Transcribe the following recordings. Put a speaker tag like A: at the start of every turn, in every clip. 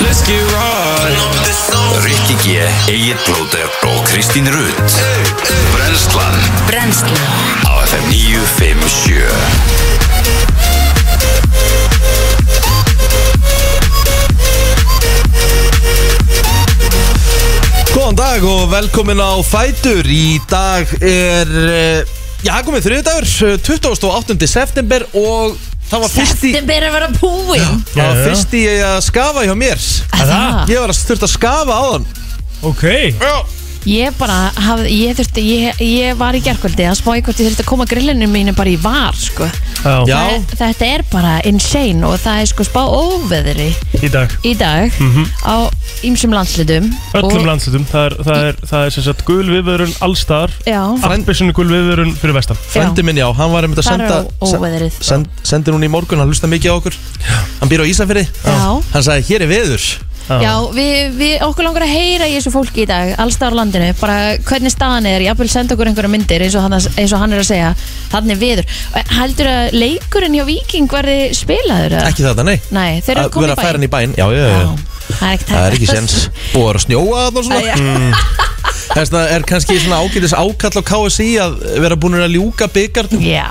A: Let's get right
B: Rikki G, Egil Blóter og Kristín Rutt Brenslan
C: Brennslan
B: á FM 957
A: Góðan dag og velkomin á Fætur Í dag er, eh, já, það er komið þriðdagur, eh, 28. september Og það var fyrst í,
C: September er að vera búinn
A: það var
D: Já, já.
A: fyrst í að skafa hjá mér
D: Er það?
A: Ég var að þurft að skafa á þann
D: Ok
C: Ég bara, haf, ég þurfti, ég, ég var í gerkvöldi að spá hvort ég þurfti að koma grillinu mínu bara í var, sko
D: Já,
A: Já,
C: Það- Þetta er bara insane og það er sko spá óveðri
D: í dag Mhm.
C: í dag á ýmsum landslitum
D: Mm. Öllum
C: Og-
D: landslutum, það er, það er, það er sem sagt gul viðvörun allstar
C: Já,
D: Alpesinu gul viðvörun fyrir vestan
A: frendi minn, já, hann var einmitt að
C: það er
A: senda
C: ó- óveðrið
A: send, Sendi hún í morgun, hann hlusta mikið á okkur Hann býr á Ísafirði
C: Já,
A: Hann sagði, hér er veður
C: já við, við okkur langar að heyra í þessu fólki í dag alls allstað á landinu, bara hvernig staðan er jafnvel senda okkur einhverja myndir eins og hann, eins og hann er að segja, þannig viður heldur að leikurinn hjá Viking verði spilaður? eða?
A: Ekki þetta, nei
C: Nei, þeir eru
A: Að vera
C: komin í
A: að færa hann
C: bæinn
A: í bæinn, já, já, já, já.
C: Já, það er ekki
A: Það er ekki sens Búið að vera að snjóa þarna og svona Mm.
C: Já.
A: Þess að er kannski svona ágætis ákall á KSI að vera búin að ljúka byggarnum
C: Já,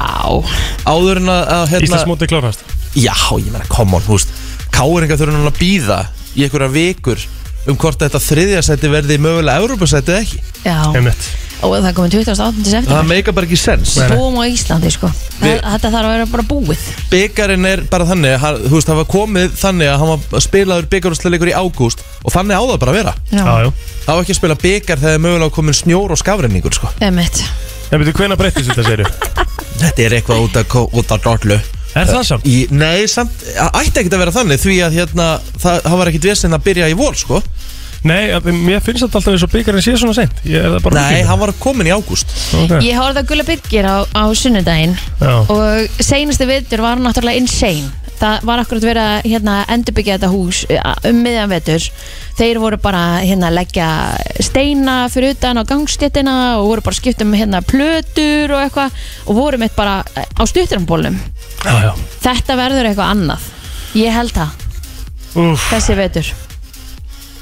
A: áður en að, að hérna,
D: Íslandsmóti klárast
A: Já, ég meina, come on, húst Káringa þurfa núna að býða í einhverja vikur um hvort þetta þriðja sæti verði mögulega Evrópasæti eða ekki
C: já
D: Einmitt
C: Og það komið 28.
A: Það
C: september
A: meika bara ekki sens
D: Nei.
C: Búum á Íslandi, sko
A: Við-
C: Það- Þetta þarf að vera bara búið
A: Byggarinn er bara þannig, hann, þú veist, það var komið þannig að hann var spilaður byggarúsleikur í ágúst og þannig á það bara að vera
D: Já, já
A: Það var ekki að spila byggar þegar er mögulega komin snjór og skafrenningur, sko
C: Emmett
D: En veitu, hvenær breyttist þetta, segir ég?
A: Þetta er eitthvað út að, út að dollu
D: Er það samt?
A: Í, nei, samt, ætti ekkert að vera þannig því að hérna, það, það var ekkert vesinn að byrja í vor, sko.
D: Nei, að- mér finnst þetta alltaf eins og byggarinn sé svona seint Ég er það bara
A: Nei, hann var komin í ágúst.
D: okay.
C: Ég horfði að gulla byggir á, á sunnudaginn
D: Já,
C: Og seinustu vitur var náttúrulega insane Það var akkurat verið að hérna, endurbyggja þetta hús eh, um miðjan vetur Þeir voru bara hérna, að leggja steina fyrir utan á gangstéttina og voru bara að skipta um hérna, plötur og eitthvað og voru mitt bara eh, á stutturambólnum
D: já, já
C: Þetta verður eitthvað annað Ég held það,
D: Úff,
C: þessi vetur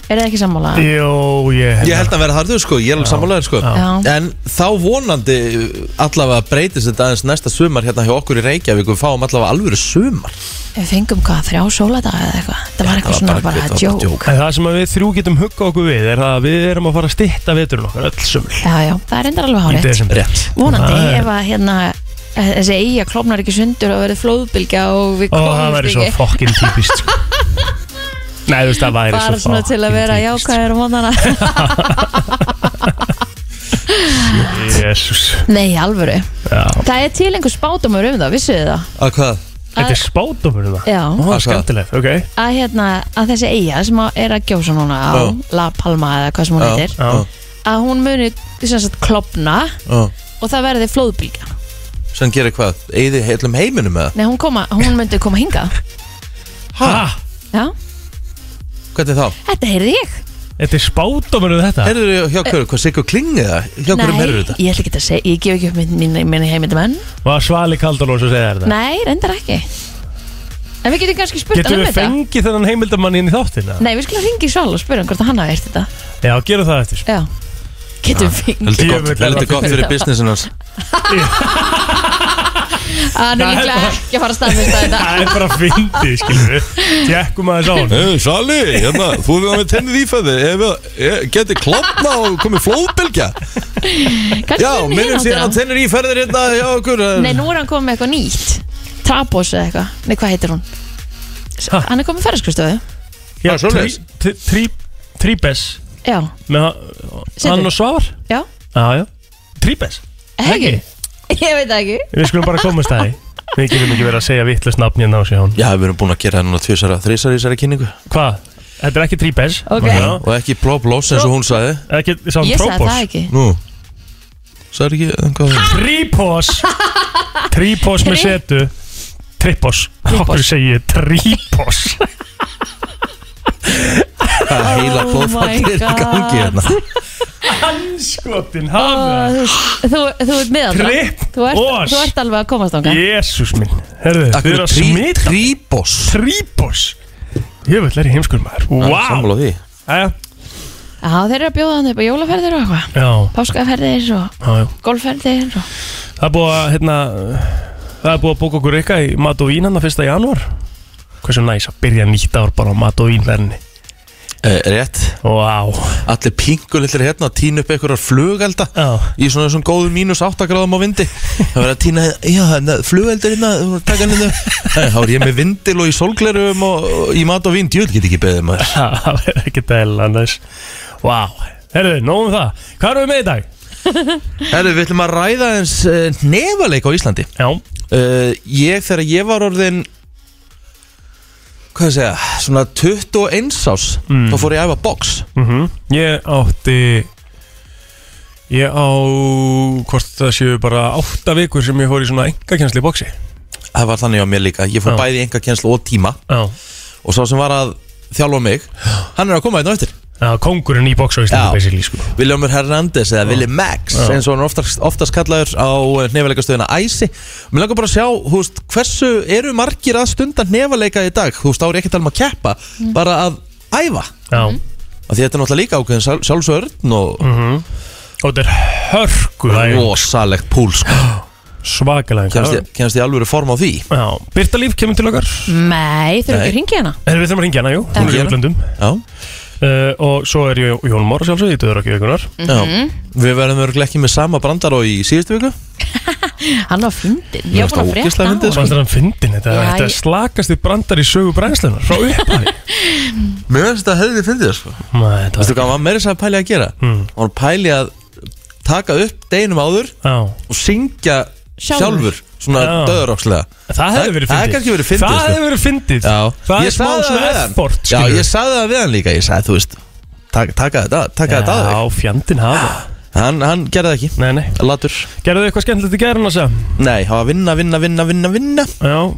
C: Er það ekki sammála?
D: Jó, ég
A: Ég held að vera harður, sko, ég er alveg sammálaður, sko.
C: Já.
A: En þá vonandi uh, allavega breytist þetta aðeins næsta sumar hérna hjá okkur í Reykjavík og við fáum allavega alvöru sumar.
C: Við fengum hvað, þrjá sóladaga eða eitthvað Það var eitthvað
A: var
C: svona
A: bara-
C: bara
A: þetta var bara
C: joke
A: djók.
D: En það sem að við þrjú getum hugga okkur við er það að við erum að fara að stytta veturinn okkar öll sömul
C: Já, já, það er endar alveg
D: í
C: hárið
D: desember
A: Rétt.
C: vonandi
D: Það er-
C: ef að hérna þessi eiga klopnar ekki sundur og verður flóðbylgja og við
D: Ó, það væri svo fokkin típist sko. Nei, þú veist, það væri
C: bara
D: svo
C: svona til að vera um
D: fucking
C: jákvæður mónana
D: típist. Jesús
C: nei, í alvöru,
D: Já.
C: það er til einhver spátumur um það, vissuðu þið það?
A: Að hvað?
D: Þetta er spátumur um það
C: Já,
D: Ó,
A: Hvað?
D: skemmtileg, ok
C: að hérna að þessi eiga sem að er að gjósa núna á
A: Já.
C: La Palma eða hvað sem hún
A: Já,
C: heitir
D: Já.
C: að hún muni sem sagt klopna
A: já.
C: og það verði flóðbylgja
A: Sem gerir hvað? Eyði heilum heiminum eða?
C: nei, hún, koma, hún myndi koma hingað
D: Ha?
C: já,
A: Hvernig þá?
C: þetta heyrði ég
D: Þetta er spátumur um þetta
A: Heyrður þið hjá hverju, hvað sigur klingið það? Hjá hverjum heyrður þetta?
C: ég ætla ekki að segja, ég gef ekki upp minn, minn, minn heimindamenn
D: Var Svali Kaldalós að segja þér þetta?
C: Nei, reyndar ekki En við getum kannski spurt hann
D: Getum
C: um
D: við
C: þetta
D: fengið þennan heimildamann inn í þáttina?
C: Nei, við skulum ringi Sval og spyrja hann hvort hann hafi eirt þetta
D: Já, gerum það eftir
C: Já Getum við fengið
A: Heldur
D: Ég
A: gott,
D: vil
A: heldur
D: alveg-
A: gott fyrir businessin hans.
C: Hann er
D: Það er
C: líklega
D: bara-
C: ekki að fara að staðmynda þetta
D: Það er bara fyndið, skilur við Tjekkum aðeins á hann
A: Hey, Sali, hérna, þú hefur með tennið ífæði ef geti klopna og komið flóðbylgja
C: Kannski
A: Já,
C: mun
A: minnum
C: hina
A: síðan að
C: áttina.
A: tennir ífæðir hérna hjá okkur
C: Nei, nú er hann komið með eitthvað nýtt Trapos eða eitthvað Nei, hvað heitir hún? S-
D: Ha?
C: Hann er komið með ferðarskristöðu
D: Já,
A: Ah, svoleiðis.
D: trí- trí- Tríbes
C: Já,
D: Með
C: Sindri.
D: hann- hann og Svavar
C: já,
D: Já, já Tríbes
C: hegi Ég veit það ekki
D: Við skulum bara komast að því Við getum ekki verið að segja vittlust nafn hérna á sig hún
A: Já, við erum búin að gera hérna tvisara, þrisara í þessari kynningu
D: Hvað? Þetta er ekki trípes
C: Ok.
D: Já.
A: Og ekki plóplós eins og hún sagði
D: Ekki, sá hann
C: Ég sagði það
D: trópos
C: ekki
A: Nú, sagði ekki um einhvað
D: Trípos Trípos með
C: Tri-
D: setu Trípos Okkur segi ég trípos
A: Það er heila
C: Oh my
A: blóðfallir í
C: God.
A: gangi hérna
D: Skotin
C: Ó,
D: hafða
C: Þú, þú, þú ert miðaldra
D: Trip
C: þú ert,
D: os.
C: þú ert alveg að komast ánga
D: Jésús minn Herðu, þið eru að
A: Akkur
D: smita
A: tríbos
D: Trípos Ég vil er ég heimskur maður Vá
A: Sammála því
D: Jæja.
C: Já, þeir eru að bjóða hann upp á jólaferðir og eitthvað
D: Já,
C: Páskaferðir og
D: já, já
C: golfferðir og...
D: Það er búið að, hérna Það er búið að bóka okkur eitthvað í mat og vín hann að fyrsta janúar Hversu næs að byrja nýtt ár bara á mat og vínverðinni
A: Eh, Rétt
D: Vá
A: Allir pingulillir hérna að Týna upp einhverjar flugelda
D: Já
A: Í svona þessum góðum mínus 8 gráðum á vindi Það verður að týna Já, na, flugeldur hérna þú verður að taka hann hérna. Eh, Þá er ég með vindil og í solglerum og, og í mat og vinn Djöld get ekki beðið maður
D: Það er ekki dæla næs Vá Herðu, nóg um það Hvað erum við með í dag?
A: Herru, við ætlum að ræða eins uh, nefaleik á Íslandi
D: Já
A: uh, Ég, þegar ég var orðin Hvað að segja, svona 21 ás Þá fór ég að æfa box
D: mm Ég átti Ég á Hvort það séu bara átta vikur sem ég fór í svona engakjensli bóksi
A: Það var þannig á mér líka, ég fór
D: Já.
A: bæði enga kjenslu og tíma
D: Já
A: Og sá sem var að þjálfa mig Hann er að koma einn og eftir
D: Já, kongurinn í bóks á
A: Já.
D: Íslandi basically sko
A: Viljámur Hernández eða Willi Max
D: Já.
A: eins og hann er oftast, oftast kallaður á nefaleikastöðina Æsi Mér langar bara að sjá, þú veist, hversu eru margir að stunda nefaleika í dag Þú veist, þá er ég ekki að tala um að keppa, bara að æfa
D: Já
A: Af Því þetta er náttúrulega líka ákveðin sjál- sjálfsvörn og
D: Mhm. Og þetta er hörku
A: rosalegt púl sko. kemst,
D: Svakalega
A: ég, kemst ég alveg form á því
D: Já, Birta Líf kemur til okkar
C: Nei, þeir eru ekki að ringi hana
D: En við þurfum að ringja hana, jú, hún er í
A: Hringja hana.
D: útlöndum
A: Já,
D: uh, Og svo er ég Jón Mór sjálfsög, ég döður ekki vikunar
C: Mhm.
A: já. Við verðum örgulega ekki með sama brandar og í síðustu viku
C: Hann var fyndin, ég var búin að
A: Mér finnst
C: frétta á
A: það ógeðslega fyndið,
C: hann
A: sko.
D: Fannst þér hann fyndin þetta?
C: Já,
D: Þetta
C: ég-
D: er slakasti brandar í sögu brænslunar Frá upphafi
A: Mér finnst þetta hefði fyndið sko.
D: Nei, þetta
A: Veistu
D: var Hmm.
A: hvað, hann var meira þess að pæli að gera mm. Hann var pæli að taka upp deginum áður
D: Já
A: og syngja
C: Sjálfur.
A: sjálfur, svona
D: Já.
A: döðurokslega
D: Það hefði verið
A: Það
D: fyndið
A: hefði kannski verið fyndið
D: Það
A: sko.
D: hefði verið fyndið
A: Já,
D: Það
A: ég
D: er smá
A: sagði það
D: svona
A: við hann.
D: effort
A: Já, ég sagði það við hann líka, ég sagði, þú veist taka, taka þetta, taka þetta að
D: Já, fjandinn hafa
A: þig Hann, hann gerði það ekki,
D: Nei, nei
A: latur
D: Gerðu þið eitthvað skemmtilegt í gerðin að segja?
A: Nei, hann var að vinna, vinna, vinna, vinna, vinna
D: Já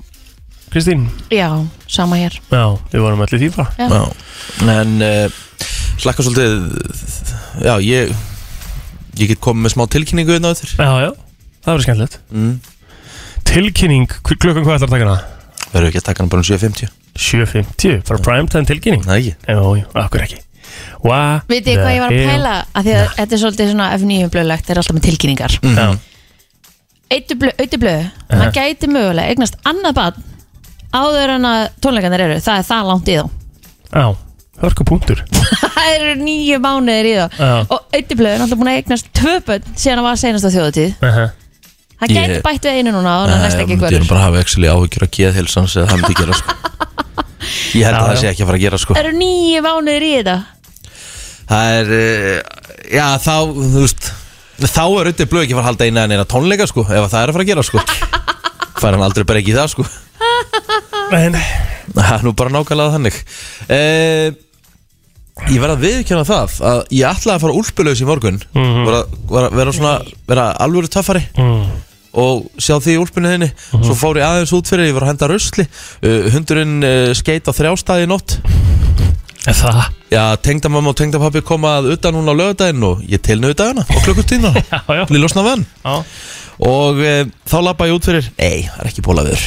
D: Kristín
C: Já, sama hér
D: Já, við vorum allir því bara
C: Já.
A: Já, en uh, slakka svolítið Já, ég Ég get komið með smá tilkynningu inn á þér
D: Já, já Það verið skemmtilegt
A: mm.
D: Tilkynning hv- Klukkan hvað ætlar að taka hana?
A: Verður ekki að taka hann bara um 7.50
D: 7.50 Bara primetime tilkynning
A: Nei, ekki
D: Já, já, akkur ekki Wow
C: Vitið þið hvað ég var að pæla? Af því að þetta er svolítið svona F9 blöðlegt, þeir eru alltaf með tilkynningar
A: Mm.
D: Já,
C: Eittu blöðu, hann gæti mögulega eignast annað barn áður en að tónleikarnir eru, það er það langt í þá
D: já Hörku punktur
C: Það eru nýju mánuðir í þá
D: Já.
C: og Eittu blöðu er alltaf búin að eignast tvö börn síðan hann var senast á þjóðatíð
D: Aha.
C: hann gæti
A: Ég-
C: bætt við einu núna og hann næst
A: Nei,
C: ekki
A: myndi
C: hverjur
A: nú Eh, bara hafa ekki áhyggjur að geða hilsans eða það myndi gera sko Ég held
D: Já,
A: að það
D: já.
A: sé ekki að fara að gera sko
C: Það eru nýju mánuðir í þetta
A: Það er, uh, já þá, þú veist Þá er auðvitað blöð ekki að fara að halda eina en eina tónleika sko Ef að það er að fara að gera sko Fær hann aldrei bara ekki það sko
D: Nei, nei
A: Það er nú bara nákvæmlega þannig eh, Ég verð að viðkjöna það að ég ætlaði að fara úlpulegs í morgun mm -hmm. vera, vera, vera svona vera alvöru töffari
D: Mm.
A: og sjá því í úlpunni þinni svo
D: Mhm.
A: fór ég aðeins út fyrir, ég var að henda rusli uh, hundurinn uh, skeit á þrjástaði í nótt
D: Er Það
A: Já, tengdamamma og tengdapappi koma að utan hún á lögadaginn og ég tilna utan hana og klukkutína
D: Já, já
A: til ég losna vann
D: Já
A: og uh, þá lappa ég út fyrir Nei, það er ekki bólaður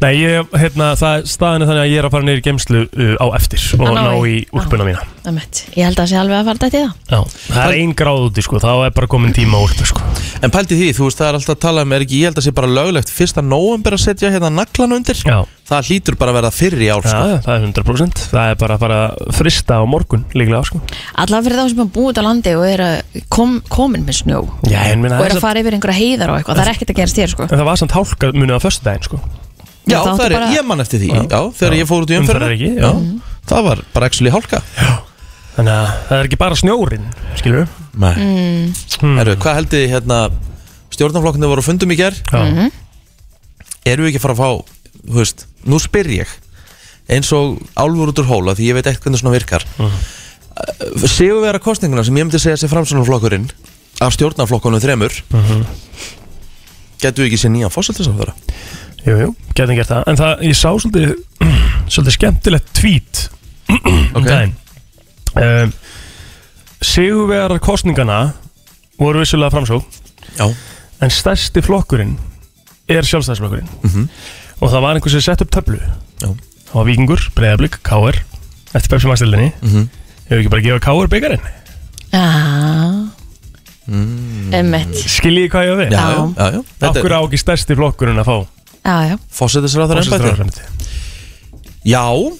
D: Nei, ég, hérna, það staðin er þannig að ég er að fara niður í geimslu uh, á eftir og
C: Að ná
D: ná í
C: í- Ah,
D: úlpuna mína
C: Einmitt. Ég held að það sé alveg að fara dætt í það
D: Já, það er ein gráð úti, sko, þá er bara komin tíma á úlpu, sko
A: En pælti því, þú veist, það er alltaf að tala um er ekki, ég held að sé bara löglegt fyrsta nóvember að setja hérna naglan undir
D: Já,
A: Það hlýtur bara að vera fyrir í ár
D: já
A: sko.
D: það er 100% Það er bara að fara að frista á morgun, líklega, sko
C: Allavega fyrir þá sem er búið út á landi og er að kom, komin með snjó og
D: Já, en minna,
C: er
D: það,
C: að fara yfir einhverja heiðar og eitthvað það er ekkert að gerast þér sko
D: en það var samt hálka munið á föstudaginn, sko
A: Já,
C: Þá áttu
A: það er,
C: bara-
A: ég man eftir því Já, þegar
D: Já.
A: ég fór út í
D: Umferðar ekki, já.
A: umferðina já. Það var bara actually hálka
D: Þannig að það er ekki bara Hmm. snjórin, skilur við
A: Nei Herru, hvað held þið hérna Stjórnarflokknir voru á fundum í ger
D: Já,
A: Eru við ekki að fara að fá, þú veist Nú spyr ég Eins og álfur út úr hóla Því ég veit ekkert hvernig svona virkar
D: Mhm.
A: mm. Sigur við að kostninguna sem ég myndi segja sér framsunarflokkurinn Af stjórnarflokkunum þremur mm
D: Mhm.
A: Getum við ekki sér nýjan fósaltisáfara?
D: jú, jú, getum gert það En það, ég sá svolítið, svolítið skemmtilegt tweet um daginn um, Sigurvegar kostningana voru vissulega framsók
A: Já
D: en stærsti flokkurinn er sjálfstæðisflokkurinn og það var einhver sem sett upp töflu
A: Mhm. Já.
D: það var Víkingur, Breiðablík, K.R. eftir Pepsi Max-delinni mm
A: Mhm.
D: -hmm. hefur ekki bara að gefa káur byggarinn
C: Já Emmett
D: skiljið hvað ég á við
A: Mm. Já, já, já, já. Þetta
D: okkur
A: er
D: á ekki stærsti flokkurinn að fá
C: Já, já
A: fósettisráður ennbætti
D: forsætisráðherraembættið?
A: Já,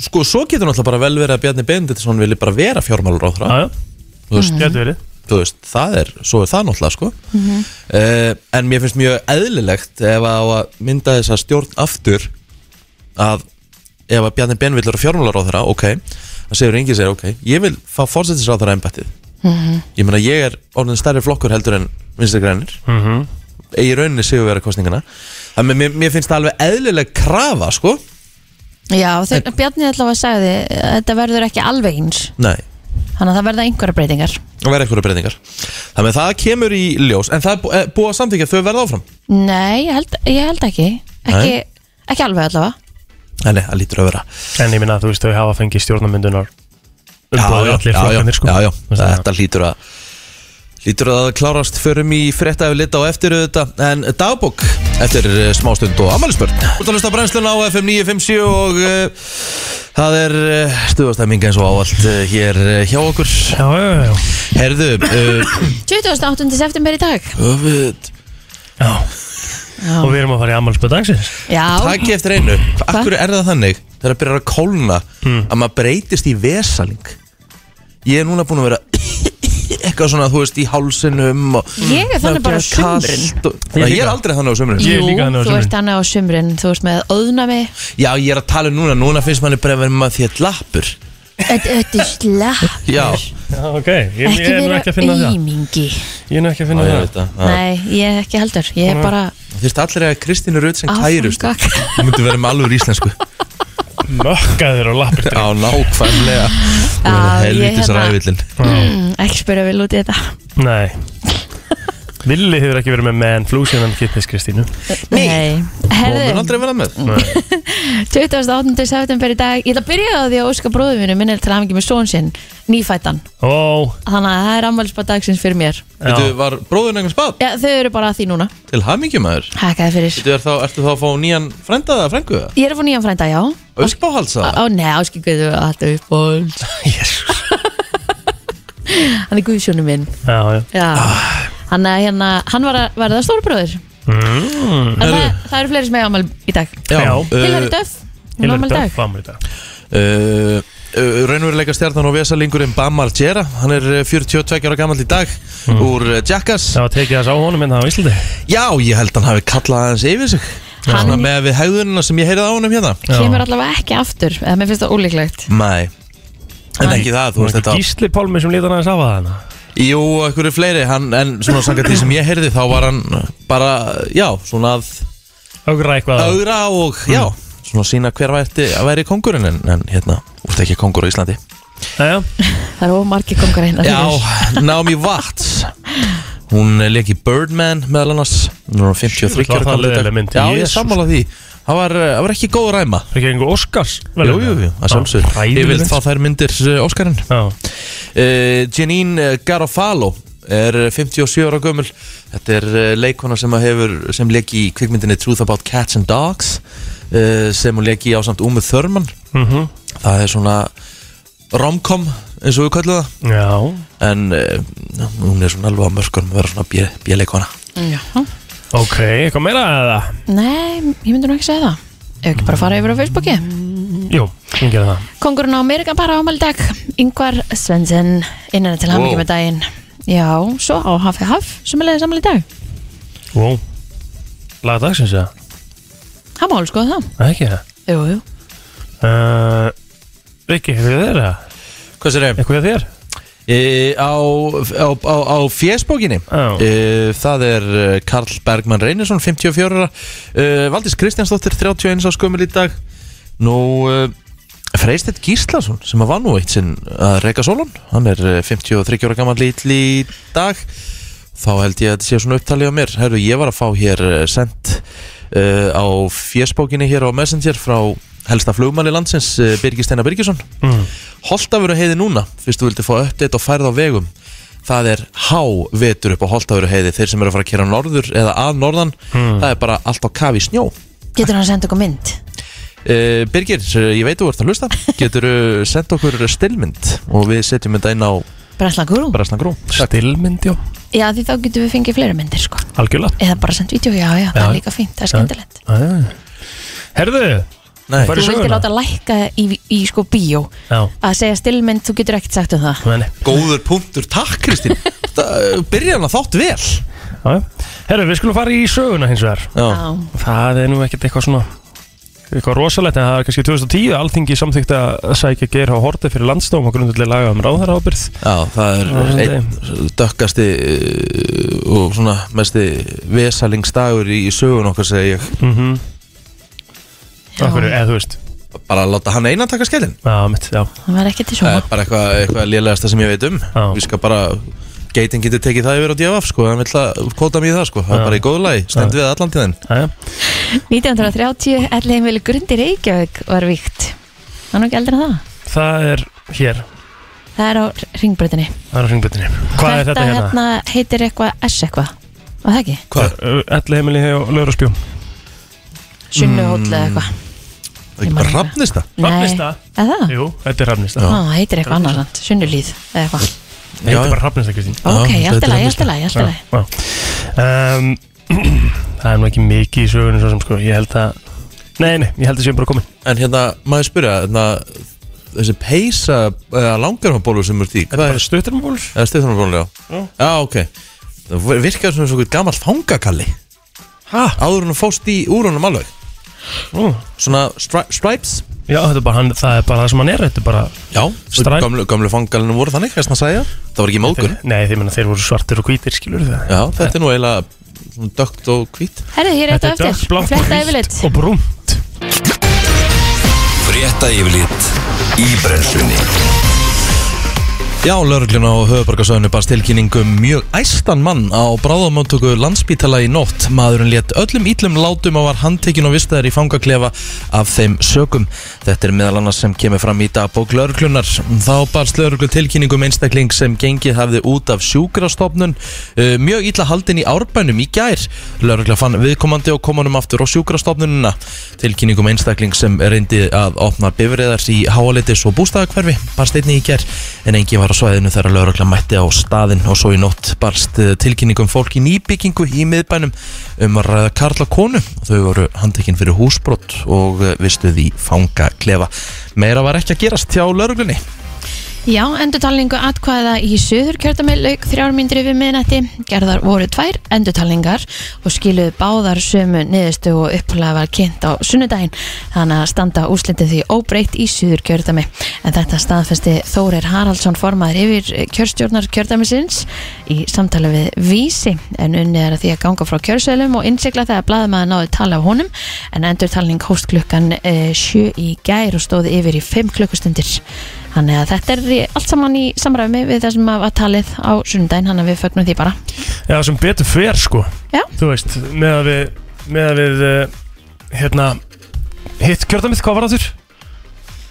A: sko, svo getur náttúrulega bara vel verið að Bjarni Benditsson vilji bara vera
D: Já,
A: fjármálaráðra
D: já, Mm-hmm.
A: Þú veist,
D: getur verið
A: þú veist, það er, svo er það náttúrulega sko. uh, en mér finnst mjög eðlilegt ef að á að mynda þessa stjórn aftur að ef að Bjarni Ben vill vera fjármálaráðherra ok, það segir enginn segir ok ég vil fá fórsetisráðherra embættið ég meina ég er orðin stærri flokkur heldur en vinstri grænir mm
D: Mm-hmm.
A: í rauninni sigur vera kostningana þannig að mér, mér finnst það alveg eðlileg krafa sko,
C: Já, þeir, Bjarni allavega sagði að Þetta verður ekki alveg eins
A: nei
C: Þannig að það verða einhverja breytingar
A: og verða eitthvað breytingar þannig að það kemur í ljós en það er bú- eh, búið að samþykja að þau verða áfram
C: Nei, ég held, ég held ekki Ekki, ekki alveg allavega
A: Nei, nei, það lítur að vera
D: En ég minna að þú veist, þau hafa fengið stjórnarmyndunar Umbúið allir
A: já,
D: flokkarnir sko
A: já, já,
D: Þú veist,
A: þetta lítur að lítur að klárast förum í frétta ef lita og eftir auðvitað en dagbók eftir eh, smástund og ammælisbörn Þú ert að hlusta á brennsluna á FM 957 og uh, það er uh, stuðastæming eins og áallt uh, hér uh, hjá okkur
D: Já, já, já, já.
A: Herðu uh,
C: 28. september í dag
A: öfut,
D: já. Og við erum að fara í ammálspöð dagsins
C: Já,
A: Takk eftir einu Akkur er það þannig þegar það byrjar að kólna
D: Hmm.
A: að maður breytist í vesaling Ég er núna búin að vera eitthvað svona, þú veist, í hálsinum og,
C: Ég er þannig bara á
A: kalt
C: sumrin.
A: og, Nei, Ég er aldrei þannig á sömurinn
D: Ég er
C: jú,
D: líka þannig á
C: þú
D: sumrin.
C: ert annað á sumrin Þú ert með óðnami
A: Já, ég er að tala um núna, núna finnst manni bara að vera maður því að lappur
C: Þetta þetta er slapp
A: Já,
D: Já, ok, ég, ég
C: Ekki
D: er nú
C: vera
D: ekki að finna það
C: ímingi
D: Ég er nú ekki að
A: Já,
D: finna
A: ég
D: það
A: veit það Já.
C: Nei, ég er ekki heldur Ég er bara
A: Það finnst allir að Kristínu Rödd sem
C: Áfram
A: kærust
C: gakk.
A: Þú myndi vera með alveg íslensku
D: Mökkaður og lappir
A: Já, nákvæmlega Þú
C: Já,
A: verður
C: ég
A: helvitis
C: hérna-
A: ræðvillin
C: mm, ekki spyrja vel út í þetta
D: Nei Villi hefur ekki verið með menn flú síðan kittist Kristínu
C: Nei,
A: Og mun
C: herðu,
A: aldrei vera með
C: 28. september í dag Ég ætla að byrja á því að óska bróðum minu minnir til hafingi með són sinn, nýfættan
D: Ó,
C: Þannig að það er ammælisbað dagsins fyrir mér
D: já
A: Þú var bróðun einhvers bát
C: Já, þau eru bara að því núna
A: til hamingjumæður
C: Hækkaði fyrir
A: Þú er þá, ertu þá að fá nýjan frenda eða frengu það?
C: Ég er að fá nýjan frænda, já
A: Uppáhaldsa
C: Ó, nei, áskilguðu alltaf upp og
D: Jésus.
C: Hann er guðsjónu minn
D: Já, já
C: Já Hann, er hérna, hann var að verða stórbróður En
D: Mm.
C: það, það eru fleiri sem eiga ammæl í dag
D: Já. uh,
C: Hilari Döf, hún á
D: Hilary
C: ammæl í dag
D: Duff ámæli dag
A: uh, uh, Raunveruleika stjarnan og vesalingurinn Bam Margera Hann er uh, 42 ára gammal í dag Úr uh, Jackass
D: Mm. Það var tekið þess á honum en það á Íslandi
A: Já, ég held hann hafi kallað aðeins yfir sig
C: Hann-
A: Svona með við hegðunina sem ég heyrið á honum hérna
C: Kemur allavega ekki aftur Eða mér finnst það ólíklegt
A: Nei En
C: Hann-
A: ekki það,
D: Var
A: þú
D: ekki
A: veist þetta
D: Gísli Pálmi sem lítan aðeins af að hana
A: Jú, ekkur er fleiri, hann, en svona sangað því sem ég heyrði Þá var hann bara, já, svona að
D: Ögra eitthvað Mm. að-
A: augra og, já Svona sína hver væri, væri kongurinn en, en hérna, úrst ekki kongur á Íslandi
D: Jæja.
C: Það eru ómargi kongar hérna
A: Já,
C: fyrir.
A: Naomi Watts Hún leik í Birdman meðal annars Hún er orðin 53
D: Jú, var það
A: ára gamall í dag.
D: leiðileg mynd,
A: Já, ég
D: Jesús.
A: sammála því Það var, uh, það var ekki góð ræma
D: Er ekki einhver Óskars
A: Jú, jú, jú, að sjálfsög Ég vil fá þær myndir uh, Óskarinn uh,
D: Já,
A: Janine eh, Garofalo er uh, 57 ára gömul Þetta er uh, leikona sem að hefur sem leik í kvikmyndinni Truth About Cats and Dogs uh, sem hún leik í ásamt Úmið Þörmann
D: mhm,
A: Það er svona romcom eins og við kallum það
D: já
A: en uh, hún er svona alveg á mörkunum að vera svona bjeleikona
C: Já.
D: Ok, eitthvað meira eða?
C: Nei, ég myndi nú ekki segja það Ef ekki bara fara yfir á Facebooki
D: Jú, hún gerir það
C: Kongurinn á Amerika bara ámæli í dag Yngvar Svensson Innan til hann
A: Wow.
C: með daginn Já, svo á Hafi Haf sem er leiðis ammæli í dag
D: Vó Laga dagsins eða?
C: Hann má alveg skoða það
D: Nei, Ekki það
C: Jú, jú
D: uh, Viki, eitthvað þér eða?
A: Hvað sér ég?
D: Eitthvað þér?
A: E, á á, á, á fjesbókinni
D: Já.
A: e, það er eh, Karl Bergmann Reynisson 54 ára e, Valdís Kristjánsdóttir 31 á skömmul í dag nú e, Freystedt Gíslason sem að var nú eitt sinn að reyka sólun hann er eh, 53 ára gammal litl í dag þá held ég að þetta sé svona upptalið á mér herru ég var að fá hér eh, sent uh, á fjesbókinni hér á Messenger frá helsta flugmanni landsins uh, Birgir Steinar Birgisson mm. Holtavöru heiði núna fyrst þú vildi fá uppdeitt og færð á vegum það er hávetur upp á Holtavöru heiði þeir sem eru að fara að kera Hmm. norður eða að norðan það er bara allt á kafi í snjó
C: Getur hann að senda okkur mynd?
A: Eh, Uh, Birgir, ég veit þú ert að hlusta Getur þú sendt okkur stillmynd Og við setjum þetta inn á
C: Brensla Guru
A: Bræsna Grú
D: Stillmynd, já,
C: Já, því þá getum við fengið fleiri myndir sko
D: algjörlega
C: Eða bara sendt vídeo, já, já, það
D: Já.
C: er líka fínt, það er skemmtilegt
D: Já, já, já. Herðu,
A: Nei,
D: Bara-
C: Þú vildi
D: söguna?
C: láta lækka í, í sko bíó
D: já,
C: Að segja stillmynd, þú getur ekkert sagt um það
D: meni
A: góður punktur, takk Kristín Það byrjar hann að þátt vel
D: Herðu, við skulum fara í söguna hins vegar
A: Já,
D: Það er nú ekkert eitthvað svona eitthvað rosalegt en það er kannski 2010 Alþingi samþykti að sækja Geir H. Horte fyrir landstóm og grundulega laga um ráðarábyrð
A: já það er
D: Já,
A: einn dökkasti uh, og svona mesti vesalingsdagur í, í sögun okkar segi ég
D: mm -hmm. Akkur,
C: Já,
D: eða þú veist
A: bara að láta hann einan taka skellin
D: Já, mitt, já
C: það var ekki til
A: Það
C: svona
A: er bara eitthvað, eitthvað lélegasta sem ég veit um
D: Já.
A: Við skal bara Geitin getur tekið það yfir á DFF sko Hann vill að kóta mér í það sko Það
D: Já.
A: er bara í góðu lagi, stend við allan tíðin
D: Æja.
C: 1930, allir heimilu grundir Reykjavík var víkt Það er nú ekki eldra en það
D: Það er hér,
C: Það er á ringbröðinni
D: það er á hringbyttinni Hvað er þetta hérna?
C: hérna heitir eitthvað S eitthvað Var það ekki?
A: Hvað?
D: Elli heimili og Lörðarspjó
C: Sunnuhóll eða eitthvað
A: Það er ekki bara rafnist það?
D: Mm. Hrafnista?
C: Nei, eða það?
D: Jú, þetta er Hrafnista
C: Á, það heitir eitthvað annars samt, sunnulíð eða eitthvað
D: Þetta er bara Hrafnista, Kristín
C: Ok,
A: þetta
C: allt
A: heitir
C: í lagi, allt í
A: Hrafnista.
C: lagi, allt í
D: Já,
C: lagi
D: já. um, Það er nú ekki mikið í sögunum svo sem sko Ég held að Nei, nei, ég held að séum bara komin
A: En hérna, maður spyrja hérna, Þessi peysa uh, langarfambólu sem er því Hvað
D: Bara
A: er
D: stuttarmból
A: Eða stuðþarmabólu, já Já, ok Það virkaði svona svona gammal fangakalli
D: Hæ?
A: Áður hann fóst í úr honum alveg Svona stri stripes
D: Já, þetta er bara hann, það er bara það sem hann er Þetta er bara,
A: Já,
D: Stripe.
A: gömlu, gömlu fangalinu voru þannig, þess að segja Það var ekki mógun
D: nei, því menna þeir voru svartir og hvítir Skilur það
A: Já, þetta er nú eiginlega svona dökkt og hvít
C: Herðu, hér er þetta
D: Þetta er
C: eftir,
D: dökkblátt og
C: fletta
D: hvítt
C: yfirleitt
D: og brúnt
B: Frétta yfirlit í brennslunni
A: Já, lörglun á höfuborgarsöðinu barst tilkynning um mjög æstan mann á bráðamáttöku landsbítala í nótt. Maðurinn létt öllum ítlum látum og var handtekinn og vistaður í fangaklefa af þeim sökum. Þetta er meðal annars sem kemur fram í dagbók lörglunar. Þá barst lörglu tilkynning um einstakling sem gengið hafði út af sjúkrastofnun. eh, Mjög ítla haldin í árbænum í gær. Lörgla fann viðkomandi og komanum aftur á sjúkrastofnununa. Tilkynning um einstakling sem reyndi að opna bifriðar í háalitis og bústæðakverfi barst einni í ger en engin var á svæðinu þegar laurugla mætti á staðinn og svo í nótt barst eh, tilkynning um fólk í nýbyggingu í miðbænum um að ræða Karla konu þau voru handtekinn fyrir húsbrott og eh, vistuð í fangaklefa meira var ekki að gerast hjá lauruglunni
C: Já, endurtalningu atkvæða í söður kjördamilauk þrjármyndri við miðnætti. Gerðar voru tvær endurtalningar og skiluðu báðar sömu niðurstu og upplega var kynnt á sunnudaginn. Þannig að standa úslitið því óbreytt í söður kjördami. En þetta staðfesti Þórir Haraldsson formaður yfir kjörstjórnar kjördamisins í samtali við Vísi. En unni er að því að ganga frá kjörsölum og innsikla þegar blaðmaður náði tala af honum. En endurtalning hóst klukkan 7 í gær og stóði yfir í 5 klukkustundir. Þannig að þetta er allt saman í samræmi við það sem að var talið á sunnudaginn, hann að við fögnum því bara.
D: Já, sem betur fer sko
C: Já.
D: Þú veist, með að við, með að við uh, hérna, hitt kjördamið, hvað var það þurr?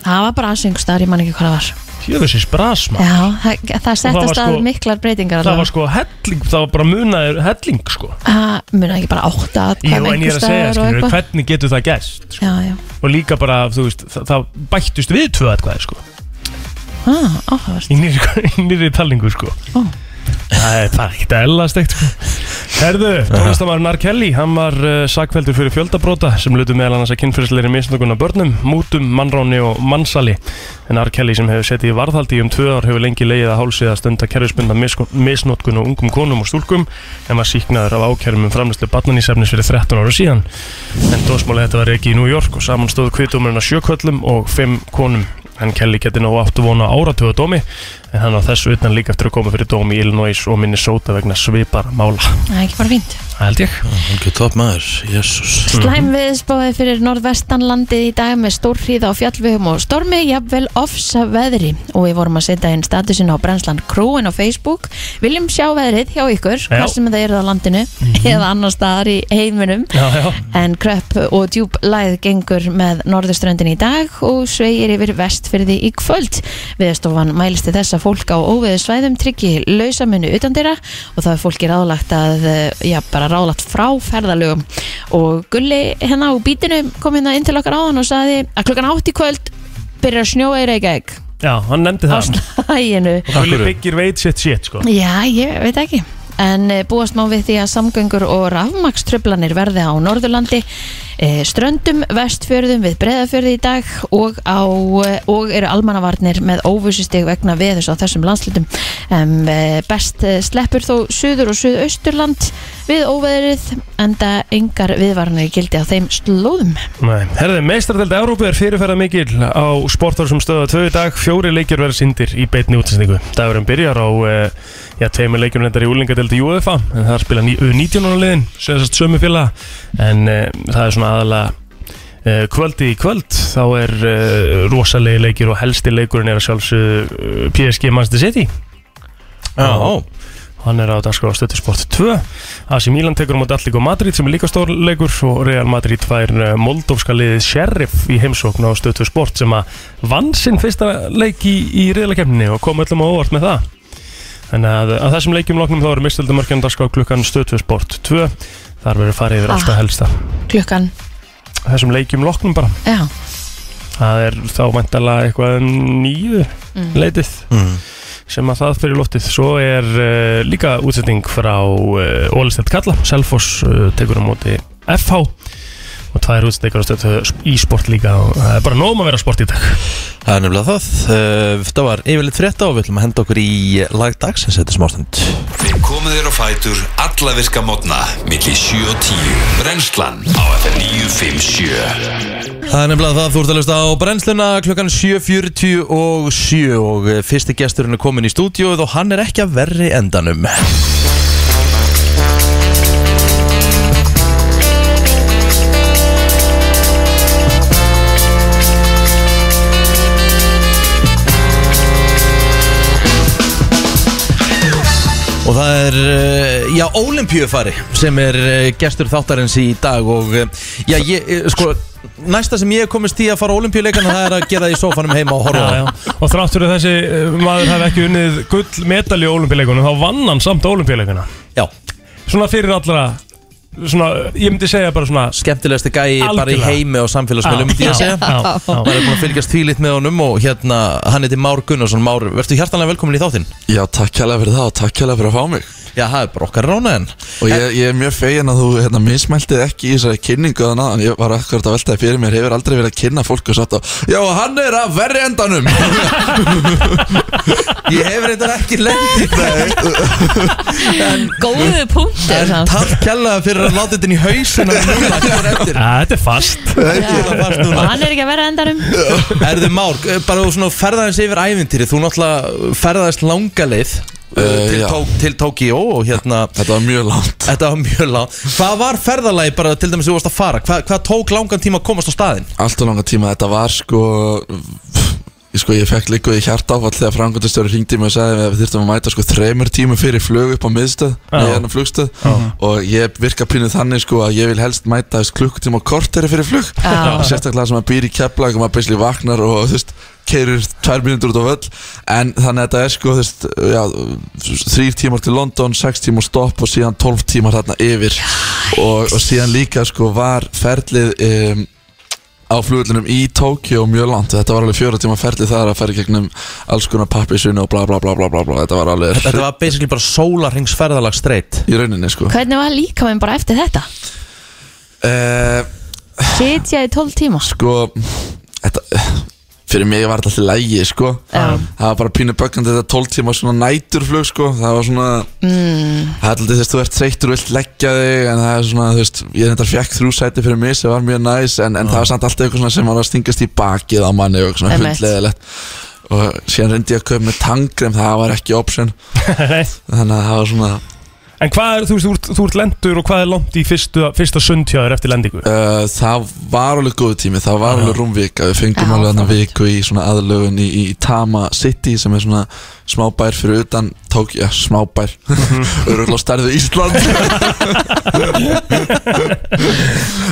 C: Það var bara aðsengustar, ég man ekki hvað það var.
D: Jöfisins brasma
C: Já, það, það
D: Og það var
C: settast að
D: sko-
C: miklar breytingar
D: Það var
C: allavega.
D: sko helling, það var bara munaður helling sko
C: Það muna ekki bara átta að
D: Jú, en ég er að segja, skilur, hvernig getur það gerst sko.
C: Já, já.
D: Og líka bara, þú veist, það, það bættust við tvö eitthvað sko
C: Ah, áhugavert.
D: Í nýrri, í nýrri talningu sko
C: Ó.
D: Það er bara ekkert eðla steikt sko Herðu, tónlistamæður Kelly, hann var uh, sakveldur fyrir fjöldabróta sem lutu meðal annars að kynfyrsleiri misnökun af börnum, mútum, mannráni og mannsali en R. Kelly sem hefur setið í varðhaldi í um tvö ár hefur lengi leiðið að hálsið að stunda kerfisbunda misnótkun og ungum konum og stúlkum en var síknaður af ákærum um framlýslu barnanísefnis fyrir 13 ára síðan en dósmáli þetta var ekki í New York og saman stóðu kvitumurinn að sjököllum og fimm konum en Kelly geti ná áttu vona áratöða dómi en hann á þessu utan líka eftir að koma fyrir dómi í Illinois og Minnesota vegna svipar mála
C: Það er ekki bara fínt.
D: held ég
A: Ekki topp maður, jésús
C: Slæm viðspáði fyrir norðvestanlandið í dag með stórhríð á fjallvegum og stormi, jafnvel ofsa veðri og við vorum að setja inn statusin á Brensland Krúin á Facebook. Viljum sjá veðrið hjá ykkur,
D: Já.
C: hvað sem það eru á landinu eða annar staðar í heiminum
D: já, já.
C: en kröpp og djúb læð gengur með norðurströndin í dag og sveigir yfir vest vestfyrði í kvöld. Veðastofan mælisti þess að fólk á óveðusvæðum tryggi lausamunu utan dyrra og það er fólki ráðlagt að, eh, já, bara ráðlagt frá ferðalögum. Og Gulli hérna á bítinu kom hérna inn til okkar áðan og saði að klukkan átt í kvöld byrjar að snjóa í Reykjavík
D: Já, hann
C: á
D: nefndi það
C: slæginu.
D: Og Gulli byggir veit sitt shit sko
C: Já, ég veit ekki En eh, búast má við því að samgöngur og rafmakströflanir verði á Norðurlandi eh, ströndum, vestfjörðum við breðafjörði í dag og, á, eh, og eru almannavarnir með óvissistig vegna veðus á þessum landslutum um, best eh, sleppur þó suður og suðausturland við óveðrið enda engar viðvarnir gildi á þeim slóðum
D: Nei, herði, meistardelt Európu er fyrirferða mikil á sportar sem stöða tvö í dag, fjóri leikjur verða sindir í beitni útsendingu. Dagurinn byrjar á, eh, já, tveimur leikjum reyndar í úlingadeldi UEFA, en það spila ný- U19 liðin, séðast sömu félag, en eh, það er svona aðalega eh, kvöldi í kvöld, þá er eh, rosalegi leikjur og helsti leikurinn er að sjálfsögðu eh, PSG Manchester City.
A: Já, ó,
D: Hann er á dagskrá stöðtusport 2 AC Milan tekur á móti Allíko Madrid sem er líka stórleikur og Real Madrid fær eh, moldófska liðið Sheriff í heimsókn á stöðtusport sem að vann sinn fyrsta leik í, í riðlakefninni og kom öllum á óvart með það Þannig að, að þessum leikjum loknum þá eru mistöldumörkjum dagskrá klukkan stöðtusport 2 Þar verður farið yfir alltaf
C: Ah.
D: helsta
C: klukkan,
D: Þessum leikjum loknum bara
C: já,
D: Það er þá mæntalega eitthvað nýju leitið sem að það fyrir lóttið. Svo er uh, líka útsetning frá uh, Ólistelt Kalla, Selfoss uh, tekur á móti FH og tvær útsetningar á stöðu í sport líka og það er bara nóg um að vera sport í dag.
A: það er nefnilega það Eh, Það var yfirleitt frétta og við ætlum að henda okkur í lagdags sem setja smástund
B: Við komum þér á fætur allavirka mótna milli 7 og 10 Brennslan á FM 957
A: Það er nefnilega það, þú ert að hlusta á brennsluna klukkan 7.47 og 7 og eh, fyrsti gesturinn er komin í stúdíóið og hann er ekki að verri endanum Og það er, eh, já, Ólimpíufari sem er eh, gestur þáttarins í dag og eh, já, ég, eh, sko, næsta sem ég hef komist í að fara á Ólimpíuleikana það er að gera það í sófanum heima og horfa á það.
D: Og þrátt fyrir að þessi eh, maður hafi ekki unnið gull medal í olimpíuleikunum þá vann hann samt olimpíuleikuna.
A: Já,
D: Svona fyrir allra, svona, ég myndi segja bara svona
A: skemmtilegasti gæi bara í
D: Algjörlega.
A: heimi og samfélagsmiðlum, myndi ég að
D: Já,
A: segja.
D: já, já.
A: Maður er búin að fylgjast þvílitt með honum og hérna, hann heiti Már Gunnarsson. Már, verður hjartanlega velkomin í þáttinn?
E: Já, takk kjærlega fyrir það og takk kjærlega fyrir að fá mig
A: Já, það er bara okkar ránaðinn.
E: Og ég, ég er mjög fegin að þú hérna, mismæltið ekki í þessari kynningu þannig að ég var akkurat að veltaði fyrir mér hefur aldrei verið að kynna fólk og satt á Já, hann er að verri endanum
A: Ég hef reyndar ekki lengt
C: góðu punktur
A: en
C: samt.
A: takk kjallaða fyrir að láta þetta inn í hausina núna, hvað er eftir?
D: Æ, þetta er fast.
A: Kjalla fast
C: og
A: núna.
C: hann er ekki að vera endanum
A: Erðu Már, eh, bara þú svona ferðaðins yfir ævintýri Þú náttúrulega ferðaðist langa leið uh,
E: Eh,
A: til,
E: já.
A: tók, til Tókíó og hérna
E: Þetta var mjög langt
A: Þetta var mjög langt Hvað var ferðalagi bara til dæmis þú varst að fara? Hva, hvað tók langan tíma að komast á staðinn?
E: Allt og langa tíma þetta var sko Ég, sko, ég fekk líkuð í hjarta áfall þegar frangundastöru hringdi í mig og sagði að við þyrftum að mæta sko þreymur tíma fyrir flug upp á miðstöð
D: Já.
E: ah. hérna flugstöð og ég virka pínu þannig sko að ég vil helst mæta þess klukkutíma korteri fyrir flug
C: Já.
E: og sérstaklega sem að býr í keflag og maður beisli vaknar og þú veist keirir tvær mínútur út á völl en þannig að þetta er sko þú veist já, þrýr tímar til London, sex tímar stopp og síðan tólf tímar þarna yfir og, og síðan líka sko var ferlið um, á flugullunum í Tókjó mjög langt þetta var alveg fjóra tíma ferlið þar að ferja gegnum alls konar pappisvinu og bla bla bla bla bla, bla. þetta var alveg
A: Þetta var basically bara sólarhengsferðalag streitt
E: í rauninni sko
C: hvernig var líkaminn bara eftir þetta?
E: uh,
C: sitja í 12 tíma
E: sko þetta, fyrir mig var þetta alltaf lægi sko
C: Já.
E: það var bara pínu bökkandi þetta 12 tíma svona næturflug sko það var svona það er alltaf þess að þú ert þreyttur og vilt leggja þig en það er svona þú veist ég reyndar fekk þrjú sæti fyrir mig sem var mjög næs en, en það var samt alltaf eitthvað svona sem var að stingast í bakið á manni og svona
C: Einmitt.
E: hundleðilegt og síðan reyndi ég að köpa með tangrem það var ekki option
D: Nei.
E: þannig að það var svona
D: En hvað er, þú veist, þú ert ert, þú ert lendur og hvað er langt í fyrstu, fyrsta sundhjáður eftir lendingu?
A: Eh,
E: Uh, það var alveg góð tími, það var alveg rúmvika Við fengum
C: Já,
E: alveg hann
C: það var
E: viku í svona aðlögun í, í Tama City sem er svona smábær fyrir utan Tók, já, smábær Öruglega stærðu Ísland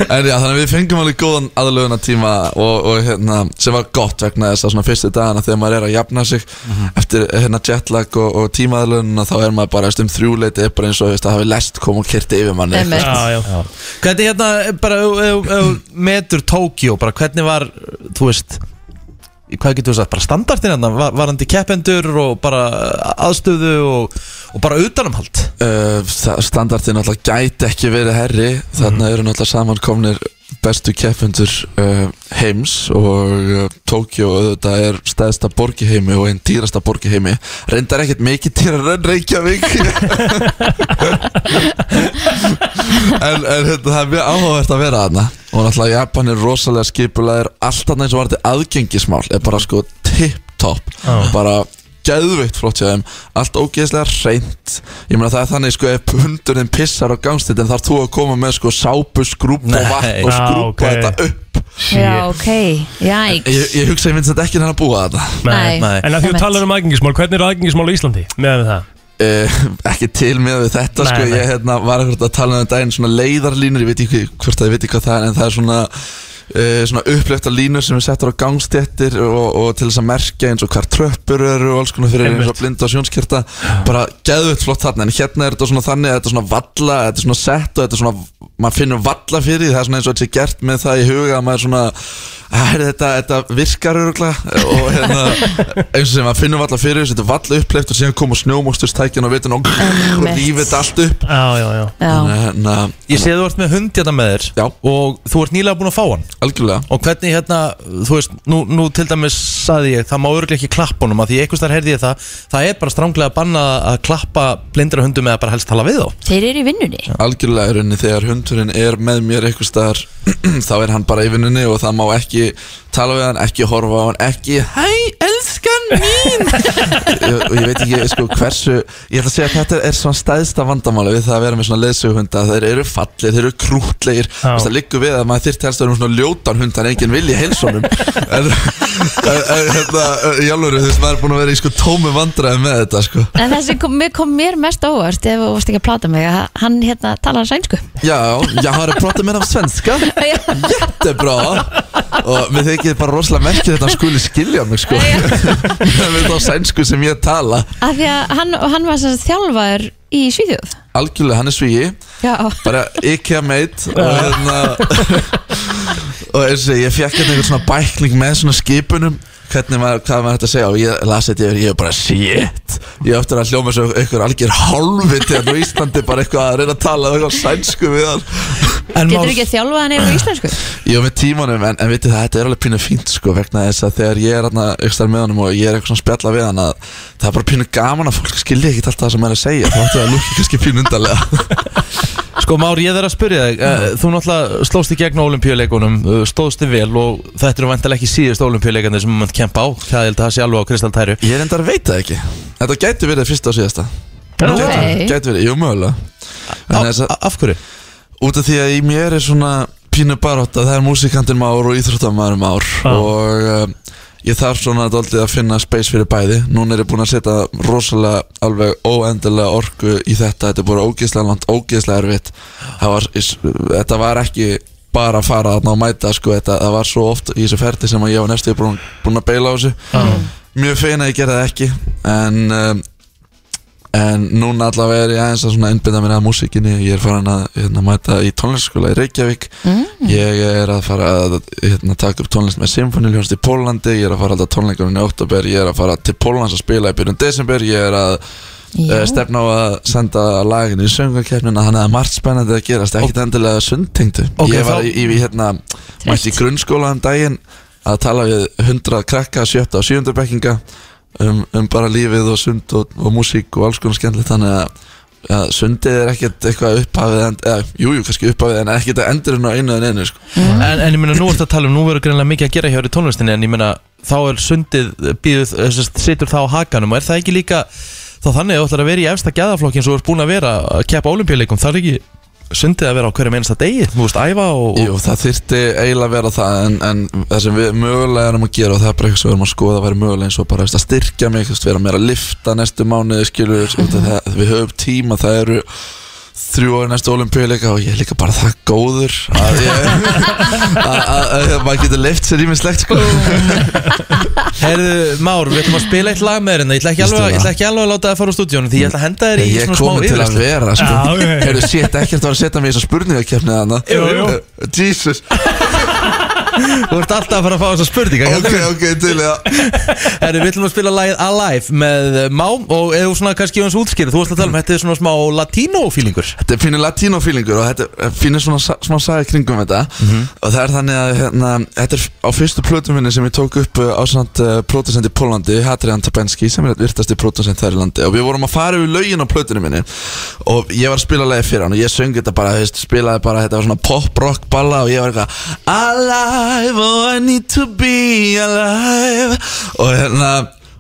E: En já, þannig að við fengum alveg góðan aðlöguna tíma og, og hérna, sem var gott vegna þess að svona fyrstu dagana þegar maður er að jafna sig
C: Mhm.
E: eftir hérna jetlag og, og tímaðlöguna þá er maður bara veist, um þrjúleiti er bara eins og veist, að hafi lest kom og kerti yfir manni sko.
C: Einmitt.
D: Já, já, já.
A: Hvernig hérna, bara, ef- ef- ef þú metur Tókjó, bara hvernig var, þú veist í hvað getur þú sagt, bara standartin hérna var, varandi keppendur og bara aðstöðu og, og bara utanumhald
E: uh, standardin alltaf gæti ekki verið herri þannig að eru náttúrulega samankomnir bestu keppendur uh, heims og uh, Tókjó auðvitað er stæðsta borgi heimi og einn dýrasta borgi heimi reyndar ekkert mikið dýrar en Reykjavík en, en hérna, það er mjög áhugavert að vera þarna og náttúrulega Japan er rosalega skipulaðir allt þarna eins og var þetta aðgengismál er bara sko tip-top bara geðveikt flott hjá þeim allt ógeðslega reynt ég meina það er þannig sko ef hundurinn pissar á gangstíðin þarf þú að koma með sko sápu skrúb og vatn og
D: Nei. Ah,
E: skrúpa
D: ok.
E: þetta upp
C: Já, ok, jæk
E: ég, ég hugsa ég myndi þetta ekki hérna að búa þetta
C: Nei.
A: Nei.
D: En að því þú
C: Einmitt.
D: talar um aðgengismál, hvernig eru aðgengismál á Íslandi? Meðan við það?
E: Eh, ekki til með við þetta
D: Nei,
E: sko,
D: nei.
E: ég hérna, var ekkert að tala um daginn svona leiðarlínur, ég veit ekki hvort að ég veit ekki hvað það er en það er svona Uh, svona upplefta línur sem er settur á gangstéttir og, og til þess að merkja eins og hvar tröppur eru og alls konar fyrir
D: Einmitt.
E: eins og blinda og sjónskjerta bara geðvögt flott þarna en hérna er þetta svona þannig að þetta er svona valla þetta er svona sett og þetta er svona maður finnur valla fyrir því, það er svona eins og þetta er gert með það í huga að maður er svona "Æ, þetta, þetta virkar öruglega og hérna eins og sem maður finnur valla fyrir þessu þetta er valla uppleift og síðan koma snjómókstustækjan og vitun og, og
C: Einmitt.
E: rífið þetta allt upp
D: Já, já, já.
C: Já,
E: hérna,
A: Ég sé þú ert með hund hérna með þér
E: Já.
A: og þú ert nýlega búin að fá hann
E: algjörlega
A: og hvernig hérna, þú veist, nú, nú til dæmis saði ég, það má örglega ekki klappa honum að því einhvers þar heyrði ég það, það er bara stránglega að banna að klappa blindra hundum eða bara helst tala við þá
C: þeir eru í vinnunni
E: algjörlega í rauninni þegar hundurinn er með mér eitthvað staðar þá er hann bara í vinnunni og það má ekki tala við hann, ekki horfa á hann, ekki hæ, elskan mín ég, og ég veit ekki sko, hversu ég ætla að segja að þetta er svona stæðsta vandamála við það að vera með svona leðsughunda þeir eru fallir, þeir eru krútlegir
D: Já.
E: Þú veist, það liggur við að maður þyrfti helst að vera með svona ljótan hund en enginn vilji heilsónum en en- en hérna, í alvöru þú veist, maður er búin að vera í sko tómi vandræði með þetta sko
C: En það sem kom, mér- kom mér mest á óvart ef þú varst ekki að plata mig að hann hérna talar sænsku
E: Já, jag har pratat med dem svenska Jättebra Og mér þykir bara rosalega merkir þetta skuli skilja mig sko Við þá sænsku sem ég tala
C: Af því að hann, og hann var sem sagt þjálfaður í Svíþjóð
E: Algjörlega hann er svíi
C: Já,
E: Bara IKEA mate Og hérna Og eins og ég fekk hérna einhvern svona bækling með svona skipunum Hvernig maður, hvað maður hægt að segja Og ég las þetta yfir, ég er bara shit Ég eftir að hljóma svo einhver algjör hálfviti Þannig á Íslandi bara eitthvað að reyna að tala Eitthvað sænsku við hann
A: En
C: getur
A: má-
C: ekki að þjálfa hann yfir í íslensku
E: Jó, með tímanum, en, en vitið það, þetta er alveg pínu fínt sko, vegna þess að þegar ég er aðna ykkur með honum og ég er eitthvað svona að spjalla við hann að það er bara pínu gaman að fólk skilja ekki alltaf það sem maður er að segja, þá ættu það að lúkja kannski pínu undarlega.
A: Sko Már, ég þarf að spyrja þig eh, Þú náttúrulega slóst í gegn á olimpíuleikunum eh, Stóðst þig vel og þetta eru vantilega ekki síðust olimpíuleikandir sem maður kempa á Það held að það sé alveg á kristaltæru
E: Ég er enda að veita það ekki. Þetta gæti verið fyrsta og síðasta.
D: Já,
C: Nei.
E: Gæti- Gæti verið, jú, mögulega.
A: Á-
E: En þess að,
A: a- Af hverju?
E: út af því að í mér er svona pínu barótt að það er músikantinn már og íþróttamæður már
D: Já.
E: og um, ég þarf svona dálítið að finna space fyrir bæði núna er ég búin að setja rosalega alveg óendilega orku í þetta þetta er búin ógeðslega langt, ógeðslega erfitt Það var, þetta var ekki bara að fara þarna og mæta sko, þetta, það var svo oft í þessu ferdi sem að ég var næstu búin, búin að beila á þessu mjög fein að ég gera það ekki en um, En núna allavega er ég aðeins að svona innbynda mér að músikinni Ég er farin að hérna, mæta í tónlistaskóla í Reykjavík
A: Mm.
E: Ég er að fara að hérna, taka upp tónlist með symfóniljónst í Pólandi Ég er að fara alltaf tónleikunum í oktober Ég er að fara til Pólans að spila í byrjun desember Ég er að uh,
C: Já.
E: stefna á að senda lagin í söngarkeppnina Þannig að margt spennandi að gerast Ekkit endilega sundtengdu
A: Ok,
E: Ég var
A: þá-
E: í, í, í hérna, mætti í grunnskóla um daginn Að tala við 100 krakka, sjötta og sjöndabekkinga um, um bara lífið og sund og, og músík og alls konar skemmtilegt þannig að, að sundið er ekkert eitthvað upphafið en, eða, jú, jú, kannski upphafið en ekkert að endurinn á einu en einu sko.
A: Mm. En, en ég meina, nú ert að tala um, nú verður greinlega mikið að gera hjá þér í eh, tónlistinni En ég meina, þá er sundið býðuð, situr það á hakanum Og er það ekki líka, þá þannig að þú ætlar að vera í efsta gæðaflokkin svo þú ert búin að vera að keppa olimpíuleikum það er ekki sundið að vera á hverjum einasta degi þú veist æfa og, og
E: Jú, það þyrfti eiginlega að vera það en, en það sem við mögulega erum að gera og það er bara eitthvað sem við erum að skoða að vera mögulega eins og bara þú veist, að styrkja mig, þú veist, vera meira að lifta næstu mánuði, skilur, mm
D: Mhm.
E: það, við höfum tíma, það eru þrjú ári næstu olimpíuleika og ég er líka bara það góður að ég að, að, að, að maður getur lift sér ímislegt sko
A: Herðu Eh, Már, við ætlum að spila eitt lag með þér hérna. Ég ætla ekki alveg, ég ætla ekki alveg að láta það fara úr stúdíónu Því ég ætla að henda þér í
E: ég er
A: svona smá
E: komin til að
A: yfirlestur
E: vera sko
D: Já, já, já.
E: Heyrðu, shit, ekkert var að setja mig í þessa spurningakefni þannig
D: Jú, jú.
E: Jesus,
A: Þú ert alltaf að fara að fá þessa spurninga
E: ok, ok, til í það
A: Herru, við ætlum að spila lagið Alive með eh, Má og ef þú svona kannski hans útskýrð, þú ætlum að tala um þetta er svona smá latínofílingur
E: Þetta er fínir latínofílingur og þetta er fínir svona sa- smá saga í kringum þetta
A: Mhm.
E: og það er þannig að hérna, þetta er á fyrstu plötum minni sem ég tók upp uh, á samt uh, pródusent í Pólandi, Hadrian Tabenski sem er eitt virtasti pródusent þær í landi og við vorum að fara yfir lögin á plötunum minni og ég var að spila lagi fyrir hann og ég söng þetta bara, þú veist, spilaði bara þetta var svona pop-rock balla og ég var eitthvað Alive, oh I need to be alive og hérna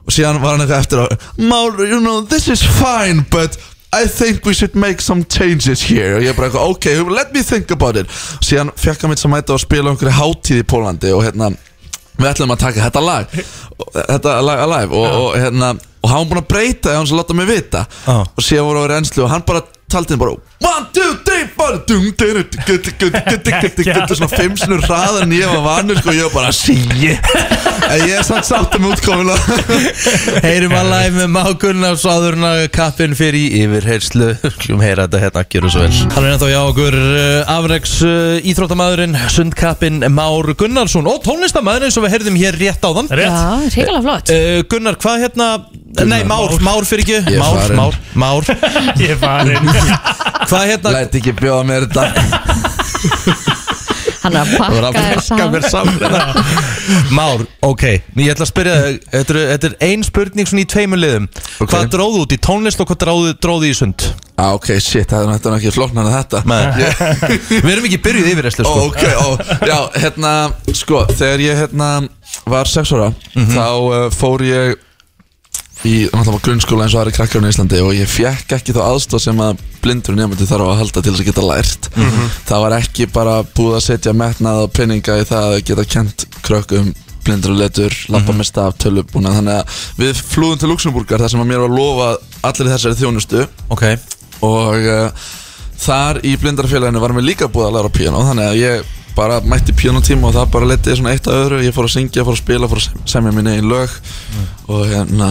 E: og síðan var hann eitthvað eftir á Már, you know, this is fine, but I think we should make some changes here og ég bara eitthvað, ok, let me think about it og síðan fekk hann mitt sem mæta að spila á einhverju hátíð í Pólandi og hérna við ætlum að taka þetta lag og- þetta lag alive og, og hérna og hann var búinn að breyta því að hann svo láta mig vita
A: Já.
E: og síðan voru á reynslu og hann bara taldi hann bara one, two, three, four dung, dung, dung, dung, dung, dung, dung, dung, dung, svona fimm sinur hraðar en ég var vanur sko, og ég var bara shit en ég er samt sátt um útkomuna
A: Heyrum Alive með Má Gunnars áðurna kappin fyrir í yfirheyrslu Hljum heyra þetta hérna, gjöru svo vel Hann er ennþá hjá okkur eh, afreks eh, íþróttamaðurinn, sundkappin Már Gunnarsson og tónlistamæðurinn sem við heyrðum hér rétt áðan
D: Rétt.
C: Já, hrigalega flott
A: uh, Gunnar, hvað hérna Nei, Már, Már fyrir
E: Ég
A: ekki
E: er
A: Már,
E: farinn.
A: Már, Már
D: Ég er farin
A: Hvað hérna,
E: Læt ekki bjóða mér þetta
C: Hann er að pakka þér saman
A: Már, ok, ég ætla að spyrja þig Þetta er, þetta er ein spurning svona í tveimur liðum
E: Ok.
A: Hvað dróðu út í tónlist og hvað dróðu, dróðu í sund?
E: ah, Ok, shit, það er náttúrulega ekki flóknar en þetta
A: Nei. Við erum ekki byrjuð yfir þessu sko.
E: Ok, ó, já, hérna, sko, þegar ég hérna var sex ára
A: Mhm.
E: Þá uh, fór ég í náttúrulega grunnskóla eins og aðri krakkar á Íslandi og ég fekk ekki þá aðstof sem að blindur nefndi þarf að halda til þess að geta lært
A: Mhm.
E: það var ekki bara búið að setja metnað og peninga í það að geta kent krökkum blindur og letur, lappa með staf, tölubúna þannig að við flúðum til Luxemburgar þar sem að mér var að lofa allir þessari þjónustu
A: ok
E: og uh, þar í blindarfélaginu var mér líka búið að læra piano þannig að ég bara mætti pianotíma og það bara letiði svona eitt að öðru ég fór að syngja, fór að spila, fór að sem- semja minni einn lög og hérna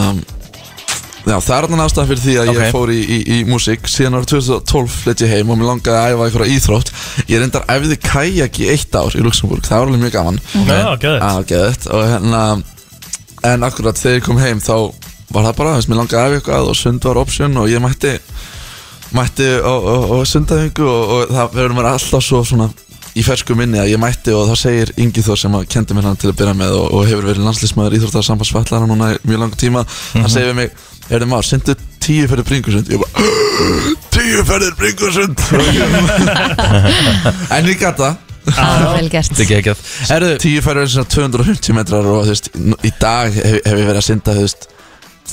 E: já, það er þannig ástæðan fyrir því að
A: Ok.
E: ég fór í, í, í músík síðan árið 2012 flytt ég heim og mér langaði að æfa einhverja íþrótt ég reyndar æfði kajak í eitt ár í Luxemburg það var alveg mjög gaman
D: Já, gæðið
E: Já, geðvægt og hérna En akkurat þegar ég kom heim þá var það bara, þess að mér langaði af eitthvað og sund var option og ég mætti mætti og, og, og sundaðingu og, og það verður mér alltaf svo svona í fersku minni að ég mætti og þá segir Ingi Þór sem að kendi mér hann til að byrja með og, og hefur verið landslýsmaður íþróttarsambandsvallara núna í mjög lang tíma hann segir við mig, er þið maður, syndu tíu ferðir bringusund ég bara, tíu ferðir bringusund en ég gata
C: Já, vel gert
A: Þetta er ekki ekki Erðu,
E: tíu færður svona 250 metrar og þú veist, nú- í dag hef, hef ég verið að synda þú veist,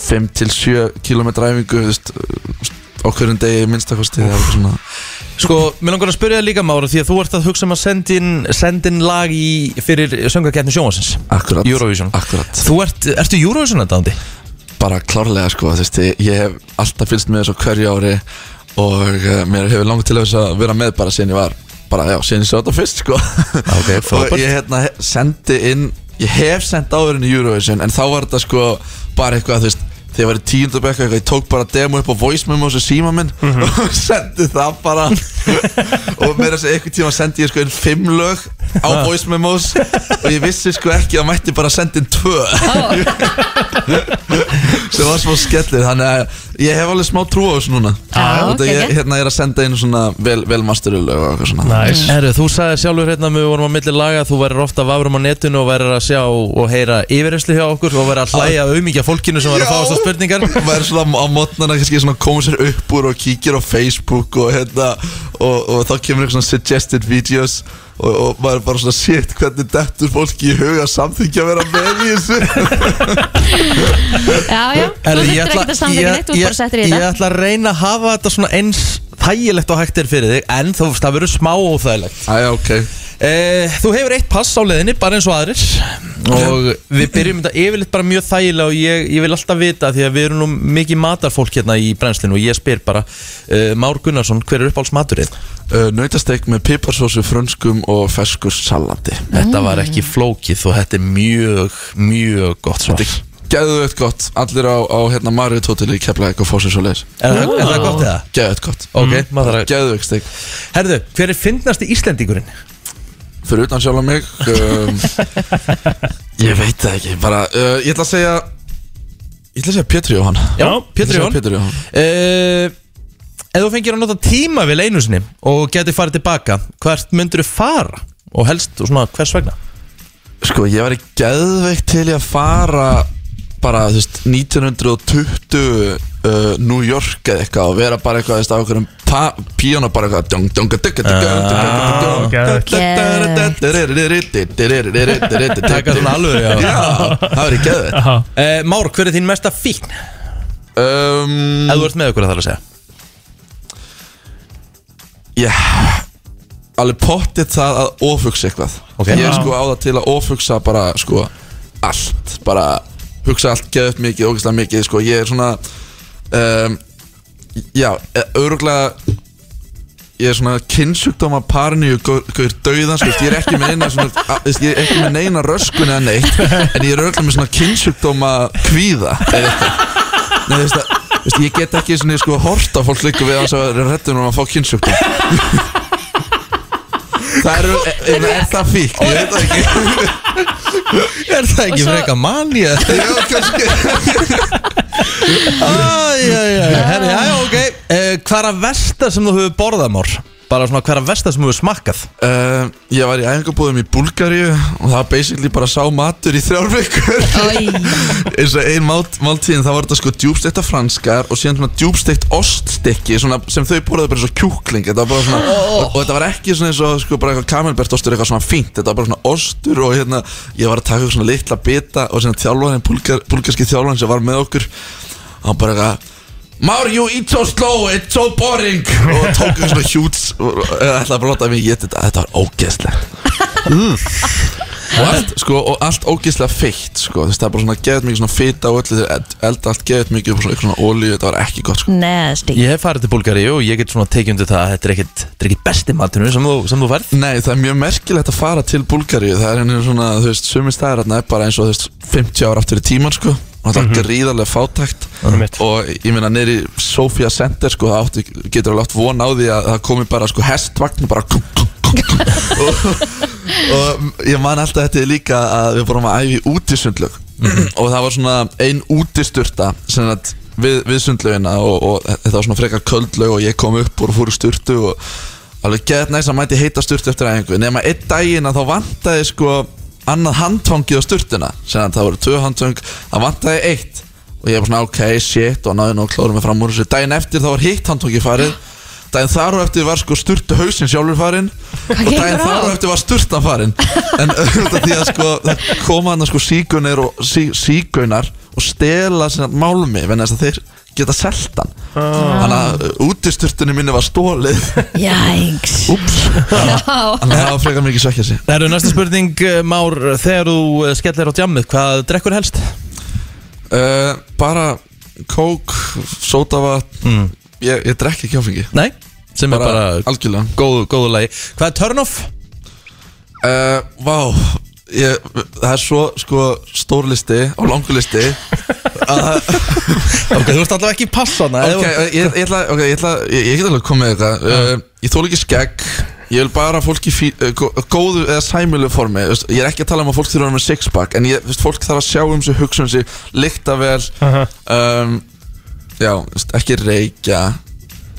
E: 5 til 7 km æfingu þú veist, á hverjum degi minnstakosti það er eitthvað svona
A: sko, mér langar að spyrja þig líka Mára Því að þú ert að hugsa um að senda inn, senda inn lag í, fyrir söngakeppni sjónvarsins
E: akkurat,
A: Eurovision.
E: akkurat.
A: Þú ert, ertu Eurovision þetta ándi?
E: bara klárlega sko, þú veist, ég- ég hef alltaf fylgst með þessu á hverju ári og uh, mér hefur langt til þess að vera með bara síðan ég var bara, já, síðan ég sá þetta fyrst sko.
A: Ah, Ok,
E: og
A: frábært.
E: ég hérna he- sendi inn ég hef sendt áðurinn í Eurovision en þá var þetta sko bara eitthvað þú veist þegar ég var í tíundabekka eitthvað, ég tók bara demo upp á voice memo þessu síma minn
A: Mhm.
E: og sendi það bara og meira þess að einhvern tíma sendi ég sko inn fimm lög á voice memos og ég vissi sko ekki að mætti bara sendi inn tvö sem var smá skellir þannig að ég hef alveg smá trú á þessu núna
C: Já,
E: Út af
C: ok,
E: ég,
C: ok.
E: hérna ég er að senda inn svona vel, vel masterulög og eitthvað svona
D: Næs
A: Erðu, þú sagði sjálfur hérna að við vorum á milli laga Þú værir ofta að varum á netinu og værir að sjá og heyra yfirherslu hjá okkur og værir að hlæja auðmíkja fólkinu sem var að fá
E: Já.
A: þessar spurningar
E: maður er svona á mótnana kannski svona komur sér upp úr og kíkir á Facebook og hérna og, og þá kemur eitthvað svona suggested videos og, og maður er bara svona shit hvernig dettur fólki í huga samþykja að vera með í þessu
C: Já, já, þú
A: Herri,
C: þurftir ekkert að samþyggja neitt, þú ert bara settir í
A: ég
C: þetta
A: ætla að reyna að hafa þetta svona eins þægilegt og hægt er fyrir þig En þú veist, það verður smá óþægilegt
E: Æja, ok
A: e, Þú hefur eitt pass á leiðinni, bara eins og aðrir Og við byrjum þetta yfirleitt bara mjög þægilega Og ég, ég vil alltaf vita, því að við erum nú mikið matarfólk hérna í brennslinu Og ég spyr bara, uh, Már Gunnarsson, hver er uppáhalds maturinn?
E: uh, Nautasteik með piparsósu, frönskum og feskus salati
A: Þetta var ekki flókið og þetta er mjög, mjög gott svar Er,
E: Gæðuðið gott, allir á, á hérna Marriott Hotel í Keflæk og Fósins og leis
A: það- er það gott eða?
E: Gæðuðið gott
A: Ok, maður þarf að
E: Gæðuðið steik
A: Herðu, hver er fyndnasti Íslendingurinn?
E: fyrir utan sjálf mig um, Ég veit það ekki bara, uh, Ég ætla að segja Ég ætla að segja Pétur Jóhann Ég
A: Já,
E: ætla
A: Pétur
E: að segja
A: Jón
E: Pétur Jóhann
A: uh, Ef þú fengir að nota tíma vel einu sinni og geti farið tilbaka hvert myndur þú fara og helst og svona hvers vegna
E: Sko ég var í geðveikt til í að fara bara þú veist 1920 uh, New York eða eitthvað og vera bara eitthvað þú veist á einhverjum píónu bara eitthvað dung, dung, dung, dung, dung, dung, dung, dung,
D: geðveikt.
E: dung, dung, dung, dung,
A: Taka svona alvöru, já.
E: Já, það verið geðveikt
D: Aha.
A: uh, Már, hver er þín mesta fín?
E: um,
A: Ef þú ert með okkur að það að segja
E: Já Alveg pottið það að ofugsa eitthvað
A: Ok.
E: Ég er
D: Já.
E: sko á það til að ofugsa bara sko allt Bara hugsa allt, geða upp mikið, ógeðslega mikið Sko ég er svona um, Já, öruglega Ég er svona kynnsjúkdóma parinu Gauður dauðan, sko Ég er ekki með neina svona a- þú veist, Ég er ekki með neina röskun eða neitt En ég er öruglega með svona kynnsjúkdóma kvíða eða eitthvað. Nei, þú veist að þú veist, Ég get ekki svona sko hort á fólk líka við hans að vera rettum um að fá kynnsjúkdóma Það eru, er, er, er það fík? Ég veit það ekki
A: Er það
C: Og
A: ekki
C: svo-
A: freka manni?
E: Já, kannski
A: Herri, já, já, ok uh, Hver að versta sem þú hefur borðað, Már? Bara svona hver að versta sem þú hefur smakkað
E: uh, Ég var í æfingabúðum í Búlgaríu og það var basically bara sá matur í þrjár vikur eins og ein mál, máltíðin það var þetta sko djúbstekta franskar og síðan svona djúbstekt oststykki svona, sem þau borðaði bara eins og kjúkling þetta var bara svona, og, og þetta var ekki svona eins og sko, bara eitthvað kamelbertostur eitthvað svona fínt þetta var bara svona ostur og hérna ég var að taka svona litla bita og svona þjálfarinn búlgar, búlgarski þjálfarinn sem var með okkur hann bara eitthvað Már, you eat so slow, it's so boring og tók eitthvað svona hjúts og eða ætlaði bara að láta mig geta þetta þetta var ógeðslegt og allt, sko, og allt ógeðslega feitt sko. Þess, það er bara svona geðt mikið svona fita og öllu þeir eld- elda allt geðt mikið og svona, eitthvað svona olíu, þetta var ekki gott sko.
C: Nasty
A: Ég hef farið til Búlgari og ég get svona tekið undir það að Þetta er ekkit, þetta er ekkit besti maturinn sem þú, sem þú verð
E: Nei, það er mjög merkilegt að fara til Búlgaríu það er henni svona, þú veist, sumir staðar þarna er bara eins og þú veist, 50 ára aftur í tíman sko. og það er
A: Mhm.
E: gríðarlega fátækt
D: Einmitt.
E: og ég meina neyri Sofia Center sko, það átti, getur alveg átt von á því að það komi bara sko hestvagn og bara kum, kum, kum, kum. og, og ég man alltaf þetta er líka að við fórum að æfi í útisundlög og það var svona ein útisturta sem að við, við sundlöginna og, og þetta var svona frekar köldlög og ég kom upp og fór í sturtu og alveg geðt næst að mæti heita sturtu eftir æfingu nema einn daginn að þá vantaði sko annað handfangið á sturtuna sem að það voru tvö handfang það vantaði eitt og ég var svona ok, shit og náði nú að klóra mig fram úr þessu daginn eftir þá var hitt handfangið farið daginn þar og eftir var sko sturtu hausin sjálfur farinn og
C: gengur á?
E: daginn þar og eftir var sturtan farinn en auðvitað því að sko það koma hann sko sígunir og sí, sígunar og stela sinna málmi vegna þess að þeir geta seltan
A: Ah.
E: þannig að uh, útisturtunni minni var stólið
C: Jæks
E: Úps Þannig að það var frekar mikið svekkja sig
A: Það eru næsta spurning, eh, Már, þegar þú eh, skellir á djammið, hvað drekkur helst?
E: uh, Bara kók, sótavat ég, ég drekk ekki áfengi
A: Mm. Nei, sem
E: Bara,
A: er bara
E: algjörlega
A: góðu, góðu lagi Hvað er turn off?
E: uh, Vá ég, Það er svo sko, stórlisti og langulisti
A: Ok, þú ert allavega ekki í passana
E: Ok, ég, ég, ætla, okay, ég, ætla, ég, ég get alveg komið með þetta uh, Ég þól ekki skegg Ég vil bara að fólk í fí, uh, gó- góðu eða sæmilu formi þú veist, Ég er ekki að tala um að fólk þurfa að vera með sixpack En ég, þú veist, fólk þarf að sjá um sig, hugsa um sig Lykta vel
D: Aha.
E: um, Já, þú veist, ekki reykja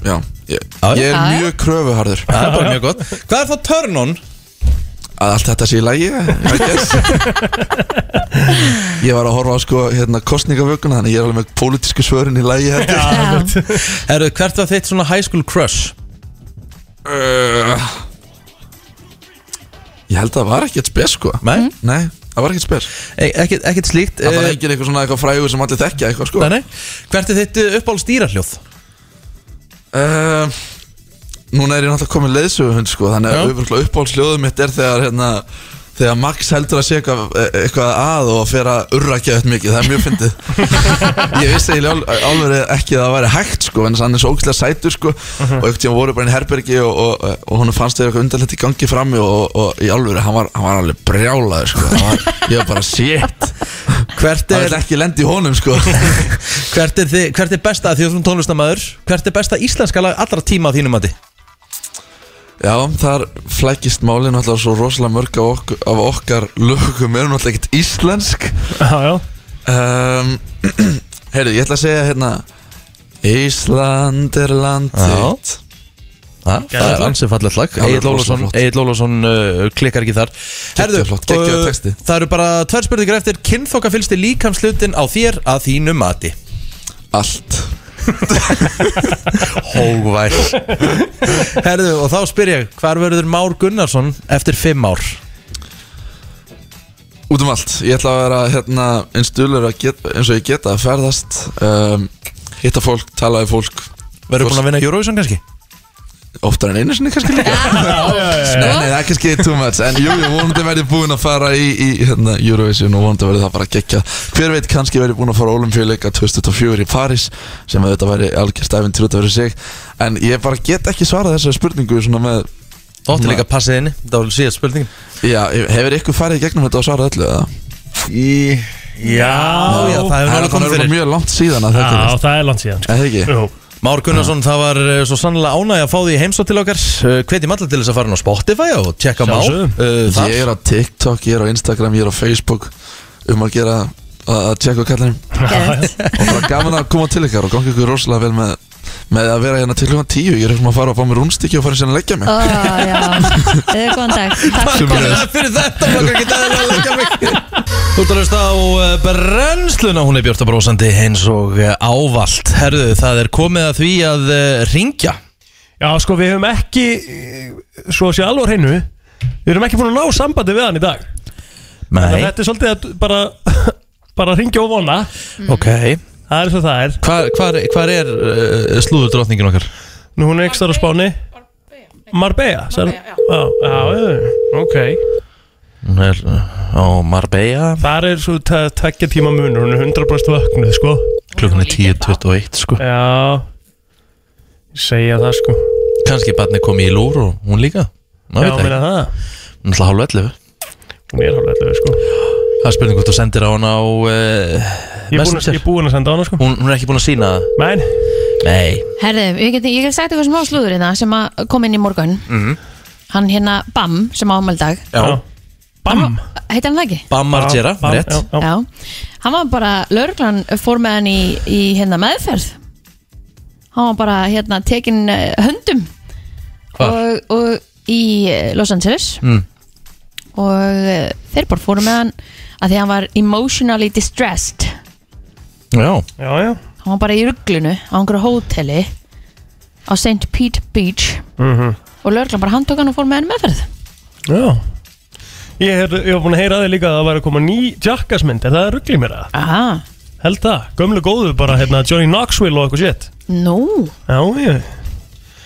E: Já, ég,
A: Já,
E: ég er
C: já.
E: mjög kröfuharður
A: Það er bara mjög gott Hvað er þá turn on?
E: Að allt þetta sé í lagi I guess. Ég var að horfa á sko, hérna, kostningavökuna Þannig að ég er alveg með pólitísku svörin í lagi held ég.
C: Já,
A: Herru, hvert var þitt svona high school crush?
E: Uh, Ég held að það var ekkert spes sko
A: Nei. Mm.
E: Nei, það var ekkert spes
A: E- Ekkert ekkert slíkt
E: Það var
A: eh,
E: engin eitthvað svona eitthvað frægur sem allir þekkja eitthvað sko
A: nei, nei. Hvert er þitt uppáld stýrarhljóð?
E: Eh, Núna er ég náttúrulega komið leiðsöguhund sko Þannig
A: Já.
E: að öfurlega uppáhaldsljóðum mitt er þegar hérna Þegar Max heldur að sé eitthvað, e, eitthvað að og fer að urra ekki þetta mikið, það er mjög fyndið Ég vissi eiginlega al- alveg ekki að það væri hægt sko, en hann er svo ógæslega sætur sko Og einhvern tíma voru bara inn í herbergi og, og, og hún fannst þeir eitthvað undanlegt í gangi frammi og, og í alveg, hann var, hann var alveg brjálaður sko Hann var, Ég var bara shit,
A: Hvert
E: það
A: er,
E: vil ekki lendi í honum sko Ég
A: hvert er, þið, hvert er besta, því að þú ert svona tónlistamæður Hvert er besta íslenska lag allra tíma á þínum mati?
E: Já, þar flækist málin alltaf svo rosalega mörg af, ok af okkar lögum erum alltaf ekkert íslensk
D: Já, já
E: um, Heyrðu, ég ætla að segja hérna Ísland er land
A: Já.
E: þitt
A: Ha, það er
D: Geðveikt.
A: ansið fallið lag
E: Alveg
A: Egil
E: rosalega
A: Ólafsson,
E: flott.
A: Egil Ólafsson uh, klikkar ekki þar Herðu,
E: flott, geggjaður
A: uh,
E: texti.
A: það eru bara tvær spurningar eftir Kynþokka fylgst þið líkamslutin á þér að þínu mati
E: Allt
A: Hóvæl Herðu, og þá spyr ég Hvar verður Már Gunnarsson eftir fimm ár?
E: Út um allt Ég ætla að vera hérna eins dulur að get, eins og ég geta að ferðast um, Hitta fólk, tala við fólk
A: Verður búin að vinna Eurovision kannski?
E: Óttar en einu sinni kannski líka Nei, nei, það er kannski too much En jú, jú, vonandi verði búin að fara í, í hérna, Eurovision og vonandi verði það bara gekkja Hver veit, kannski verði búin að fara á Olympiuleika 2004 í Paris sem að þetta væri algjörst æfinn til út að vera sig En ég bara get ekki svarað þessari spurningu svona með
A: Þú átti
E: Nei.
A: líka að passa þið inni, það var síðast spurningin
E: Já, hefur ykkur farið í gegnum þetta og svarað öllu eða?
A: Í... Já, já, það hefur
E: Það er
A: alveg komið
E: þannig
A: fyrir
E: mjög langt síðan að þetta
D: Já, það er langt síðan sko.
E: Er það ekki?
D: Jú.
A: Már Gunnarsson, það var uh, svo sannlega ánæg að fá því heimsótt til okkar Uh, Hvetjum allir til þess að fara inn á Spotify og tjekka Már
D: Sjálfsögðu.
A: uh, þar.
E: Ég er á TikTok, ég er á Instagram, ég er á Facebook um að gera að að tjekka kallanum og bara gaman að koma til ykkar og gangi ykkur rosalega vel með með að vera hérna til hlugan tíu ég er eitthvað að fara og fá mér rúnstikki og fara sér að leggja mig
C: Ó, já, það er góðan dag Takk
A: Takk
E: Sömuleiðis.
A: fyrir- fyrir þetta maður ekki dæðilega að leggja mig Þú ert að hlusta á eh, brennsluna Hún er Björta Brósandi eins og eh, ávallt Herðu, það er komið að því að eh, ringja
D: Já, sko, við höfum ekki eh, Svo að sé alvor hennu Við höfum ekki búin að ná sambandi við hann í dag Þannig að
A: Nei,
D: Þetta er svolítið að bara Bara ringja og vona
A: ok
D: Það er svo það er
A: Hvar, hvar, hvar er uh, slúður drottningin okkar?
D: Nú hún er ekki þar á spáni Marbella sagði- Já, já, já, ok
A: Hún er eh, á Marbella
D: Það er svo te- tveggja tíma munur Hún er 100% vöknuð, sko
A: Klukkan er 10.21 sko
D: Já Ég Segja það, sko
A: Kanski barni komið í lúr og hún líka Ná,
D: Já,
A: veit
D: meina
A: það
D: það
A: ekki Hún er alltaf hálf 11
D: Hún er hálflega alveg, sko
A: Það er spurning hvort þú sendir á hana á uh,
D: Ég er búinn að-
A: Messenger
D: ég er búinn að senda á hana, sko
A: hún, hún er ekki búin að sína það
D: Men,
A: Nei
C: Herðu, ég get, ég get sagt eitthvað smá slúður hérna sem að kom inn í morgun Hann hérna Bam sem á ámeldag
A: Já,
D: bam
C: Heitir hann það ekki?
A: Bam Margera,
D: Bam,
A: rétt
D: já, já.
C: Já, hann var bara lauruglan fór með hann í, í hérna meðferð hann var bara hérna tekin eh, höndum
A: Hvar?
C: og, og í eh, Los Angeles
A: Mm.
C: og eh, þeir bara fóru með hann að því að hann var emotionally distressed
A: Já,
D: Já, já
C: hann var bara í rugglunu á einhverju hóteli á St. Pete Beach
D: Mhm.
C: og lauruglan bara handtók hann og fór með hann í meðferð
D: Já Ég er, ég var búinn að heyra að þig líka að það væri að koma ný Jackassmynd, er það ruggli mér að?
C: aha,
D: Held það, gömlu góðu bara hérna Johnny Knoxville og eitthvað sétt
C: nú
D: Já, ég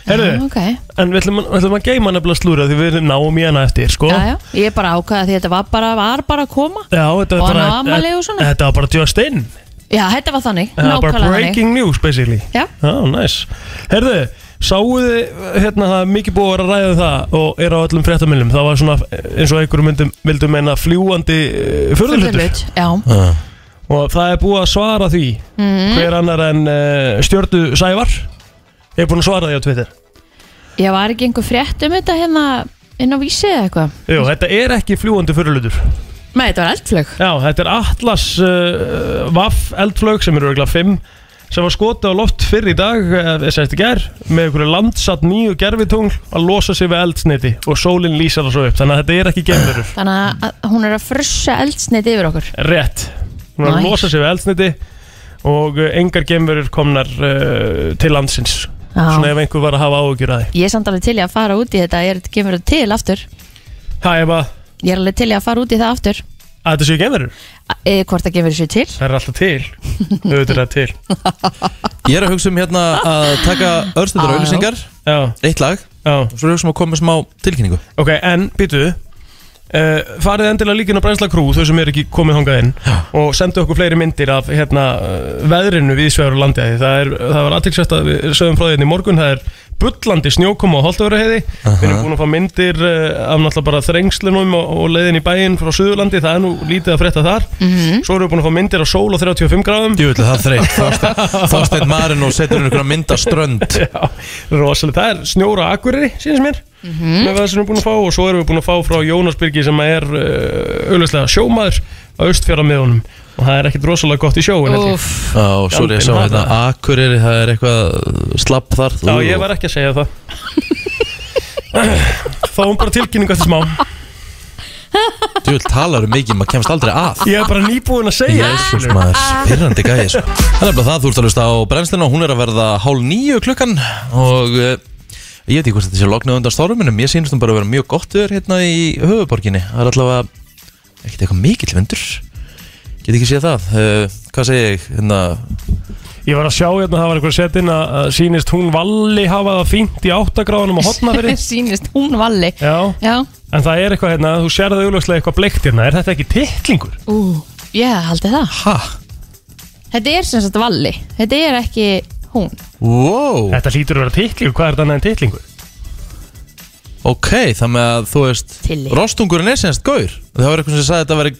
D: Herðu,
C: Já, ok
D: en við ætlum, að- við ætlum að geima nefnilega slúra því við náum í hana eftir, sko
C: já, já. ég er bara ákvaða því þetta var bara, var bara að koma
D: Já, þetta
C: Og
D: var
C: hann á
D: bara
C: afmæli og svona.
D: Þetta var bara just in
C: já, þetta var þannig,
D: Það var bara
C: nákvæmlega þannig
D: breaking news basically
C: Já.
D: nice Herðu, sáu þið hérna það er mikið búið að vera að ræða um það og er á öllum fréttamilum það var svona eins og einhverjum myndum vildum meina fljúandi uh, förðulutur
C: Furðulut, já,
D: og það er búið að svara því
C: Mm. Mhm.
D: hver annar en uh, stjördu Sævar er búin að svara því á Twitter
C: ég var ekki einhver frétt um þetta hérna inn á vísi eða eitthvað
D: Jú, þetta er ekki fljúandi förðulutur
C: Nei, þetta var eldflög
D: Já, þetta er Atlas uh, Vaff eldflög sem eru örgulega 5 sem var skotið á loft fyrr í dag eh, eða sérst í gær með einhverju landsatt nýju gerfitungl að losa sig við eldsniti og sólinn lýsar það svo upp þannig að þetta er ekki gerfurur
C: Þannig að- að hún er að frussa eldsneitt yfir okkur
D: rétt hún er að
C: Nice.
D: losa sig við eldsniti og uh, engar gerfurur komnar uh, til landsins svona
C: Já,
D: ef einhver var að hafa áhugjur að því
C: ég er samt alveg til í að fara út í þetta Ég er kemur þetta til aftur
D: Það er bara
C: Ég er alveg til í að fara út í það aftur
D: Að þetta séu geimverur?
C: e, Hvort að gefur þessu til
D: Það er alltaf til Auðvitað er það til
A: Ég er að hugsa um hérna að taka
C: Á,
A: örstundar
C: Ah, já.
A: auðlýsingar
D: Já,
A: Eitt lag
D: já
A: Og svo er ég að hugsa um að koma með smá tilkynningu
D: Ok, en býtu Uh, farið endilega líka inn á Brænsla Crew þau sem er ekki komið hongað inn og sendu okkur fleiri myndir af hérna, eh, veðrinu við svegar og landið það, er, það var aðtilsvægt að við sögum frá því hérna í morgun það er bullandi snjókoma á Holtavöraheiði við erum búin að fá myndir uh, af náttúrulega bara þrengslunum og, og leiðin í bæinn frá Suðurlandi, það er nú lítið að frétta þar svo erum við búin að fá myndir af sól á 35 gráðum
A: Djúvill, það þreytt Þorsteinn Marin og setur hún ykkur að mynda strönd
D: Já, rosalega, það er snjóra akkurri síðan sem er með það sem við erum búin að fá og svo erum við búin að fá frá Jónas Birgi sem er uh, auðvitað sjómaður á austfjara með honum og það er ekkit rosalega gott í sjóin held ég.
C: Úff,
A: Já, svo er ég að sjá
D: Galdin
A: hérna Akureyri, það er eitthvað slapp þar
D: Já, ég var ekki að segja það Þá var bara tilkynningu eftir smá
A: Djúvill, talar um mikið, maður kemst aldrei að
D: Ég er bara nýbúin að segja
A: Jésús maður, spyrrandi gæði sko. Það er nefnilega það, þú ert að hlusta á brennslinu og hún er að verða hálf níu klukkan og uh, ég veit ekki hvort þetta sé loknið undan storminum, ég sýnist hún bara að vera mjög gott viður hérna í höfuborginni það er allavega ekkert eitthvað mikill vindur get ekki séð það uh, hvað segi ég, hérna
D: Ég var að sjá hérna, það var einhver setin að að sýnist hún Valli hafa það fínt í 8 gráðunum á hotnafyrir
C: Sýnist hún valli
D: Já,
C: Já,
D: en það er eitthvað hérna, þú sér það auðvitað eitthvað bleikt hérna, er þetta ekki titlingur?
C: ú, ég haldi það
A: ha,
C: Þetta er sem sagt valli Þetta er ekki hún
A: wow
D: Þetta hlýtur að vera titlingur, hvað er þetta annað en titlingur?
A: ok, það með að þú veist
C: Tilly.
A: rostungurinn er semst gaur það var eitthvað sem sagði að þetta veri,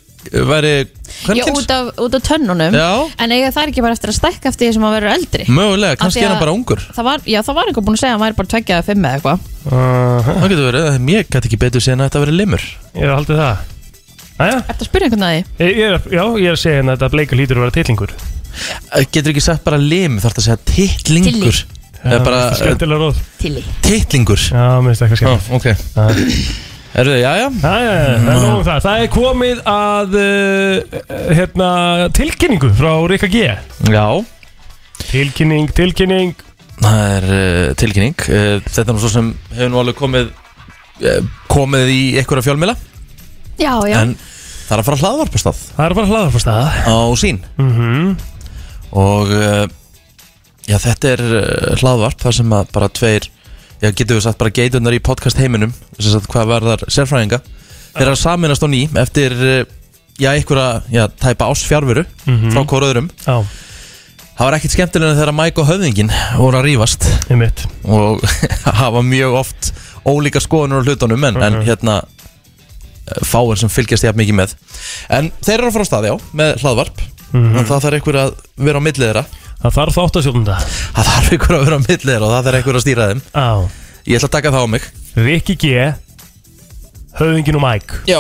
A: veri
C: Já,
A: kvenkyns,
C: út af, út af tönnunum
A: Já.
C: En eiga það ekki bara eftir að stækka eftir því sem að vera eldri Af
A: mögulega,
C: því
A: kannski er
C: að-
A: hann bara ungur
C: Það var, já, það var einhver búin að segja að hann væri bara tveggja að fimm eða eitthvað
D: Uh,
A: það getur verið, ég gæti ekki betur síðan að þetta verið limur
D: ég er haldið það Næja,
C: Ertu að spyrja einhvern að því?
D: ég er, já, ég er að segja hérna að þetta bleikur hlýtur að vera titlingur
A: Eh, Getur ekki sett bara lim, þarf það að segja titlingur Eða bara eh,
D: Skemmtilega róð
C: Tilly
A: titlingur
D: Já, mér finnst eitthvað skemmt
A: ok
D: Ah.
A: Eru þið, jájá
D: Næja, það er nóg um það Það er komið að uh, hérna, tilkynningu frá Rikka G
A: Já
D: Tilkynning, tilkynning
A: Það er uh, tilkynning uh, Þetta er nú svo sem hefur nú alveg komið uh, komið í einhverja fjölmila
C: Já, já
A: en það er að fara hlaðvarpastað
D: Það er bara hlaðar fór stað
A: á sín
D: mm -hmm.
A: og uh, já, þetta er uh, hlaðvarp þar sem að bara tveir já, getur við sagt bara geitunar í podcast heiminum sem sagt hvað verðar sérfræðinga þeir eru að saminast á ný eftir uh, já, einhverja, já, tæpa ás fjárveru frá koröðurum
D: Mhm. Já,
A: það var ekkit skemmtilega þegar Mike og höfðingin voru að rífast
D: ég mitt
A: og hafa mjög oft ólíka skoðunur á hlutunum en,
D: Mhm.
A: en hérna eh, fáir sem fylgjast jafn mikið með en þeir eru að fara á staði á með hlaðvarp en það þarf einhver að vera á milli þeirra
D: Mhm. Það þarf þátt að sjóðum það
A: það þarf einhver að vera á milli þeirra og það þarf einhver að stýra þeim
D: Já,
A: ég ætla að taka það á mig
D: Rikki G Höfðingin og Mike
A: já,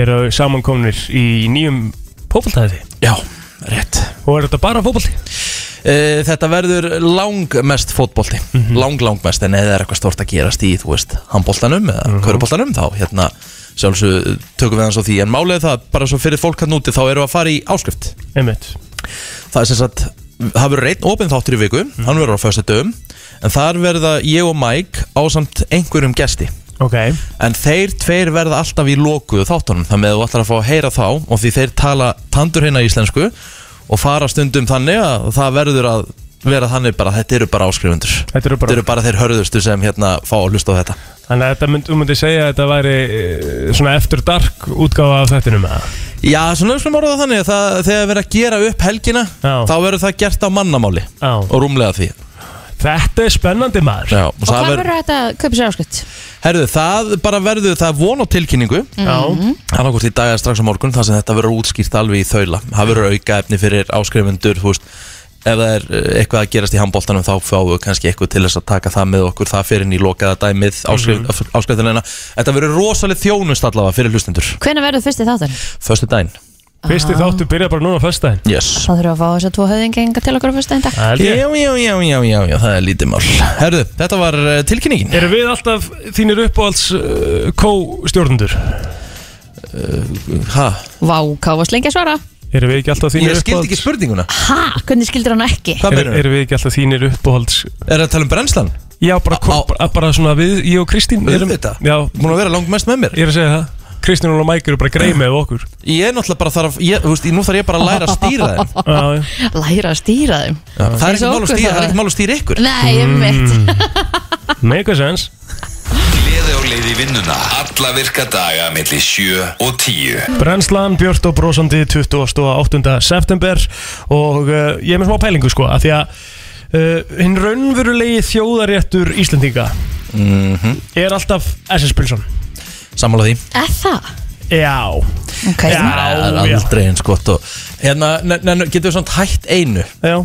D: eru samankomnir í nýjum fótboltæði
A: já, rétt
D: og er þetta bara fótbolti?
A: e, þetta verður langmest fótbolti lang langmest en eða er eitthvað stort að gerast í þú veist, handboltanum eða mm þá hérna sjálfsög tökum við hans á því en málið er það bara svo fyrir fólk hann úti þá eru að fara í áskrift
D: Einmitt
A: það er sem sagt það verður einn opinn þáttur í viku hann verður á fyrsta dögum en þar verða ég og Mike ásamt einhverjum gesti
D: Ok
A: en þeir tveir verða alltaf í lokuðu þáttunum þannig að þú ætlar að fá að heyra þá og því þeir tala tandur hérna íslensku og fara stundum þannig að það verður að vera þannig bara þetta eru bara áskrifundur
D: Þetta eru bara-
A: þetta eru bara þeir hörðustu sem hérna fá að hlusta á þetta
D: Þannig að þetta mynd, þú myndi segja að þetta væri eh, svona eftir dark útgáfa af þættinum eða?
A: já, svona við skulum orða það þannig að það, þegar verður að gera upp helgina
D: Já.
A: þá verður það gert á mannamáli
D: Já.
A: og rúmlega því
D: Þetta er spennandi maður
A: já, og
C: Og
A: það
C: hvað
A: verður-
C: verður þetta að kaupa sér áskrift?
A: Herðu, það bara verður það er von á tilkynningu
D: Já,
A: annarkort í dag eða strax á morgun þar sem þetta verður útskýrt alveg í þaula það verður auka efni fyrir áskrifundur þú veist, ef það er eh, eitthvað að gerast í handbóltanum þá fáum við kannski eitthvað til þess að taka það með okkur það fyrir inn í lokaða dæmið
D: Mhm.
A: áskrif, mm þetta verður rosalega þjónust allavega fyrir hlustendur
C: Hvenær verður fyrsti þáttur?
A: förstu dæn
D: fyrsti þáttu byrja bara núna á föstudaginn
A: yes.
C: Þá þurfum við að fá þess að tvo höfðingenga til okkur á fyrsta enda
D: Það held
A: já,
D: ég
A: já, já, já, já, já, það er lítið mál Herðu, þetta var eh, tilkynningin
D: Eru við alltaf þínir uppáhalds uh, kó-stjórnendur?
A: Eh, ha,
C: Vá, hvað var slengja svara?
D: Eru við ekki alltaf
A: Ég
D: þínir
A: skildi ekki
D: uppáhalds?
A: spurninguna
C: Ha, hvernig skildur hann ekki?
A: Hvað
D: Eru,
A: meinarðu?
D: eru við ekki alltaf þínir uppáhalds?
A: Er það að tala um brennslan?
D: Já, bara,
A: Á-
D: á, bara svona við, ég og Kristín erum-
A: Auðvitað.
D: Já,
A: Múin að vera langt mest með mér
D: ég er að segja það Kristján Óla Mæk eru bara greið með okkur
A: Ég er náttúrulega bara þarf ég, þú veist, Nú þarf ég bara að læra að stýra þeim
D: Já, já.
C: Læra að stýra þeim
A: Það er
C: Eins
A: ekki
C: og
A: mál að
C: okkur
A: stýra,
C: þá.
A: það er ekki mál að stýra ykkur Mm,
C: Nei, ég mitt
D: Make a sense
B: Gleði á leið í vinnuna Alla virka daga millir 7 og 10
D: Brennslan, Björn og Brósandi 28. september og uh, ég er með smá pælingu sko að því að uh, hinn raunverulegi þjóðaréttur Íslendinga er alltaf SS Pilsson
A: Mhm. Sammála því
C: Er það?
D: Já,
C: Ok
D: Já.
A: Það er
D: já.
A: aldrei eins gott og Hérna, ne, ne, ne, getum við samt hætt einu
D: já,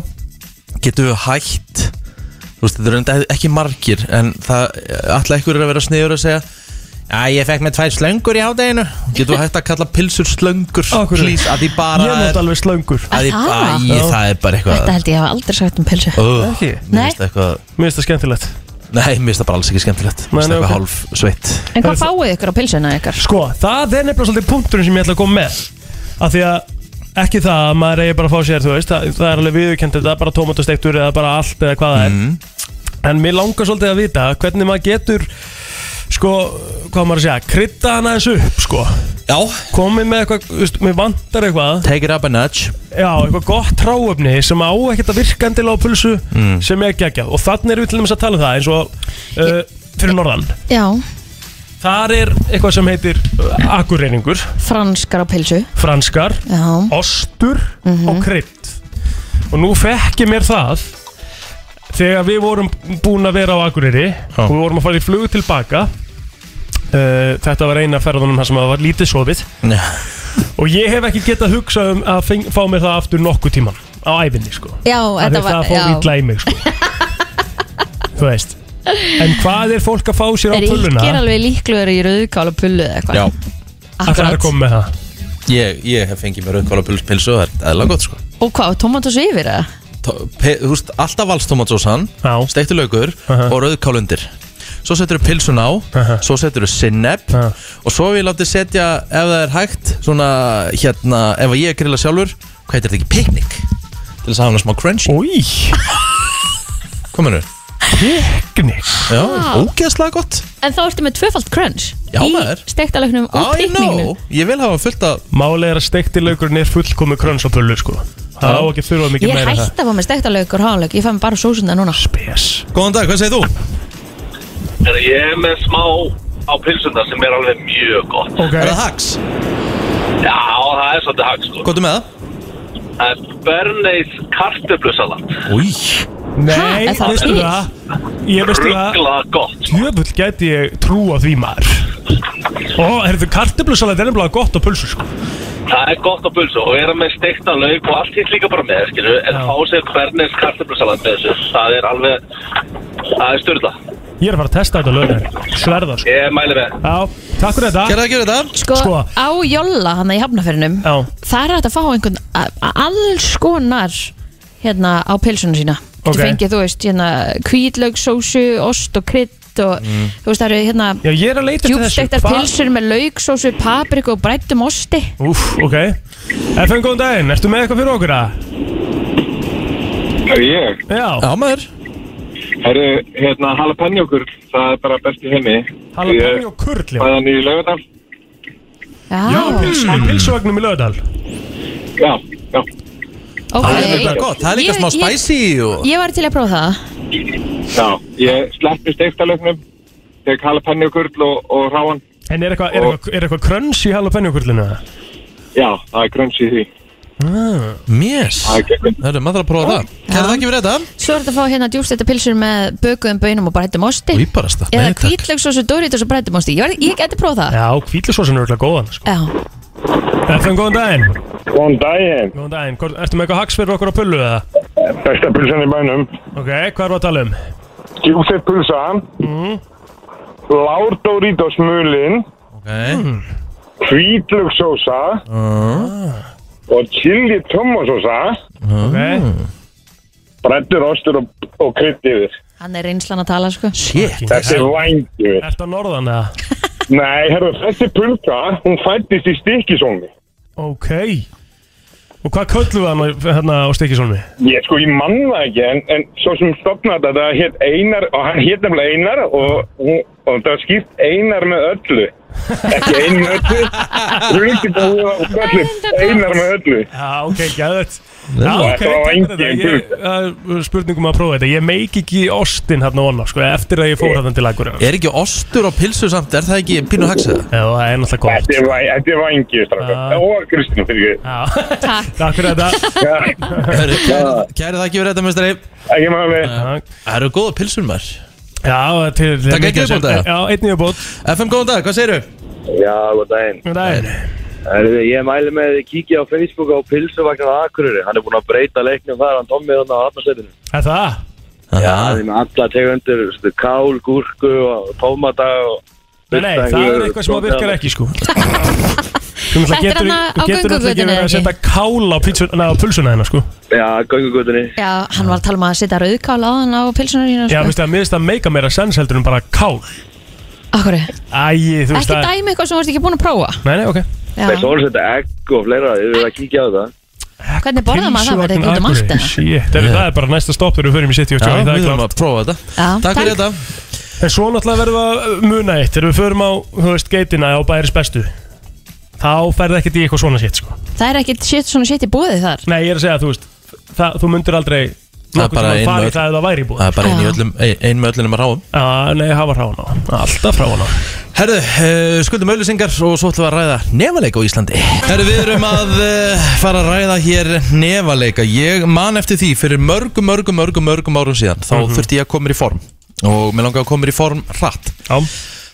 A: Getum við hætt Þú veist, þetta eru enda ekki margir En það, alltaf ykkur er að vera sniður að segja Já, ég fekk með tvær slöngur í hádeginu Getum við hætt að kalla pilsur slöngur
D: Á, hverju?
A: Please, að því bara
D: ég
A: er
D: nota alveg slöngur
A: að því,
C: Ah.
A: að ég, Það er bara eitthvað
C: Þetta held ég hafa aldrei sagt um pilsu
A: Ó,
D: Ekki?
A: Mér finnst það eitthvað
D: Mér finnst það skemmtilegt
A: Nei, mér finnst það bara alls ekki skemmtilegt Mér
D: Nei,
A: finnst það
D: ok.
A: eitthvað hálf sveitt
C: En hvað fáið ykkur á pilsuna ykkar?
D: Sko, það er nefnilega svolítið punkturinn sem ég ætla að koma með af því að ekki það að maður eigi bara að fá sér, þú veist, það, það er alveg viðurkennt þetta er bara tómatasteiktur eða bara allt eða hvað það er
A: Mhm.
D: en mér langar svolítið að vita hvernig maður getur sko, hvað á maður að segja, krydda hann aðeins upp sko,
A: Já,
D: komið með eitthvað þú veist, mér vantar eitthvað,
A: take it up a nudge
D: já, eitthvað gott ráöfni sem á ekkert að virka endilega á pulsu
A: Mm.
D: sem er geggjað og þannig erum við til dæmis að tala um það eins og uh, fyrir norðan
C: Já,
D: þar er eitthvað sem heitir uh, akurreiningur,
C: franskar á pilsu
D: franskar
C: Já
D: ostur
C: Mhm.
D: og krydd og nú fekk ég mér það þegar við vorum búin að vera á Akureyri og við vorum að fara í flug tilbaka uh, þetta var eina ferðunum þar sem það var lítið sofið
A: Já.
D: og ég hef ekki getað hugsað um að feng, fá mér það aftur nokkuð tíman á æfinni sko
C: Já,
D: Af því
C: þetta
D: að
C: var
D: það fór
C: já.
D: ítla í mig sko þú veist en hvað er fólk að fá sér á
C: Er
D: pulluna
C: ekki alveg líkluður í rauðkál og pullu eða eitthvað?
A: Já,
D: að það er
C: Akkurat.
D: að koma með það
A: ég, ég hef fengið mér auðkvála pilsu og það er eðla gott sko
C: Og hvað, tomatus yfir eða?
A: To- pe- Þú veist, alltaf valstomatsósan
D: Já.
A: Steikti laukur
D: Aha.
A: og rauðkál undir Svo setur við pilsun á
D: Aha.
A: Svo setur við sinnepp
D: Aha.
A: Og svo hef ég látið setja, ef það er hægt Svona, hérna, ef ég grilla sjálfur Hvað heitir þetta ekki? Picnic Til þess að hafa hana smá crunchy
D: Új,
A: Kominu
D: pekni
A: Já, ógeðslega gott
C: En þá ertu með tvöfalt crunch
A: Já,
C: Í
A: maður.
C: steiktalögnum og
A: I
C: píkninginu
A: know, ég vil hafa fullt af
D: Málið er að steikti laugurinn er fullkomi kröns á pullu sko Það á ekki að þurfa mikið
C: Ég
D: meira en það
C: hætti að fá með steiktalög og hálög Ég fæ mér bara sósuna núna
D: Spes
A: Góðan dag, hvað segir þú?
F: Þegar ég er með smá á pilsuna sem er alveg mjög gott.
D: Ok
A: Er það hax?
F: Já, það er svolítið hag, sko.
A: Góðum með það?
F: Það er Bernays kartöflusalat.
A: Új
C: Ha,
D: Nei,
C: er það
D: veistu
C: til?
D: það Ég veistu það
F: Ruggla gott.
D: Jöfull gæti ég trú á því maður Ó, heyrðu, kartöflusalat er nefnilega gott á pulsu sko
F: Það er gott á pulsu og vera með steikta lauk og allt hitt líka bara með, skilu. En
D: Já.
F: fá sér Bernays kartöflusalat með þessu. Það er alveg, það er styrla.
D: Ég er að fara að testa þetta lögur Sverða sko
F: Ég mæli með.
D: Já, takk fyrir þetta
A: Gerðu það, gerðu það?
C: Sko,
D: Sko.
C: á Jólla hann í hafnaferinum
D: Já.
C: Það er hægt að fá einhvern a- a- alls konar hérna á pilsuna sína
D: Ok.
C: Þú fengið, þú veist, hérna kvítlaug, sósu, ost og krydd og þú veist, það eru hérna
D: Já, ég er að leita eftir þessu
C: djúbstektar
D: Hvað-
C: pilsur með lauk, sósu, papriku og brættum osti
D: Úff, ok FN, góðan daginn, ertu með eitthvað fyrir okkur að?
G: Er ég?
D: Já,
A: Já, maður
G: Herru, hérna, halapanjókur, það er bara best í heimi.
D: halapani og kurli
G: Bæði hann í Laugardal?
D: Já,
C: Já,
D: pilsu, á pilsuvagnum í lögadal
G: Já, já.
C: ok
A: Það er líka gott, það er líka
C: Ég-
A: smá
C: ég-
A: spicy og
C: Ég var til að prófa það
G: Já, ég sleppi steiktalögnum, tek halapanjókur og, og ráan.
D: En er eitthvað eitthva, eitthva, eitthva kröns í halapani og kurlinu?
G: Já, það er grönns í því.
D: Ah,
A: Mjess
G: Það er gegn.
A: Það er maður þarf að prófa það Gerðu það ekki fyrir þetta?
C: Svo er þetta að fá hérna djúbstektar pilsur með bökuðum bönum og brættum osti
A: Í bara stað
C: Eða kvítlaug, sósu, doritos og brættum osti Ég, var, ég geti prófa það
D: Já, kvítlisósan er eitthvað góðan sko.
C: Já,
D: FN, góðan daginn
G: Góðan daginn.
D: Góðan daginn, Hvort- ertu með eitthvað haks fyrir okkur á pullu eða?
G: Besta pulsan í bænum.
D: Ok, hvað er það að tala um?
G: Djúsett pulsa. Mm. Lár Doritos mulin.
A: Ok mm.
G: Hvítlöksósa. Og chili tomasósa.
D: Uh. Ok,
G: Brættur, ostur og, og krydd yfir.
C: hann er reynslan að tala sko
A: Shit
G: Þetta er væng yfir.
D: ertu á norðan eða?
G: Nei, herru, þessi pulka, hún fættist í Stikisónni.
D: Ok Og hvað köllum við hann á- hérna á stikisólmi?
G: Ég sko, ég mann það ekki, en, en svo sem stopnaði þetta, það hétt Einar, og hann hétt nefnilega Einar, og, og, og það var skýrt Einar með öllu. Ekki einn með öllu Rundibúa og kallið Einar með öllu
D: Já, ok, gæðvett Já, ok,
G: Þetta var
D: takk fyrir
G: engin
D: þetta Ég- það er Spurningum að prófa þetta Ég meik ekki í ostin hérna vona sko, Eftir að ég fór hérna til Akureyrar Já,
A: Er ekki ostur á pilsu samt, er það ekki pínu haxið?
D: það er náttúrulega gott
G: Þetta er væ- þetta er vangið
D: Já.
G: strákar Og Kristín fyrir
D: Já,
C: Takk.
D: takk fyrir þetta
G: ekki
A: Kæri, kæri það ekki verið þetta, mestari
G: Ekki máli
D: Já,
A: Það eru góða pilsur maður
D: Já, til
A: Takk, einn
D: mikið að sjá-
A: viðbót, eða?
D: Já, einn viðbót
A: FM, góðan dag, hvað segirðu?
H: Já, góð daginn.
D: Góðan daginn.
H: Herðu, Ég mæli með því kíkja á Facebook á Pilsuvagnar Akureyri. Hann er búinn að breyta leiknum þar, hann dommið hann á Hafnarsveitinu.
D: Er Það?
H: Það
A: Já,
H: er með alla tegundir, stu, kál, gúrku og tómata og...
D: Nei, nei, það er eitthvað sem að virkar ekki sko Þú
C: Þetta
D: náttúrulega
C: er
D: getur-
C: þarna á
D: Þú getur náttúrulega ekki
C: göngugötunni,
D: verið að
C: ekki?
D: setja kál á pítsuna Nei, á pulsuna hennar sko
H: Já, göngugutinni.
C: Já, hann var að tala um að setja rauðkál á hann á sko. pilsunar sína
D: Já, veist það, mér finnst það meika meira sens heldur en bara kál
C: Akkur,
D: Æi, þú veist
C: ekki
D: það
C: dæmi eitthvað sem þú ert ekki búin að prófa
D: Nei, nei, ok
C: Já.
H: Það er svona setja egg og fleira, ég vil að kíkja á það.
C: Hvernig borðar maður það? Verður
D: Pylsuvagninn
C: þetta út um allt
D: Akureyri,
C: eða?
D: Shit, heyrðu, það er bara næsta stopp þegar við förum í City og
A: já
D: Joy,
A: við
D: það er
A: þurfum
D: klart
A: að prófa þetta
C: Já,
A: Takk fyrir þetta
D: En svo náttúrulega verðum við að uh, muna eitt Þegar við förum á, þú veist, geitina á bæris bestu Þá ferði ekkert í eitthvað svona shit, sko
C: Það er ekkert shit, svona shit í búðið þar
D: Nei, ég er að segja, þú veist það, Þú myndir aldrei
A: er bara
D: nokkuð tímann
A: einn
D: fara í
A: vörn.
D: það ef það væri í búið
A: Það er bara einn í
C: Já.
A: öllum, ein- ein með öllum að ráum
D: Já, nei, hafa hrána á Alltaf hrána á
A: Herðu, uh, skuldum auðlýsingar og svo ætlum við að ræða nefaleika á Íslandi Herðu, við erum að uh, fara að ræða hér nefaleika Ég man eftir því fyrir mörgum, mörgum, mörgum, mörgum árum síðan Þá
D: Mhm.
A: þurfti ég að koma mér í form Og mér langaði að koma mér í form hratt
D: Já,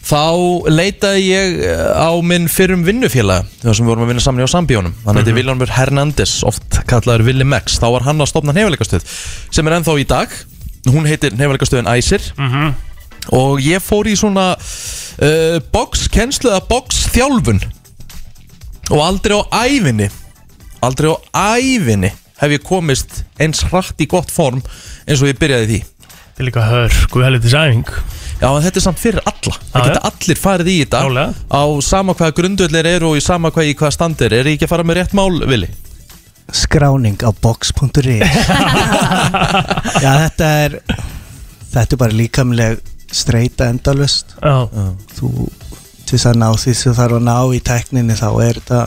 A: Þá leitaði ég eh, á minn fyrrum vinnufélaga þar sem við vorum að vinna saman hjá sambíónum Hann heiti Viljónur Hernández, oft kallaður Willi Max Þá var hann að stopna nefaleikastöð sem er ennþá í dag Hún heitir nefaleikastöðin Æsir Og ég fór í svona uh, boxkennslu eða boxþjálfun Og aldrei á ævinni Aldrei á ævinni hef ég komist eins hratt í gott form eins og ég byrjaði í því
D: þetta er líka hörku helviti sæðing
A: Já, en þetta er samt fyrir alla Það
D: Já,
A: geta
D: já.
A: allir farið í þetta
D: Klálega.
A: Á sama hvaða grundvöldir eru og í sama hvað í hvaða standir Er ég ekki að fara með rétt mál, Vili?
I: skráning á box.is Já, þetta er þetta er bara líkamleg streyta endalust
D: Já,
I: þú til þess að ná því sem þú þarf að ná í tekninni þá er þetta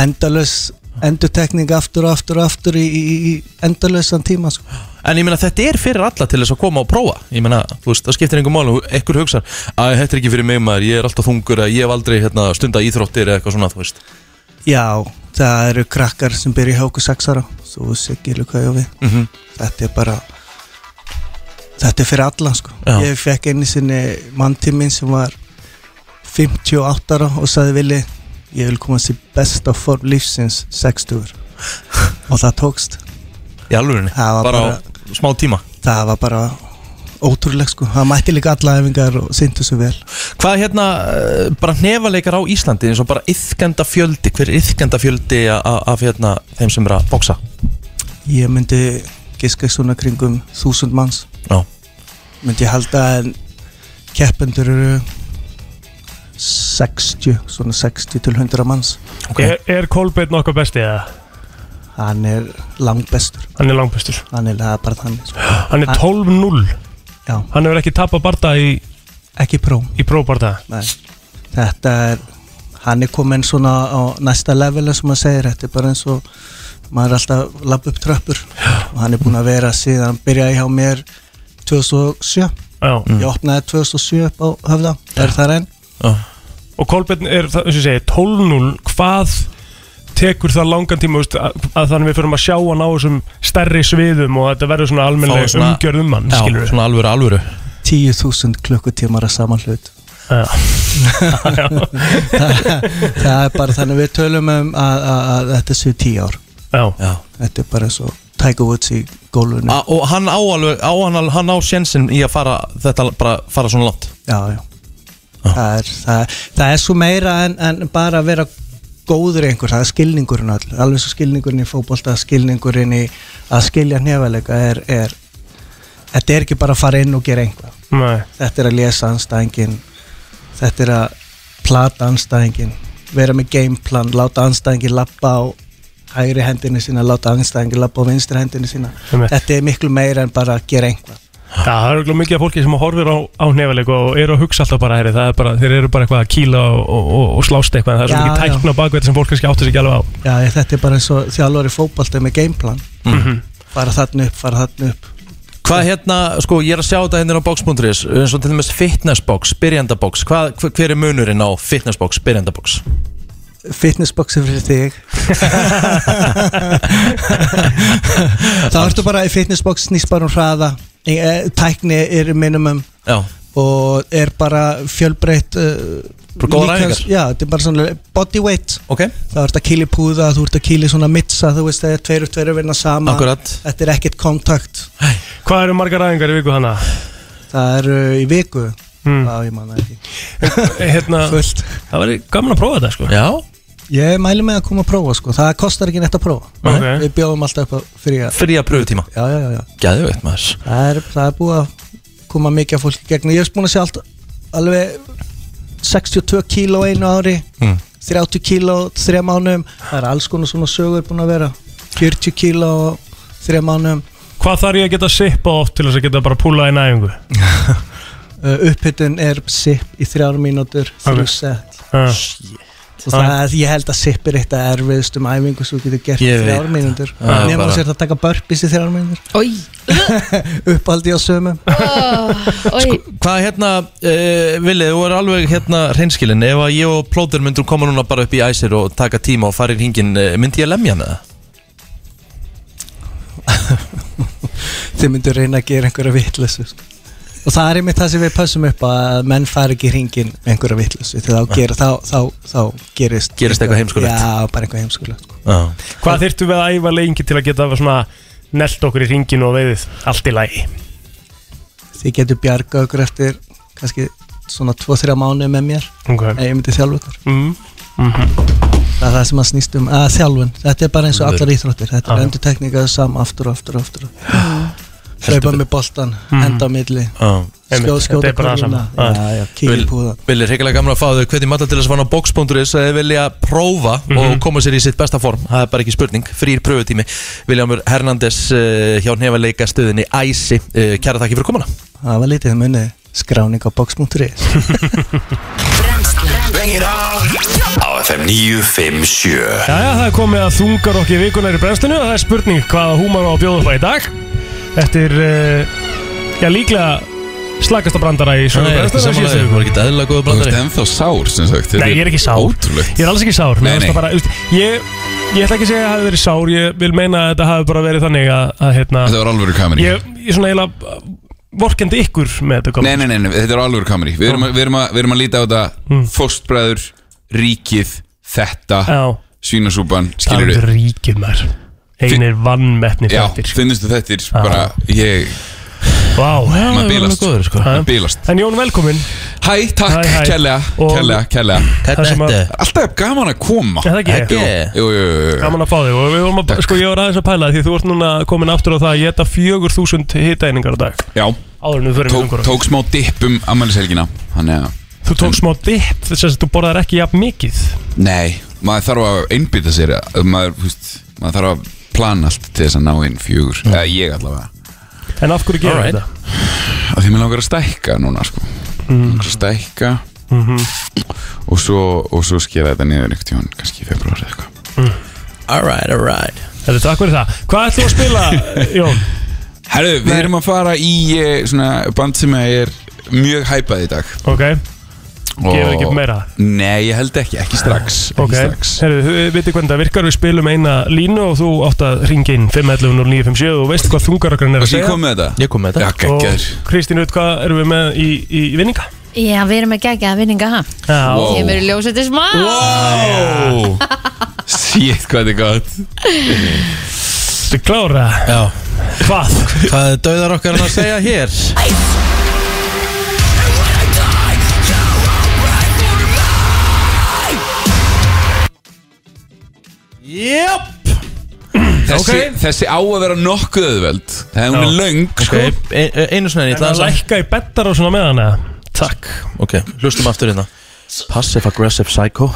I: endalus endutekning aftur og aftur og aftur í, í, í endalusan tíma sko.
A: En ég meina þetta er fyrir alla til þess að koma og prófa Ég meina, þú veist, það skiptir einhver mál og Ekkur hugsa, að þetta er ekki fyrir mig maður Ég er alltaf þungur, að ég hef aldrei hérna, stunda íþróttir eða eitthvað svona, þú veist
I: Já, það eru krakkar sem byrja hjá okkur sex ára svo segir hvað ég á við
A: Mhm.
I: þetta er bara þetta er fyrir alla sko
A: Já.
I: ég fekk einu sinni manntíminn sem var 58 ára og sagði villi ég vil komast í besta form lífsins 60 og það tókst
A: Í alvörinni,
I: Það
A: bara,
I: var
A: á smá tíma
I: það var bara ótrúleg sko það mætti líka alla efingar og syndu svo vel
A: Hvað er hérna, eh, bara nefaleikar á Íslandi eins og bara yfkenda fjöldi Hver er yfkenda fjöldi af hérna, þeim sem er að boksa?
I: ég myndi giska svona kringum 1000 manns
A: Já,
I: myndi ég halda að keppendur eru 60, svona 60 til 100 manns
A: ok
D: er, er Kolbeinn nokkuð besti eða?
I: hann er langbestur
D: Hann er langbestur
I: hann er það er bara þannig sko.
D: Hann er 12-0
I: Já.
D: Hann hefur ekki tapað barða í,
I: ekki pró
D: í próbarða
I: Nei. þetta er hann er komin svona á næsta level sem maður segir, þetta er bara eins og maður er alltaf lapp upp tröppur og hann er búin að vera síðan hann byrjaði hjá mér 2007
D: Já
I: ég opnaði 2007 upp á höfða er það enn
A: Já.
D: Og Kolbeinn er, það- eins og ég segi, 12-0 Hvað tekur það langan tíma þú veist, að, að þannig við förum að sjá hann á þessum stærri sviðum og þetta verður svona
A: Fá
D: almennileg
A: svona-
D: umgjörð um hann,
A: Já,
D: skilur við
A: svona alvöru, alvöru
I: 10.000 klukkutímar að saman hlut það er bara þannig við tölum um að, að, að þetta séu 10 ár
D: Já,
A: Já.
I: þetta er bara eins og Tiger Woods í gólfinu
A: A, og hann á alveg, á hann, al- hann á sjensin í að fara, þetta bara fara svona langt
I: já, já. Það, er, það, er- það er svo meira en, en bara að vera góður í einhver, það er skilningurinn all, alveg svo skilningurinn í fótbolta skilningurinn í að skilja hnefalega er, er þetta er ekki bara að fara inn og gera einhvað
D: nei,
I: þetta er að lesa anstæðingin þetta er að plata anstæðingin vera með gameplan, láta anstæðingin lappa á hægri hendinu sína, láta anstæðingin lappa á vinstri hendinu sína
D: Einmitt.
I: þetta er miklu meira en bara að gera einhvað
D: Það er örugglega mikið af fólki sem horfir á, á nefileg og eru að hugsa alltaf bara, heyri, það er bara þeir eru bara eitthvað að kýla og, og, og- og slást eitthvað en það er svo
I: Já,
D: mikið
I: já.
D: tækna á bakveit sem fólk kannski áttu sig ekki alveg á
I: Já, ég, þetta er bara eins og þjálfari fótbolta með gameplan
D: Mhm.
I: Fara þarna upp, fara þarna upp
A: Mhm. Hvað hérna, sko, ég er að sjá þetta hérna á box.is eins og til dæmis fitnessbox, byrjandabox Hvað, hver- hver er munurinn á fitnessbox, byrjandabox?
I: Fitnessboxi fyrir þig Það ertu bara í fitnessbox snýst bara um hraða Í- eh, Tækni er minimum
A: Já,
I: og er bara fjölbreytt uh,
A: Bara góðar
I: líkans-
A: æfingar?
I: Já, þetta er bara svona bodyweight
A: ok,
I: Það ert að kýli púða, þú ert að kýli svona mitsa Þú veist, það er tveir og tveir að vinna sama
A: akkurat
I: Þetta er ekkert kontakt
D: Hvað eru margar æfingar í viku hana?
I: Það er uh, í viku
D: Mm.
I: Já, ég manna ekki
D: Hérna,
I: Fullt
D: það væri gaman að prófa þetta sko
A: Já,
I: Ég mæli mig að koma að prófa sko Það kostar ekki neitt að prófa
D: Ok.
I: Við bjóðum alltaf upp á fyrir að
A: fría pröfutíma
I: Já, já, já, já
A: Gæðveitt maður
I: Það er, það er búið að koma mikið af fólki í gegn og ég hef búin að sjá allt, alveg 62 kíló einu ári 30 kíló þrjá mánum það er alls konar svona sögur búin að vera 40 kíló þrjá mánum
D: Hvað þarf ég að geta sippa oft til þess að geta bara púlað í næfingu?
I: uh, upphittun er sip í þrjár mínútur
D: Ok.
I: þrjú sett
D: Uh,
I: og það er, ég held að sip er eitt að erfiðust um æfingu sem þú getur gert í
A: Ég veit
I: þrjár mínútur
A: Það er
I: nema
A: bara-
I: þú sért að taka burpees í þrjár mínútur
C: Ói,
I: uppaldi á sömum
C: ói
A: Hvað hérna, uh, Vili, þú er alveg hérna hreinskilin Ef að ég og plóður myndum koma núna bara upp í æsir og taka tíma og fara í hringin uh, myndi ég lemja hana?
I: þið myndu reyna að gera einhverja vitleysu sko. og það er einmitt það sem við pössum upp á, að menn fari ekki í hringin með einhverja vitleysu þegar þá, gera, þá, þá, þá gerist
A: Gerist eitthvað heimskulegt.
I: já, bara eitthvað heimskulegt sko.
A: Já
D: hvað þyrftum við að æfa lengi til að geta svona nelt okkur í ringinu og veiðið allt í lagi?
I: þið getur bjarga okkur eftir kannski svona 2-3 mánuði með mér
D: Okay.
I: en ég myndi þjálfa ykkur
D: Mm.
I: það er það sem að snýst um að þjálfun þetta er bara eins og allar íþróttir þetta
D: Já.
I: er endur teknika saman aftur og aftur og aftur hlaupa með boltan, henda á milli
D: Mhm.
I: skjóð,
D: Einmitt, þetta
I: skjóta
D: er bara það
I: körfuna.
D: sama.
I: hérna. Já, já, kýla í púðan
A: Vili, hreikilega gamla að fá þau hvernig matta til þess að fara á box.is að þau vilja prófa
D: Mhm.
A: og koma sér í sitt besta form það er bara ekki spurning, frýr pröfutími Viljámur Hernandes uh, hjá nefaleika stöðinni Æsi, uh, kæra þakki fyrir komuna
I: Það var litið munni skráning á box.is
B: Á FM 957
D: Jæja, það er komið að þungar okkur vikunar í brennslinu og það er spurning hvaða húmar á að bjóða upp á í dag Eftir, uh, já líklega slakasta brandara í
A: Nei,
D: sögum
A: ég er ekki
D: brennslinu
A: saman að
D: síðustu
A: þau,
D: viku
A: voru ekki eðla góðu
J: Þú ert
A: blandari
J: ennþá sár sem sagt
D: Nei, ég er ekki sár
J: Ótrúlegt
D: Ég er alls ekki sár
J: Nei,
D: Mér finnst
J: nei.
D: það bara, úst, ég, ég ætla ekki að segja að það hafi verið sár Ég vil meina að þetta hafi bara verið þannig að, að hérna,
J: Þetta var alvöru kameri
D: ég, ég svona eiginlega uh, vorkendi ykkur með þetta
J: Nei, nei, nei, nei, þetta er alvöru kameri Við erum, að- við erum, að, við erum að líta á þetta mm. Fóstbræður, ríkið, þetta
D: Já,
J: Svínasúpan,
D: það
J: skilur
D: er ríkið maður Einir vannmettni
J: Já,
D: fættir
J: finnistu þettir bara Ég,
D: Vá,
J: maður bílast
A: góður, sko.
J: Maður bílast
D: En Jón, velkomin
J: Hæ, takk,
D: Hæ, hæ.
J: kærlega,
D: Og-
J: kærlega, kærlega
D: Það sem að-
A: Hvernig
J: Alltaf er gaman að koma
D: Er það ekki?
A: þetta? Yeah.
J: Jú, jú, jú, jú
D: Gaman að fá þig og við vorum að, sko ég var aðeins að pæla því þú ert núna komin aftur á það að geta 4000 hitaeiningar á dag
J: Já,
D: áður en við förum í
J: tók,
D: umhverfið.
J: tók smá dipp um ammælishelgina Þannig að,
D: Þú tók
J: Mm.
D: smá dipp þess að þú borðar ekki jafn mikið
J: nei, maður þarf að einbytta sér að- Maður, þú veist, maður þarf að plana allt til þess að ná inn fjögur Eða ég allavega
D: En af hverju gerir
A: Alright.
D: þetta? Mhm.
J: að því mér langar að stækka núna sko langar að stækka og, svo, og svo skera þetta niður einhvern tíðan kannski í februar eða eitthvað
A: Alright, alright
D: Þetta Mm. takk fyrir það Hvað ætlum við að spila, Jón?
J: Herru, við erum að fara í eh, svona band sem er mjög hæpað í dag
D: Ok,
J: og...
D: Gefið ekki upp meira?
J: Nei, ég held ekki, ekki strax
D: ok
J: ekki strax.
D: Herðu, við veitum hvernig það virkar Við spilum eina línu og þú átt að ringa inn 511-0957 og veist hvað þungarakran er
J: Og
D: að
J: sér
D: segja
J: kom með þetta
A: Ég kom með
J: Já,
A: þetta
J: geggjör
D: Og Kristín, veit hvað erum við með í, í, í vinninga?
C: Já, við erum með gegja að vinninga ha
D: Já,
J: Wow.
C: Ég verið ljósið til smá
J: Wow Shit, hvað þetta er gott
D: þetta er klára
A: Já,
D: Hvað?
A: hvað er döðar okkar að segja hér? Jöp
J: þessi,
A: Ok.
J: þessi á að vera nokkuð auðveld Það er hún er
D: Já.
J: löng
A: Ok,
J: sko
A: e- e- einu sinni, ég
D: En
A: ætla
D: að
A: að
D: lækka í bettar og svona með hana Takk
A: Ok, hlustum aftur hérna Passive Aggressive Psycho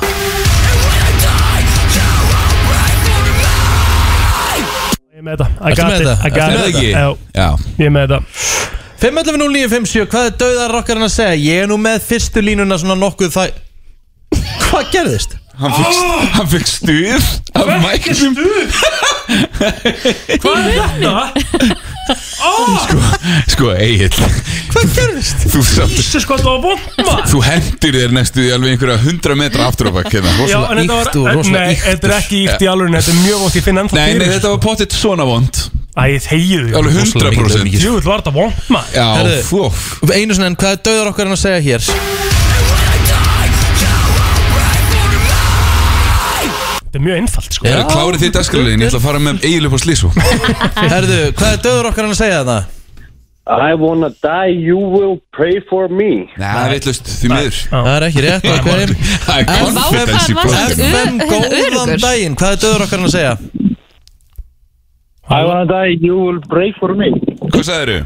D: Ég er með þetta I
A: Ertu
D: got
A: með
D: it,
A: þetta?
D: I got
A: Ertu
J: með
D: it
J: þetta?
D: Já,
J: Já,
D: Ég er með þetta
A: 5.11.09.57 Hvað er dauðar okkarinn að segja? Ég er nú með fyrstu línuna svona nokkuð það Hvað gerðist? Ah!
J: Hann fekk, oh! hann fekk stuð af mæknum
D: Hvað er þetta?
J: Sko, Egil,
A: Hvað gerðist?
J: þú, samt-
D: Jesus, hvað það var vond maður
J: þú hendir þér næstu í alveg einhverja hundra metra aftur á bakk hérna
D: Já,
J: rosalega
D: en þetta
A: ýkt og
D: var, en-
A: rosalega
D: nei,
A: ýktur.
D: þetta er ekki íkt í alveg Þetta er mjög vond, ég finn ennþá
J: Nei, nei,
D: fyrir sko.
J: þetta var pottitt svona vond
D: Æ, þegiðu því.
J: Alveg
A: Rosalega mikið,
J: 100%
A: mikið.
D: Jú, þetta var þetta vond maður
J: Já,
A: Herðu.
J: fóf
A: Einu svona en hvað er dauðar okkarinn að segja hér?
D: Þetta er mjög einfalt, sko
J: Það er klárið því dagskraliðin, ég ætla að fara með Egil upp á slísu
A: Herðu, hvað er dauðar okkarinn að segja það?
K: I wanna die, you will pray for me
J: Nei, það er vittlust, því miður
A: Það er ekki rétt okkarinn
J: Það er
A: En vá,
J: confidence í blóðinu.
C: hvað varstu-
A: FM,
C: Ö-
A: góðan
C: öruggur.
A: daginn Hvað er dauðar okkarinn að segja?
K: I wanna die, you will pray for me
J: Hvað sagðið eru?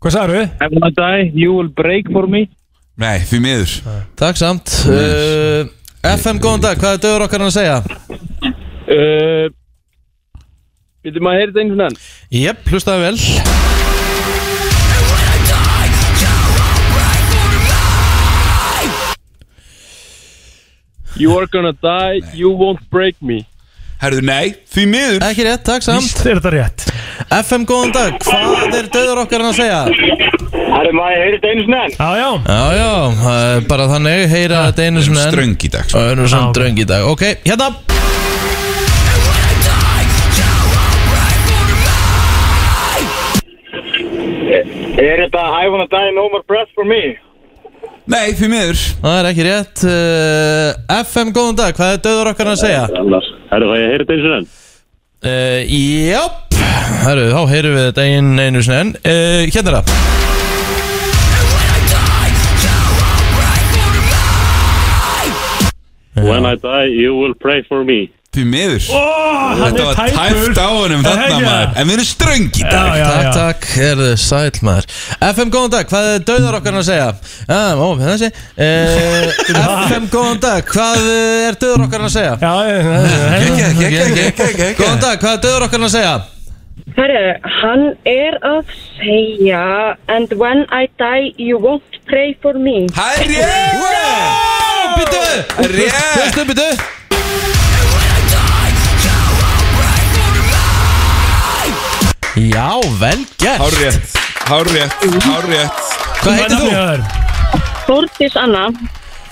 D: Hvað sagður við?
K: I wanna die, you will break for me
J: Nei, því miður
A: Takk samt uh, FM, góðan dag, hvað er döður okkar að segja?
K: uh, Viltu maður heyrði einu svona
A: Jep, hlustaði vel
K: You are gonna die, you won't break me
J: Herðu, nei, því miður
A: Ekki rétt, takk samt
D: Þetta er þetta rétt
A: FM, góðan dag, hvað er döður okkar að segja?
L: Það er maður heyrðið einu snenn.
D: Já, já
A: Já, já, það er bara þannig Heyra þetta einu svona enn
J: Ströng í dag sko.
A: Og einu
D: Já,
A: svona
D: ok.
A: dröng í dag Ok, hérna
L: Er þetta I wanna die, no more breath for me?
J: Nei, því miður
A: Það er ekki rétt uh, FM, góðan dag, hvað er döður okkar að segja?
L: Annars, herru það ég heyrði einu snenn.
A: Uh, Jáp Herru, þá heyrum við þetta einu, einu svona enn uh, Hérna er það
L: When I die, you will pray for me.
J: Því miður
D: Ó, hann
J: Þetta
D: er
J: var
D: tæpur
J: tæft á honum þarna
D: Jæja.
J: maður En við erum ströng í
D: Já,
J: dag
D: já,
A: Takk,
D: já
A: takk, herðu, sæl maður FM, góðan dag, hvað er döðar okkar að segja? Já, ó, hérna þessi uh, FM, góðan dag, hvað er döðar okkar að segja?
D: Já, eh, já, já, já, já.
J: Gekk, gekk, gekk, gekk, gekk
A: Góðan dag, hvað er döðar okkar að segja?
M: Herru, hann er að segja And when I die, you won't pray for me
J: Herri
A: Býtu,
J: Rétt
A: hlustu, býtu Já, vel gert
J: Hárrétt, hárrétt, hárrétt
A: Hvað
D: Hvað er nafnið
A: heitir þú?
D: á þér?
M: Þórdís Anna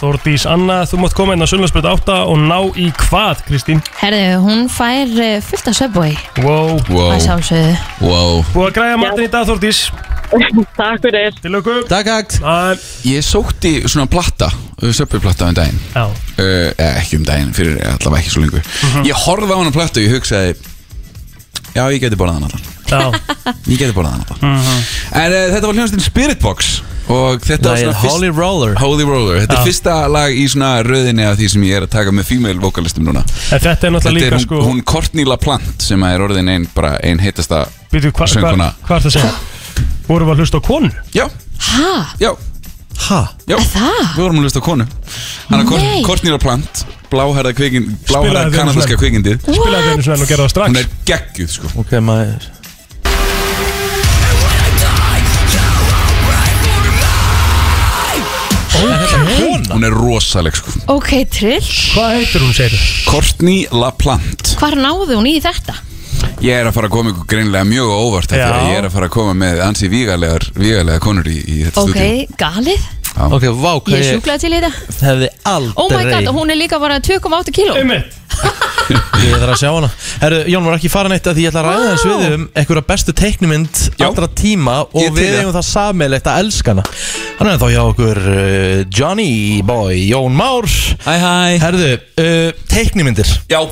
D: Þórdís Anna, þú mátt koma inn á Sunnlandsbröð 8 og ná í hvað, Kristín?
C: Herðu, hún fær eh, fullt af söbói
D: Wow
J: Wow,
C: að sjálfsögðu
J: wow
D: Búið að græja matinn í dag, Þórdís
M: Takk fyrir
D: Til lökum
A: Takk, hægt
D: Það er,
J: Ég sótti svona platta Söpjuplatta um daginn
D: já
J: uh, eh, ekki um daginn, fyrir allavega ekki svo lengur
D: Mhm.
J: ég horfði á hann á plöttu og ég hugsaði já, ég geti borðað hann allan
D: Já,
J: ég geti borðað hann allan en uh, þetta var hljóðastinn Spirit Box og þetta var
A: Lagið
J: svona
A: Holy Roller
J: Holy Roller, þetta er fyrsta lag í svona röðinni af því sem ég er að taka með female vokalistum núna
D: en þetta er
J: Þetta
D: náttúrulega
J: er
D: líka
J: hún,
D: sko
J: hún Courtney LaPlante sem er orðin ein, bara ein heitasta
D: Býtu, hva, hva,
J: söngkona.
D: hvað er það að segja? Vorum við að hlusta á konu?
J: Já,
C: Hæ?
J: já,
A: Ha?
J: já
C: Það?
J: Við vorum að hlusta á konu Hanna
C: Nei.
J: Courtney LaPlante, bláherða kvikind bláherða
D: Spilaðu þér
J: kanadíska
D: svona.
J: kvikindið
D: Spilaði þeirnum svona og gerði það
J: Hún
D: strax
J: er geggjuð sko
A: Ok, maður
J: Hún er rosaleg sko
C: Ok, trill
D: Hvað heitir hún, segir þú?
J: Courtney LaPlante
C: Hvar náðu hún í þetta?
J: Ég er að fara að koma ykkur greinlega mjög á óvart
D: Já.
J: Þegar ég er að fara að koma með ansi vígalegar, vígalegar konur í, í þetta
C: Ok,
J: stúdíu
C: galið
A: Ok, vá,
C: Ég
A: hvað
C: er
A: ég
C: sjúklað til í þetta
A: hefði
C: Oh my
A: aldrei
C: god, og hún er líka bara 2,8 kíló
D: Einmitt
A: Ég þarf að sjá hana Herru, Jón var ekki farin eitt að því ég ætla að ræða þess við um einhverja bestu teiknumynd
J: Já.
A: allra tíma
J: Ég
A: og
J: til
A: við
J: það.
A: eigum það sammeilegt að elska hana Hann er þá hjá okkur uh, Johnny Boy, Jón Már
J: Hæ hæ
A: Herðu, uh, teiknumyndir
J: Já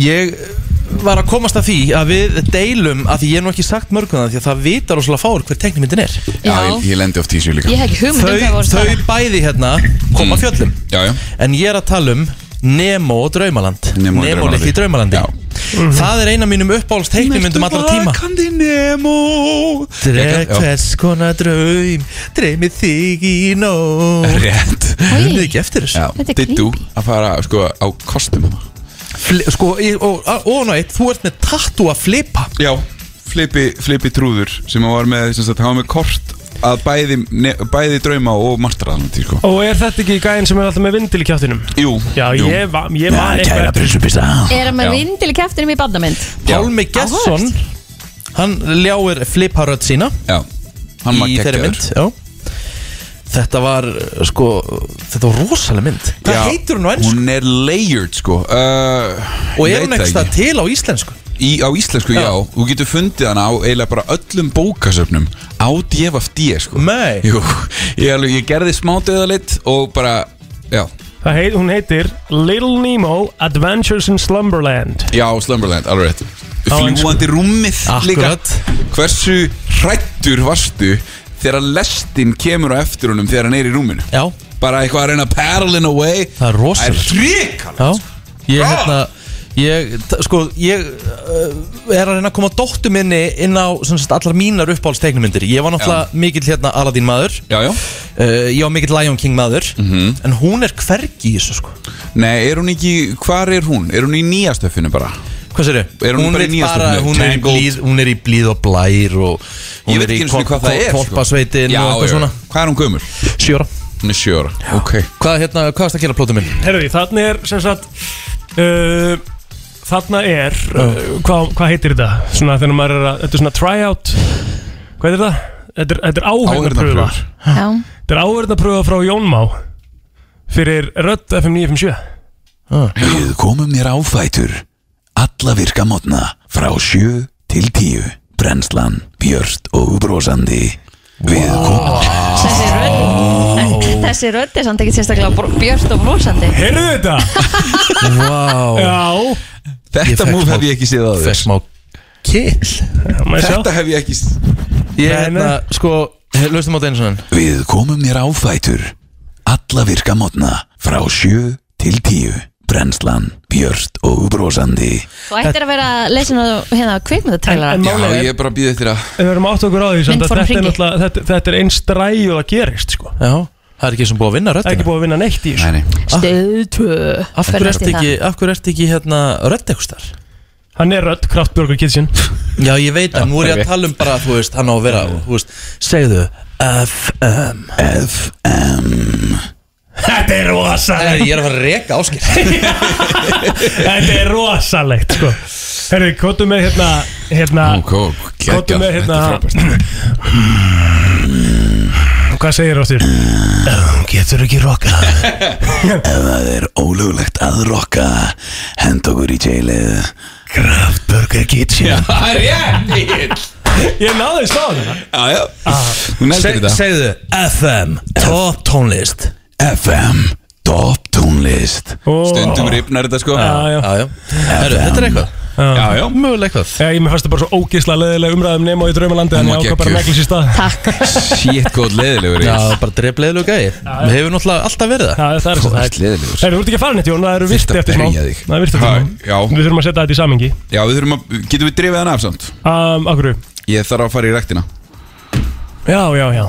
A: Ég uh, var að komast að því að við deilum að því ég er nú ekki sagt mörgum það því að það vitar óslega fáur hver teiknumyndin er
J: Já, ég, ég lendi oft í þessu líka
C: Ég hef ekki hugmynd um hvað
A: Þau,
C: voru
A: þau
C: það
A: bæði hérna koma
J: Mm.
A: fjöllum
J: Já, já
A: En ég er að tala um Nemo og Draumaland
J: Nemo og Draumaland.
A: litli í Draumalandi
J: Já.
D: Mhm.
A: Það er eina af mínum uppáhalds teiknumyndum allra tíma
J: Vakandi Nemo
A: Dreg
J: Já.
A: hvers konar draum Dreymið þig í nóg
J: Rétt
A: Hörðu ekki eftir þessu
J: Já,
C: Þetta er
J: dittu að fara sko á kostum hana
A: Fli- Sko, ég- og og ná eitt, þú ert með tattoo að flipa
J: Já flipi, flipi trúður sem hann var með, sem sagt, hann var með kort að bæði, ne, bæði drauma og martraðanandi sko.
D: Og er þetta ekki gæðin sem er alltaf með vindil í kjáttinum?
J: Jú
D: Já,
J: jú.
D: ég var, ég var
J: Já, kæra
D: prinsupista
J: Ah,
C: Er hann með vindil í kæftinum í badnamynd?
A: Pálmi Gesson Hann ljáir flipharöð sína
J: Já, hann var
A: Í þeirri
J: geggjaður.
A: mynd já. Þetta var uh, sko Þetta var rosalega mynd Hvað
J: Já,
A: heitir hún á ennsku?
J: Hún er layered sko uh,
A: Og
J: ég
A: er hún
J: veit
A: ekki
J: ekki.
A: það til á íslensku?
J: Í, á íslensku, já. Þú getur fundið hana á eiginlega bara öllum bókasöfnum á DFFD, sko.
A: Nei.
J: Jú, ég, alveg, ég gerði smá döðalitt og bara, já,
D: Það heit, hún heitir Little Nemo Adventures in Slumberland
J: já, Slumberland, alveg rétt.
D: Á ensku.
J: Fljúandi rúmið
D: Akkurat.
J: líka. Hversu hrættur varstu þegar lestin kemur á eftir honum þegar hann er í rúminu?
A: Já.
J: Bara eitthvað að reyna að paddle in away.
A: Það er rosalega
J: Það er sko. ríkalegt.
A: Já, ég hérna Ég, t- sko, ég uh, er að reyna að koma dóttu minni inn á sem sagt, allar mínar uppáhalds teiknumyndir Ég var náttúrulega mikill hérna Aladdin maður
J: Já, Mhm. já
A: uh, Ég var mikill Lion King maður -hmm. En hún er hvergi í þessu sko
J: Nei, er hún ekki, hvar er hún? Er hún í nýjastöfinu bara?
A: Hvað sér
J: Er hún, bara í
A: veit
J: nýjastöfinu?
A: hún, er í blíð, hún er í blíð og blær og
J: Ég
A: Hún
J: veit
A: er í
J: ekki einu sinni hvað það er, sko.
A: kolpasveitin
J: Já,
A: og eitthvað
J: já.
A: svona
J: Hvað er hún gömur?
A: Sjóra
J: Hún er sjóra, ok
A: Hvað, hérna, hvað er það að gera plótu minn?
D: Herði, þarna er sem sagt uh, Þarna er uh, Hvað hva heitir þetta? Svona þegar maður er að, þetta er svona tryout Hvað heitir það? Þetta er, þetta er áhörnapröfa
J: Áheyrnarprufur.
C: Já
D: Þetta er áhörnapröfa frá Jónmá Fyrir Rödd FM 957 Ah.
J: Við komum þér áfætur Alla virka mótna Frá sjö til tíu Brennslan, björst og brosandi Við komum
C: Þessi rödd en Þessi rödd er samt ekki sérstaklega br- björt og brosandi
D: Heyrðu þetta?
A: Vá
D: Já
J: Þetta
A: Ég fékk
J: múf
A: smá-
J: hef ég ekki séð að
A: Fekk smá kill
J: Þetta hef ég ekki séð
A: Ég, hérna, sko, laustum á þetta eins og hann
J: Við komum þér áfætur Alla virka mótna Frá sjö til tíu Brennslan, björst og brosandi
C: Þú ættir að vera að leysa ná hérna
D: En- en
C: kvikmyndatrailara
D: má- Málið er-
J: er bara að býða eftir að
D: En við erum átt okkur á því samt að
C: Myndform
D: þetta er,
C: hringi.
D: náttúrulega- þetta, þetta er einn stræð og það gerist sko.
A: Já, það er ekki sem búið að vinna
D: Það er ekki
A: röddina
D: búið að vinna neitt í þessu
J: Nei, nei.
D: Ah.
C: Stöð tvö
A: Af hverju
C: Hvernig
A: ertu
C: er það?
A: ekki, af hverju ertu ekki hérna rödd eitthvað þar?
D: Hann er rödd, kraftbjörgur kitchen
A: Já, ég veit það, nú er ég
J: ok.
A: að tala um bara, þú veist, hann á að vera, þú veist, segðu FM
D: Þetta er
A: Nei,
D: rosalegt
A: Ég er að fara að reka áskil
D: Þetta er rosalegt sko. Herri, kvotum með hérna, hérna
J: Ok, ok, geggjað.
D: Kvotum með hérna
J: Þetta er frábært.
D: Hvað segir áttur? Getur ekki rokka
J: Ef það er ólöglegt að rokka Hend okkur í jailið
D: Kraftbjörgur kitchen
J: Það er ég
D: Ég náði Ah. því sláð þetta
J: Já, já Hún eldir
A: Seg,
J: þetta
A: Segðu FM, top tónlist
J: FM, top tónlist
D: Ó.
J: Stundum ripnar þetta sko
D: Já, já.
A: Já, já, Heru, þetta er eitthvað
J: já, já.
A: Mögulega eitthvað
D: Já, Ég mér fannst það bara svo ógeðslega leðilega umræðum nema í draumalandi
J: Hún
D: Þannig
J: var
D: ég ákvað bara
J: geggjuð.
D: að neglis í stað
C: Takk
J: Shit, góð leðilegur
A: Já, bara dreif leiðilegu gæi Við hefur náttúrulega alltaf verið það
D: Það það er
J: Þú
D: það
J: ert leiðilegur.
D: Herri, þú ert ekki að fara neitt Jón, það eru
J: Þyrfti að
D: virti eftir smá
J: berja þig.
D: Það er virti eftir
J: Ha,
D: smá
J: já.
D: Við þurfum að setja þetta í samhengi
J: Já, við þurfum að, getum við drifið hann af samt?
D: um, Akkur,
J: Ég þarf að fara í rektina
D: já, já, já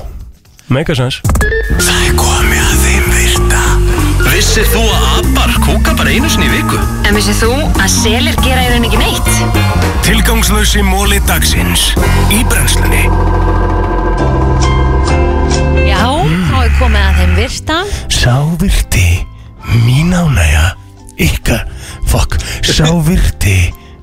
D: Make a sense
B: Það er komið að þeim virta Vissir þú að abar kúka bara einu sinni í viku?
N: En vissið þú að selir gera í rauninni ekki neitt?
D: Tilgangslösi móli dagsins Í brennslunni
C: Já, þá er komið að þeim virta
D: Sá virti Mín ánæja Ykkar Fuck Sá virti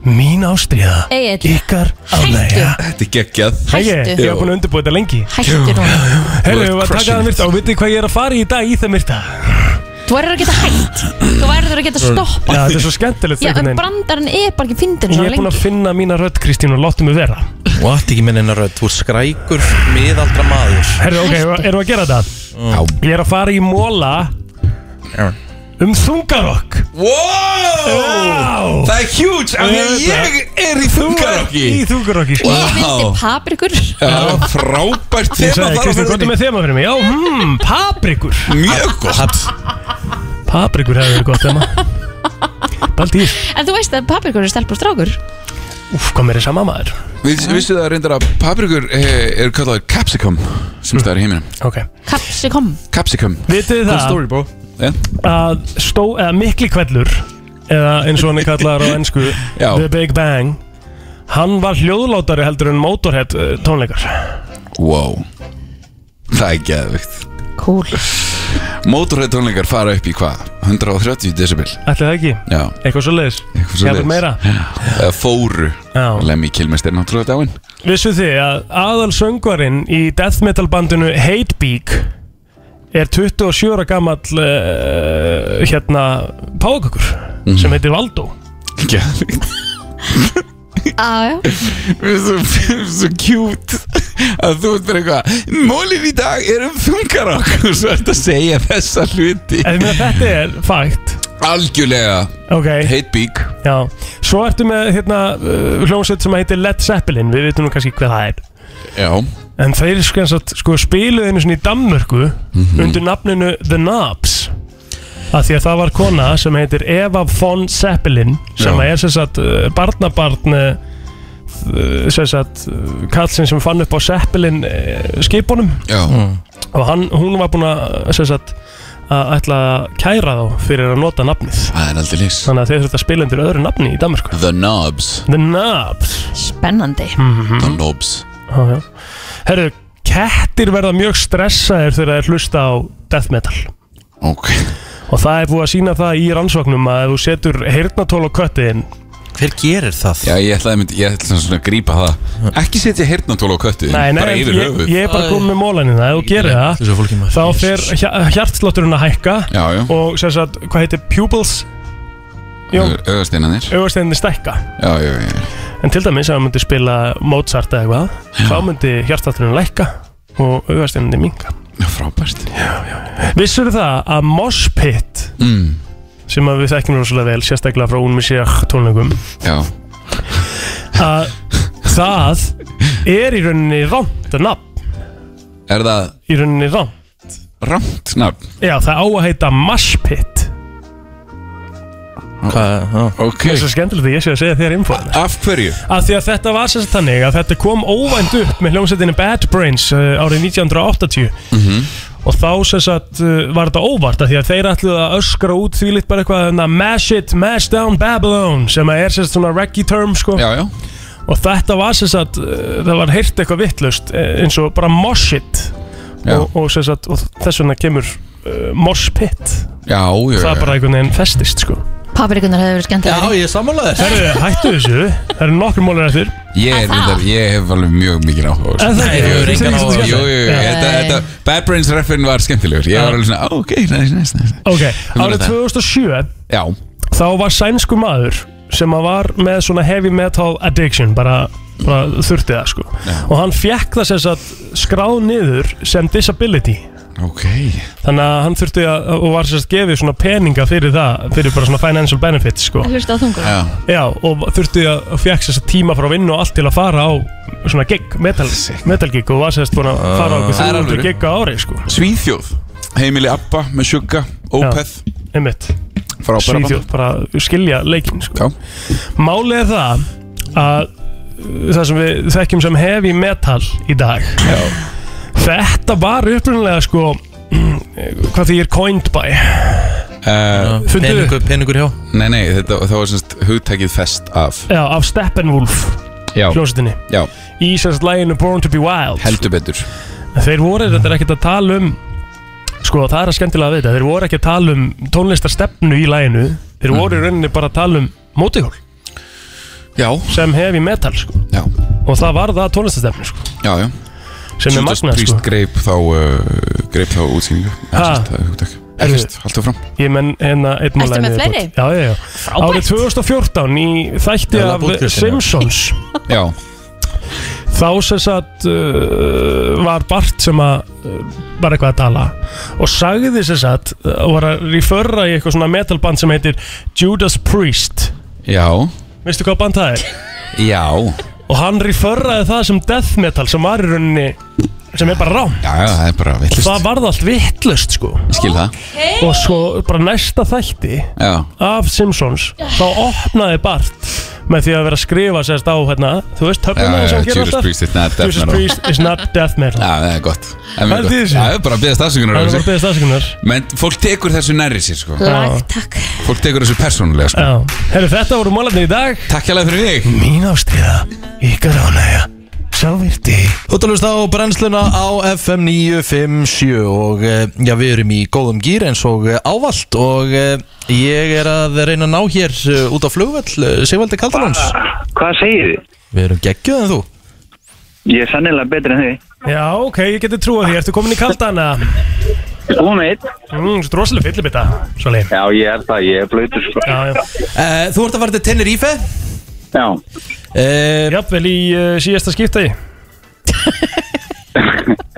D: Mín ástriða
C: Egill.
D: Ykkar
C: ánægja.
J: Þetta er geggjað
C: Hættu.
D: Ég hef búin að undirbúið þetta lengi
C: Hættu núna
D: Herru,
J: ert
D: við varum að
J: crushing
D: taka það
J: it.
D: myrta Og vitið hvað ég er að fara í dag í það myrta Já,
C: Þú verður að geta hætt Þú verður að geta stopp
D: þetta er svo skemmtilegt
C: Já, um, en
D: einhvern veginn.
C: brandarinn er bara ekki fyndin
D: Ég
C: svona
D: er búin að
C: lengi
D: finna mína rödd Kristín og láttu mig vera
A: Og allt ekki minn einar rödd, þú ert skrækur, miðaldra maður
D: Herru, ok, erum við að gera þetta? Ég er að fara í móla Um þungarokk
J: Wow! Það er huge, af því að ég er í þungarokki
D: Í þungarokki sko.
C: Ég vildi paprikur
J: Já, frábært þema
D: Ég sagði,
J: þar á
D: Kristín, hvað er
J: ferðinni
D: með þema fyrir mig? Já, hmm, paprikur
J: Mjög gott
D: Paprikur hefði verið gott þema Baldís,
C: En þú veist að paprikur er stelpur og strákur
D: úf, hvað mér er sama maður
J: Við vissu það reyndar að paprikur eh, eru kallaður capsicum sem staðar í heiminum
D: Mm. Ok,
C: Kapsikom
J: Capsicum
D: vitið þið það
A: bro
J: yeah.
D: að stó, eða mikli kvellur eða eins og hann er kallar á ennsku
J: Já.
D: The Big Bang Hann var hljóðlátari heldur en Motorhead eh, tónleikar
J: Wow Það er geðvikt
C: Cool
J: Mótorhæð tónleikar fara upp í hvað? 130 decibel
D: Ætli það ekki?
J: Já
D: Eitthvað svo leiðis
J: Eitthvað svoleiðis.
D: meira
J: Eða Fóru
D: Já.
J: Lemmy Kilmest er náttúrulega dáinn
D: Vissu þið að aðal söngvarinn í death metal bandinu Hatebeak er 27 ára gamall uh, hérna pákakur sem heitir Valdó
J: Mhm. Geðvikt
C: Aja
J: Svo, svo cute að þú ert bara eitthvað Mólið í dag er um þungarokk og svo ert að segja þessa hluti
D: En meina, þetta er fakt
J: Algjörlega
D: okay.
J: Hatebeak
D: Já, svo ertu með hérna uh, hljómsveit sem heitir Led Zeppelin við vitum nú kannski hvað það er
J: Já
D: En þeir skansat, sko, spiluðu einu svona í Danmörku
J: Mhm.
D: undir nafninu The Knobs að því að það var kona sem heitir Eva von Zeppelin sem
J: Já.
D: er sem sagt uh, barnabarn uh, sem sagt uh, kallsinn sem fann upp á Zeppelin uh, skipunum
J: Já
D: og hann, hún var búin að sem sagt að ætla að kæra þá fyrir að nota nafnið
J: Það er aldrei lís
D: Þannig að þeir þurft að spila undir öðru nafni í Danmörku
J: The Knobs
D: The Knobs
C: Spennandi
J: The Knobs
D: Mhm. Já, já. Herru, kettir verða mjög stressaðir þegar þeir hlusta á death metal
J: Ok
D: Og það er búið að sína það í rannsóknum að ef þú setur heyrnatól á köttiðin
A: Hver gerir það?
J: Já, ég ætlaði mynd, ég ætlaði svona að grípa það Ekki setja heyrnatól á köttu
D: Nei, nei,
J: bara
D: ég,
J: yfir
D: ég,
J: höfuð
D: ég er bara komið með mólan í það Ef þú gerir
A: þessu fólki
D: það,
A: maður.
D: þá fer hja- hjartslátturinn að hækka
J: Já, já.
D: Og sem sagt, hvað heitir pupils? Jó,
J: Ögasteinanir
D: augasteinni stækka
J: Eh. Já, já, já
D: En til dæmis ef hann myndi spila Mozart eða eitthvað Þá myndi hjartátturinn lækka Og augasteinni minka
J: Já, frábært
D: Vissur það að Mosh Pit
J: mm.
D: Sem að við þekkjum rosalega vel Sérstaklega frá Unmisjach tónleikum
J: Já
D: Að það er í rauninni rámt að nafn
J: Er það
D: Í rauninni rámt
J: Rámt nafn?
D: Já, það á að heita Mosh Pit
A: Hvað?
J: Ok
D: Það er svo skemmtilegt að ég sé að segja þér infóðan
J: Af hverju?
D: Af því að þetta var sérst þannig að þetta kom óvænt upp með hljómsveitinni Bad Brains uh, árið 1980
J: Mhm.
D: og þá sem sagt uh, var þetta óvart að því að þeir ætluðu að öskra út því litt bara eitthvað na, mash it, mash down Babylon sem að er sem sagt svona reggae term sko
J: já, já.
D: og þetta var sem sagt uh, það var heyrt eitthvað vittlust eins og bara mosh it og, og, sem sagt, og þess vegna kemur uh, mosh pit
J: Já, já,
D: það
J: já.
D: bara einhvern veginn festist sko
C: Paprikunar hefur verið skemmt
A: Já, ég er sammálaður
D: Herru, hættu þessu Það eru nokkur mólar eftir
J: Ég, er, reyndar, ég hef alveg mjög mikið áhuga á þessu.
D: En það ekki?
J: Ég hefur
D: Þú
J: engan
D: segir
J: áhuga
D: þetta
J: á- Jú, jú, jú,
D: sjálf.
J: þetta,
D: Nei.
J: þetta Bad Brains refin var skemmtilegur Ég var alveg svona, "Ah, ok, næs, næs, næs
D: Ok,
J: Þú verður
D: árið
J: það.
D: 2007
J: Já,
D: þá var sænsku maður sem að var með svona heavy metal addiction bara, bara þurfti það sko og hann fekk það sem sagt skráð niður sem disability
J: ok
D: þannig að hann þurfti að og var sem sagt gefið svona peninga fyrir það fyrir bara svona financial benefits sko
C: Hlusta á þungur
J: Já,
D: Já, og þurfti að og fekk þess að tíma frá vinnu og allt til að fara á svona gig, metal, metal gig og var sérst búin að fara á okkur
J: Það er
D: 300
J: alvöru.
D: gig á ári sko
J: Svíþjóð Heimili Abba með Sjugga, Opeth
D: einmitt
J: Frábæra band.
D: Svíþjóð, bara skilja leikin sko.
J: Já.
D: Málið er það að uh, það sem við þekkjum sem heavy metal í dag Já. þetta var upprunalega sko hvað því er coined by
J: uh,
D: Funduðu?
A: peningur, peningur hjá
J: Nei, nei, þetta, það var semst hugtækið fest af
D: Já, af Steppenwolf
J: Já,
D: hljómsveitinni
J: já,
D: í sérst læginu Born to be Wild
J: heldur betur
D: þeir voru þetta ekkert að tala um sko það er að skemmtilega að veita þeir voru ekki að tala um tónlistarstefnu í læginu þeir
J: Mm.
D: voru í rauninni bara að tala um mótihól
J: Já,
D: sem heavy metal sko
J: já,
D: og það var það tónlistastefni sko
J: já, já
D: sem er
J: Judas
D: magnað sko
J: Priest greip þá uh, greip þá útsýningu
D: Ha?
J: Ekkert, haldur fram
D: ég menn hérna einn
C: Ertu
D: málæðin
C: með fleiri?
D: já, já, já.
C: Frábært.
D: árið 2014 í þætti
A: Já,
D: af
A: labba út, Kristín, já.
D: Simpsons
J: Já,
D: þá sem sagt uh, var Bart sem að uh, var eitthvað að tala og sagði sem sagt uh, og var að referra í eitthvað svona metalband sem heitir Judas Priest
J: já,
D: veistu hvað band það er?
J: já
D: og hann referraði það sem death metal sem var í rauninni sem er bara rám
J: Já, já, það er bara villist
D: það varð allt vittlust sko
J: Ég skil það
D: og svo bara næsta þætti
J: Já,
D: af Simpsons þá opnaði Bart með því að vera að skrifa sérst á hérna, þú veist,
O: Já, já,
D: höfnum það
J: Eh,
D: sem hann gerir
O: Judas
D: alltaf
O: Priest is not death
D: Judas
O: metal.
D: Priest is not death metal
O: Já, það er gott Það er mjög
D: Pældi í
O: gott.
D: þessu.
O: Já, Það er bara að beðast afsökunar á
D: Það er bara
O: þessu.
D: að beðast afsökunar.
O: Men fólk tekur þessu nærri sér sko
D: Lægt,
C: takk
O: Fólk tekur þessu persónulega sko
D: Já, herru þetta voru málarni í dag
O: Takk hérlega fyrir mig
D: Mín ástriða, ykkar ánægja Sávirti
A: Þú talast á brennsluna á FM 957 og eh, já, við erum í góðum gýr eins og eh, ávallt og eh, ég er að reyna að ná hér eh, út á flugvell Sigvaldi Kaldalóns
K: Hvað segir þið?
A: Við erum geggjöð en þú
K: Ég er sannilega betri en þið.
D: Já, ok, ég geti trúið því, ertu komin í kaldana?
K: Komin eitt
D: mm, Svo droslega fyllibita Svo leið
K: Já, ég er það, ég er blöytur sko.
D: Já, já.
A: Eh, Þú ert að fara til Tenerife
K: Já
A: eh,
D: Jafnvel í uh, síðasta skiptaði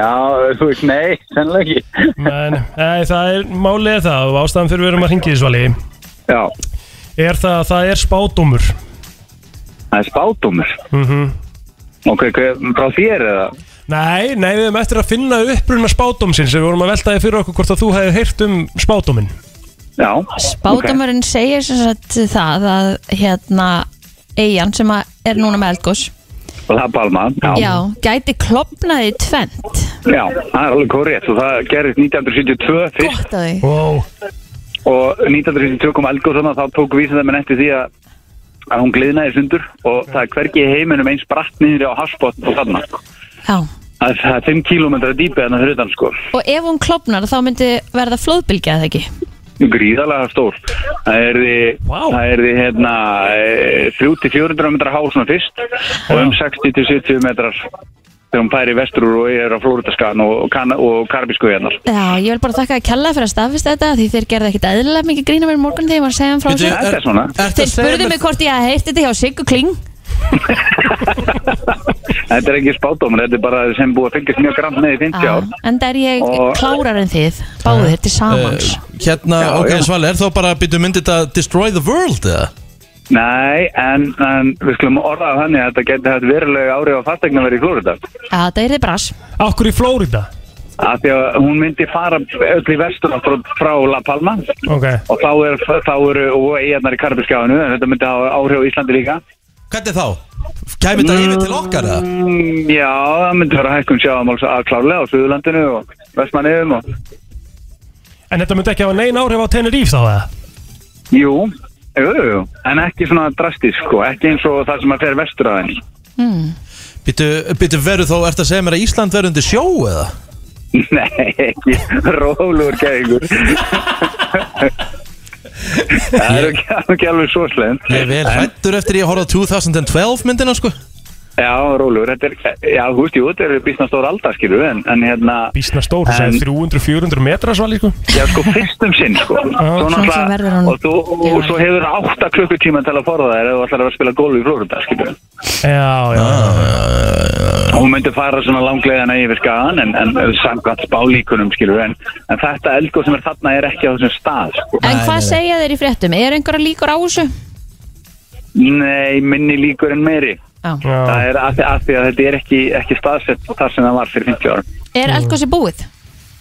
K: Já, þú veist, nei, sennilega ekki
D: Nei, nei, nei, það er málið er það og ástæðan fyrir við erum að hringja í því svali
K: Já
D: Er það að það er spádómur
K: Það er spátumur
D: mm
K: Ok, hver, frá þér eða?
D: Nei, nei, við erum eftir að finna uppruna spádómsins Við vorum að velta því fyrir okkur hvort að þú hefði heyrt um spádómin
K: Já
C: Bátamörinn segir sem sagt það að hérna eigin sem að er núna með eldgós
K: Og það er Palma Já,
C: já, gæti klopnaði tvent
K: Já, það er alveg korrekt og það gerðist 1972 fyrst
C: gott að því
D: wow.
K: og 1972 kom eldgóð þannig að þá tók vísindamenn eftir því að, að hún gliðnaði sundur og það er hvergi í heiminum eins bratt niður á hafsbott og þarna sko.
C: Já.
K: Það er- það er 5 km dýpi þannig að hrutan sko
C: og ef hún klopnar þá myndi verða flóðbylgja eða ekki
K: gríðalega stór það er því, það er því hérna, 3-400 metrar há svona fyrst og um 60-70 metrar þegar hún færi vestur og er á Flóritaskan og, kan- og Karabísku hérna
C: Já, ég vil bara þakka að kella fyrir að staðfesta þetta því þeir gerði ekkit eðlilega mikið grína mér í morgun þegar ég var að segja hann frá
K: Bíddu,
C: þessu.
K: Þetta er svona. ertu
C: Þeir
K: að segja
C: spurðu
K: mér-
C: mig hvort ég hafði heyrt þetta hjá Siggu Kling
K: þetta er ekki spátdómur, þetta er bara sem búið að fylgjast mjög grann með í 50 ár
C: en það Ah, er ég
K: Og-
C: klárar en þið báðir til
K: Eh,
C: samans
A: Hérna,
K: Já,
A: ok,
K: já.
A: Svali, er þá bara að byrja myndið að Destroy the World eða?
K: Nei, en, en við skulum orða af þannig að þetta geti haft verulega árið á fastegnaverði í Flórida
C: Það er þið bras
D: Akkur í Flórida?
K: af því að hún myndi fara öll í vestur frá, frá La Palma
D: Ok
K: og þá, er, þá eru og eigarnar í Karabískjáinu en þetta myndi hafa áhrif á Íslandi líka
A: Hvernig þá? Kæmi þetta yfir til okkar eða?
K: Mm, Já, það myndi vera hækkun sjáamáls að klárlega á Suðurlandinu og Vestmanniðum og
D: En þetta myndi ekki hafa neina áhrif á Tenerife þá eða?
K: Jú, jú, jú, jú. en ekki svona drastisk sko, ekki eins og það sem að fer vestur að henni
A: Byrju veru þá, ert að segja mér að Ísland verður undir sjó eða?
K: Nei, ekki, rólur gæðingur Það er ekki, ekki alveg svo slemt
A: Ég er vel hættur eftir ég horfði á 2012 myndina sko
K: Já, rólur, þetta er, já, þú veist, jú, þetta er býstna stór alda, skilur, en, en hérna
D: Bísna stór, þú
K: En-
D: segir 300-400 metra svali sko
K: Já, sko, fyrst um sinn, sko Svo
D: Svo
K: náttúrulega-
D: verður hann-
K: Og þú, og svo hefur það átta klukkutíma til að forða þær ef þú ætlar að vera að spila golf í Flórunda, skilur
D: Já, já
K: Hún myndi fara svona langlegana yfir skagan en, en samkvæmt spálíkunum, skilur en, en þetta eldgóð sem er þarna er ekki á þessum stað, sko
C: En hvað segja þeir í fréttum? Er einhverja líkur á þessu?
K: Nei, minni líkur en meiri
C: Já.
K: Það er af því af því að þetta er ekki, ekki staðsett þar sem það var fyrir 50 árum
C: Er eldgósi búið?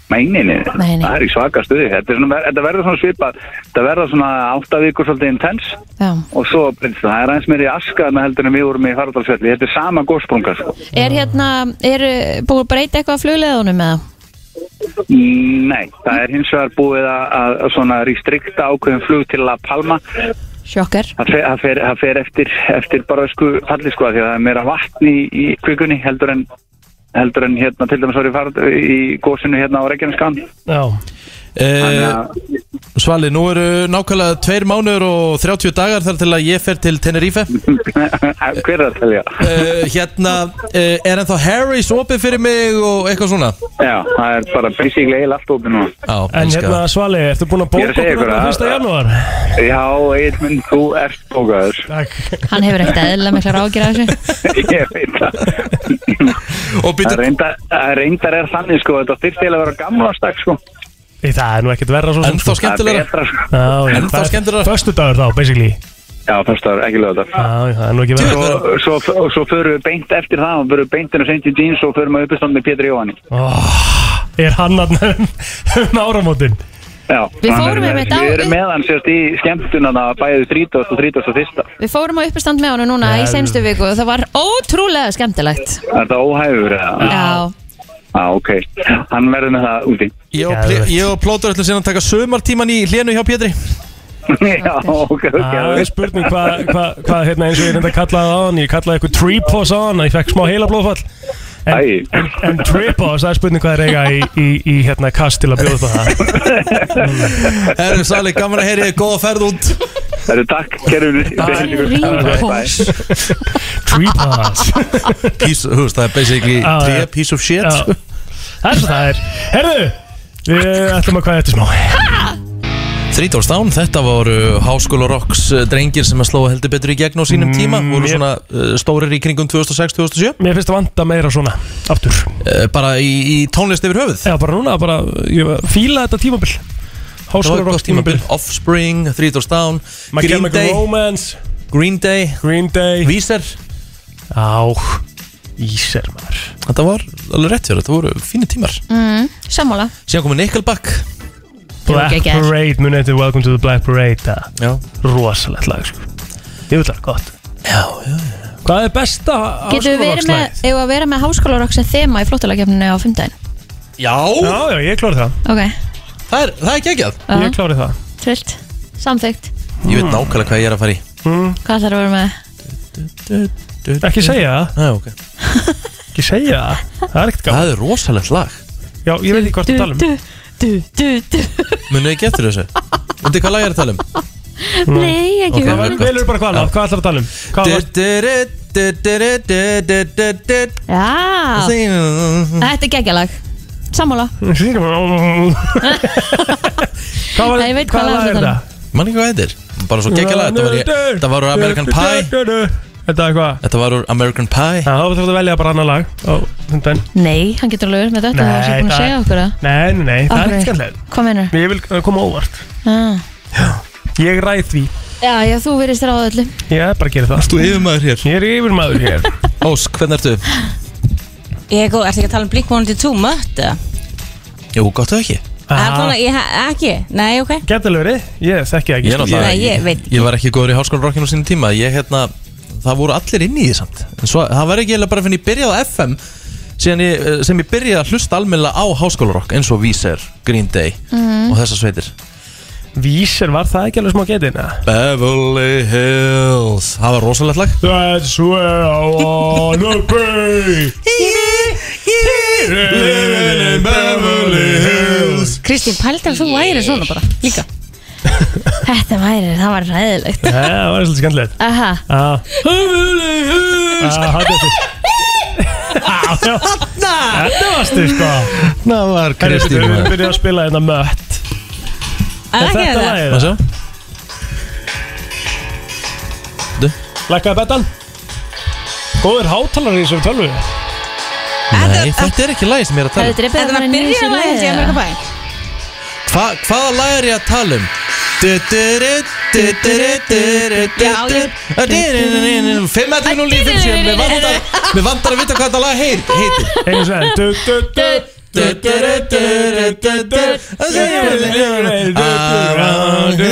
K: Meininni,
C: Nei, nei.
K: það er í svaka stuði Þetta, er svona, ver- þetta verður svona svipað Þetta verður svona átta vikur svolítið intens
C: Já.
K: og svo, breytist það Það er aðeins meiri askaðna heldur en við vorum í Haraldalsvelli Þetta er sama gósprunga sko.
C: Er hérna, er uh, búið að breyta eitthvað af flugleðunum eða?
K: Mm, Nei, það er hins vegar búið að, að, að svona restrikta ákveðin flug til La Palma
C: Sjokkar
K: Það fer, það fer, það fer eftir, eftir bara sko falli sko af því að það er meira vatn í, í kvikunni heldur en heldur en hérna til dæmis var í, farð, í gósinu hérna á Reykjaneskan
D: Já
A: eh, Svali, nú eru nákvæmlega tveir mánuður og 30 dagar þar til að ég fer til Tenerife
K: Hver er það að telja?
A: eh, Hérna, eh, er ennþá Harry's opið fyrir mig og eitthvað svona?
K: Já, það er bara basically heil allt opið núna
A: Já,
D: En hérna svali, ertu búin að
K: Ég er
D: bóka
K: að segja
D: okkur
K: ykkur
D: þarna
K: að-
D: fyrsta janúar?
K: Já, Eilmund, þú ert bókaður
C: Hann hefur ekkert eðlilega miklar ágjur af þessu
K: Ég veit það Það reyndar, það reyndar er þannig sko Þetta þyrfti eiginlega að vera gamla stakk sko
D: Í, Það er nú ekkert verra svo
K: Ennþá skemmtilegra. Það er betra, sko. Ennþá
D: skemmtilega Föstudagur þá, basically
K: Já, föstudagur, ekki lögðar
D: Já, já, það er nú ekki verra
K: Svo, svo, og svo förum við beint eftir það og förum við beint inn á St. Jeans og förum við uppistand með Pétur Jóhanni
D: Ó, Er hann að um áramótin
K: Já,
C: Við fórum
K: þannig að
C: einmitt á-
K: Við erum með hann sérst í skemmtunana bæðið 30 og 31
C: Við fórum á uppestand með honum núna
K: Nei.
C: í senstu viku og það var ótrúlega skemmtilegt.
K: Er það óhæfur eða?
C: Já.
K: Já, ok Hann verður með það úti
A: Ég og, Pl- ég og Plótur ætlum síðan að taka sömartíman í hlénu hjá Pétri
K: Já, ok, ok
D: Það er Ah, spurning hvað, hvað, hvað hérna eins og ég reynda að kalla það á hann Ég kallaði eitthvað tripos á hann Ég fekk smá heila blóðfall En, en, en tripos, það er spurning hvað er eiga í, í, í hérna kast til að bjóða upp á það
A: Herru Sali, gaman að heyri þig, góða ferð út
K: Herru, takk, kerfinu
A: Tripos
D: Tripos
A: Piece, hú veist, það er basically
D: Já,
A: tré,
D: já.
A: piece of shit sko.
D: Já. Það er svo það er Herðu, við ætlum að hvað eftir smá
A: Þrítórstán, þetta voru Háskóla Rocks eh, drengir sem að slóa heldur betur í gegn á sínum tíma voru
D: ég-
A: svona uh, stórir í kringum 2006-2007
D: Mm, Mér finnst að vanda meira svona, aftur
A: Eh, Bara í, í tónlist yfir höfuð?
D: Já, bara núna, bara, ég fíla þetta tímabil Háskóla
A: Háskóla
D: Rocks
A: Rocks tímabil Offspring, Þrítórstán Green
D: Chemical
A: Day
D: Romance
A: Green Day
D: Green Day
A: Víser
D: Á, Íser maður
A: Þetta var alveg rétt fyrir, þetta voru fínir tímar
C: Mm, sammála.
A: Síðan komið Nickelback
D: Black
C: Jú, geggjað.
D: Parade, muni þetta Welcome to the Black Parade það.
A: Já
D: Rosalegt lag, sko Ég vil það, gott Já, já, já Hvað er besta
C: Getum við verið með,
D: háskólarokslagið?
C: eigum við að vera með háskólarokk sem þema í flottalagkefninu á fimmdæn?
A: Já
D: Já, já, ég klári það
C: Ok,
A: Það er, það er geggjað
C: Já.
D: Ég klári það Mm.
C: trillt, samþygt.
A: Ég veit nákvæmlega hvað ég er að fara í
C: Hvað þarf að vera með?
D: Ekki segja það
A: Nei, ok
D: Ekki segja það Það er ekkert gaman
A: Það er rosalegt lag
D: Já, ég veit ekki hvort það tala um
C: Du, du, du,
A: Munið ekki eftir þessu Undir hvað lag er að tala um?
C: nei, ekki
D: Það
A: Ok, vel
D: verður
A: gott.
D: velur bara hvað lag, hvað ætlar að tala um? Hvað var
C: Já, þetta er geggjalag. Sammála.
D: Hvað var
C: Nei, ég veit hvað lag þetta
D: lag er
C: er. um?
D: það?
A: Manni hvað þetta er Bara svo geggjalega Þetta var, í- þetta var úr American Pie
D: Þetta er hvað?
A: Þetta var úr American Pie
D: Já, þú þurfum að velja bara annar lag á hundan.
C: Nei, hann getur alveg verið með þetta, það var sér búin að
D: það-
C: segja okkur það.
D: Nei, nei, nei, það
C: Af
D: er
C: hverju?
D: ekki skemmtilega
C: Hvað Ah. mennur?
D: Ég vil uh, koma á óvart Ég ræð því
C: Já, já, þú verist þér á öllu.
D: Ég er bara að gera það
A: Þú yfirmaður hér
D: Ég er yfirmaður hér
A: Ósk, hvernig ertu?
P: Ég er góð, ertu ekki að tala um Blink-182 mött?
A: Ah. Jú, gott ef ekki
P: Ah. Svona, ég, ekki, nei, ok
D: Gætilega verið, ég þekki það ekki
A: Ég, er náttúrulega-
P: Nei, ég veit
A: ég var ekki góður í háskólarokkinu á sínum tíma Ég hérna, það voru allir inn í því samt En svo, það var ekki eiginlega bara fyrir ég byrjaði á FM síðan ég, eh, sem ég byrjaði að hlusta almennilega á háskólarokk eins og Víser, Green Day
D: Mhm.
A: og þessar sveitir
D: Vísir var það ekki alveg smá getið neða?
A: Beverly Hills Það var rosalegt lag
D: That's where I wanna be Living in Beverly Hills
P: Kristín, pæltar þú væri svona bara, líka
C: Þetta væri, það var ræðilegt.
D: Já, það var svolítið skemmtilegt Ah.
C: Aha.
D: Já, já, það er Ah, Þetta varstu sko
A: Það var
D: Kristín Við erum byrjuð að spila hérna mött
P: Er
D: Er
P: ekki
D: þetta
P: það?
D: lagið?
A: Du.
D: Lækkaði betan Góður hátalar í þessu tölvu
A: Nei, þetta er ekki lagi sem ég er að tala um
C: Þetta
P: var byrjunarlagið hans í Amerika bæ
A: Hva, Hvaða lag er ég að tala um? Du- du- du- du- du- du- du- du-
P: Já,
A: du-
P: ég-
A: du- du- du- du- 5.11.57 Mér vantar- mér vantar að vita hvað þetta lag heyr- heitir
D: Einu svein Du, du, du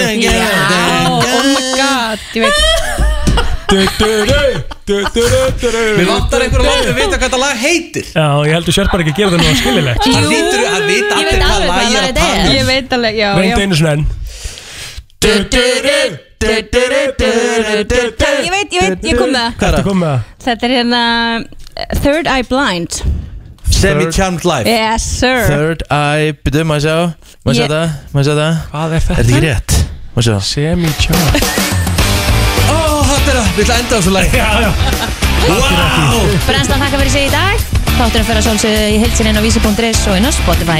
P: Oh my god, ég veit
A: Mér vantar einhver að láta mig vita hvað þetta lag heitir
D: Já, ég heldur sér bara ekki að gera það nú að skiljilegt
A: Það lítur að vita
P: Ég veit
A: allir hvað
P: alveg
A: lag
P: hvað
A: ég er
P: lag
A: að tala
P: þetta er
A: um
P: Ég veit alveg, já, já
D: Reyndu einu svein
P: Ég veit, ég veit, ég kom með það
D: Þetta kom með það
P: Þetta er hérna Third Eye Blind
A: Semi-charmed life
P: Yes, sir
A: Third eye, byrju, maður sjá Maður sjá
P: Ég-
A: það, maður sjá það
D: Hvað er
A: Er
D: þetta?
A: þetta ekki rétt? Maður sjá það
D: Semi-charmed
A: Ó, þetta er það, við ætlum að enda á þessu lagi
D: Já, já
A: Wow
C: Brennslan þakka fyrir sig í dag. Þátturinn fyrir að sjálfsögðu í heilsininn á vísi.is og inn á Spotify.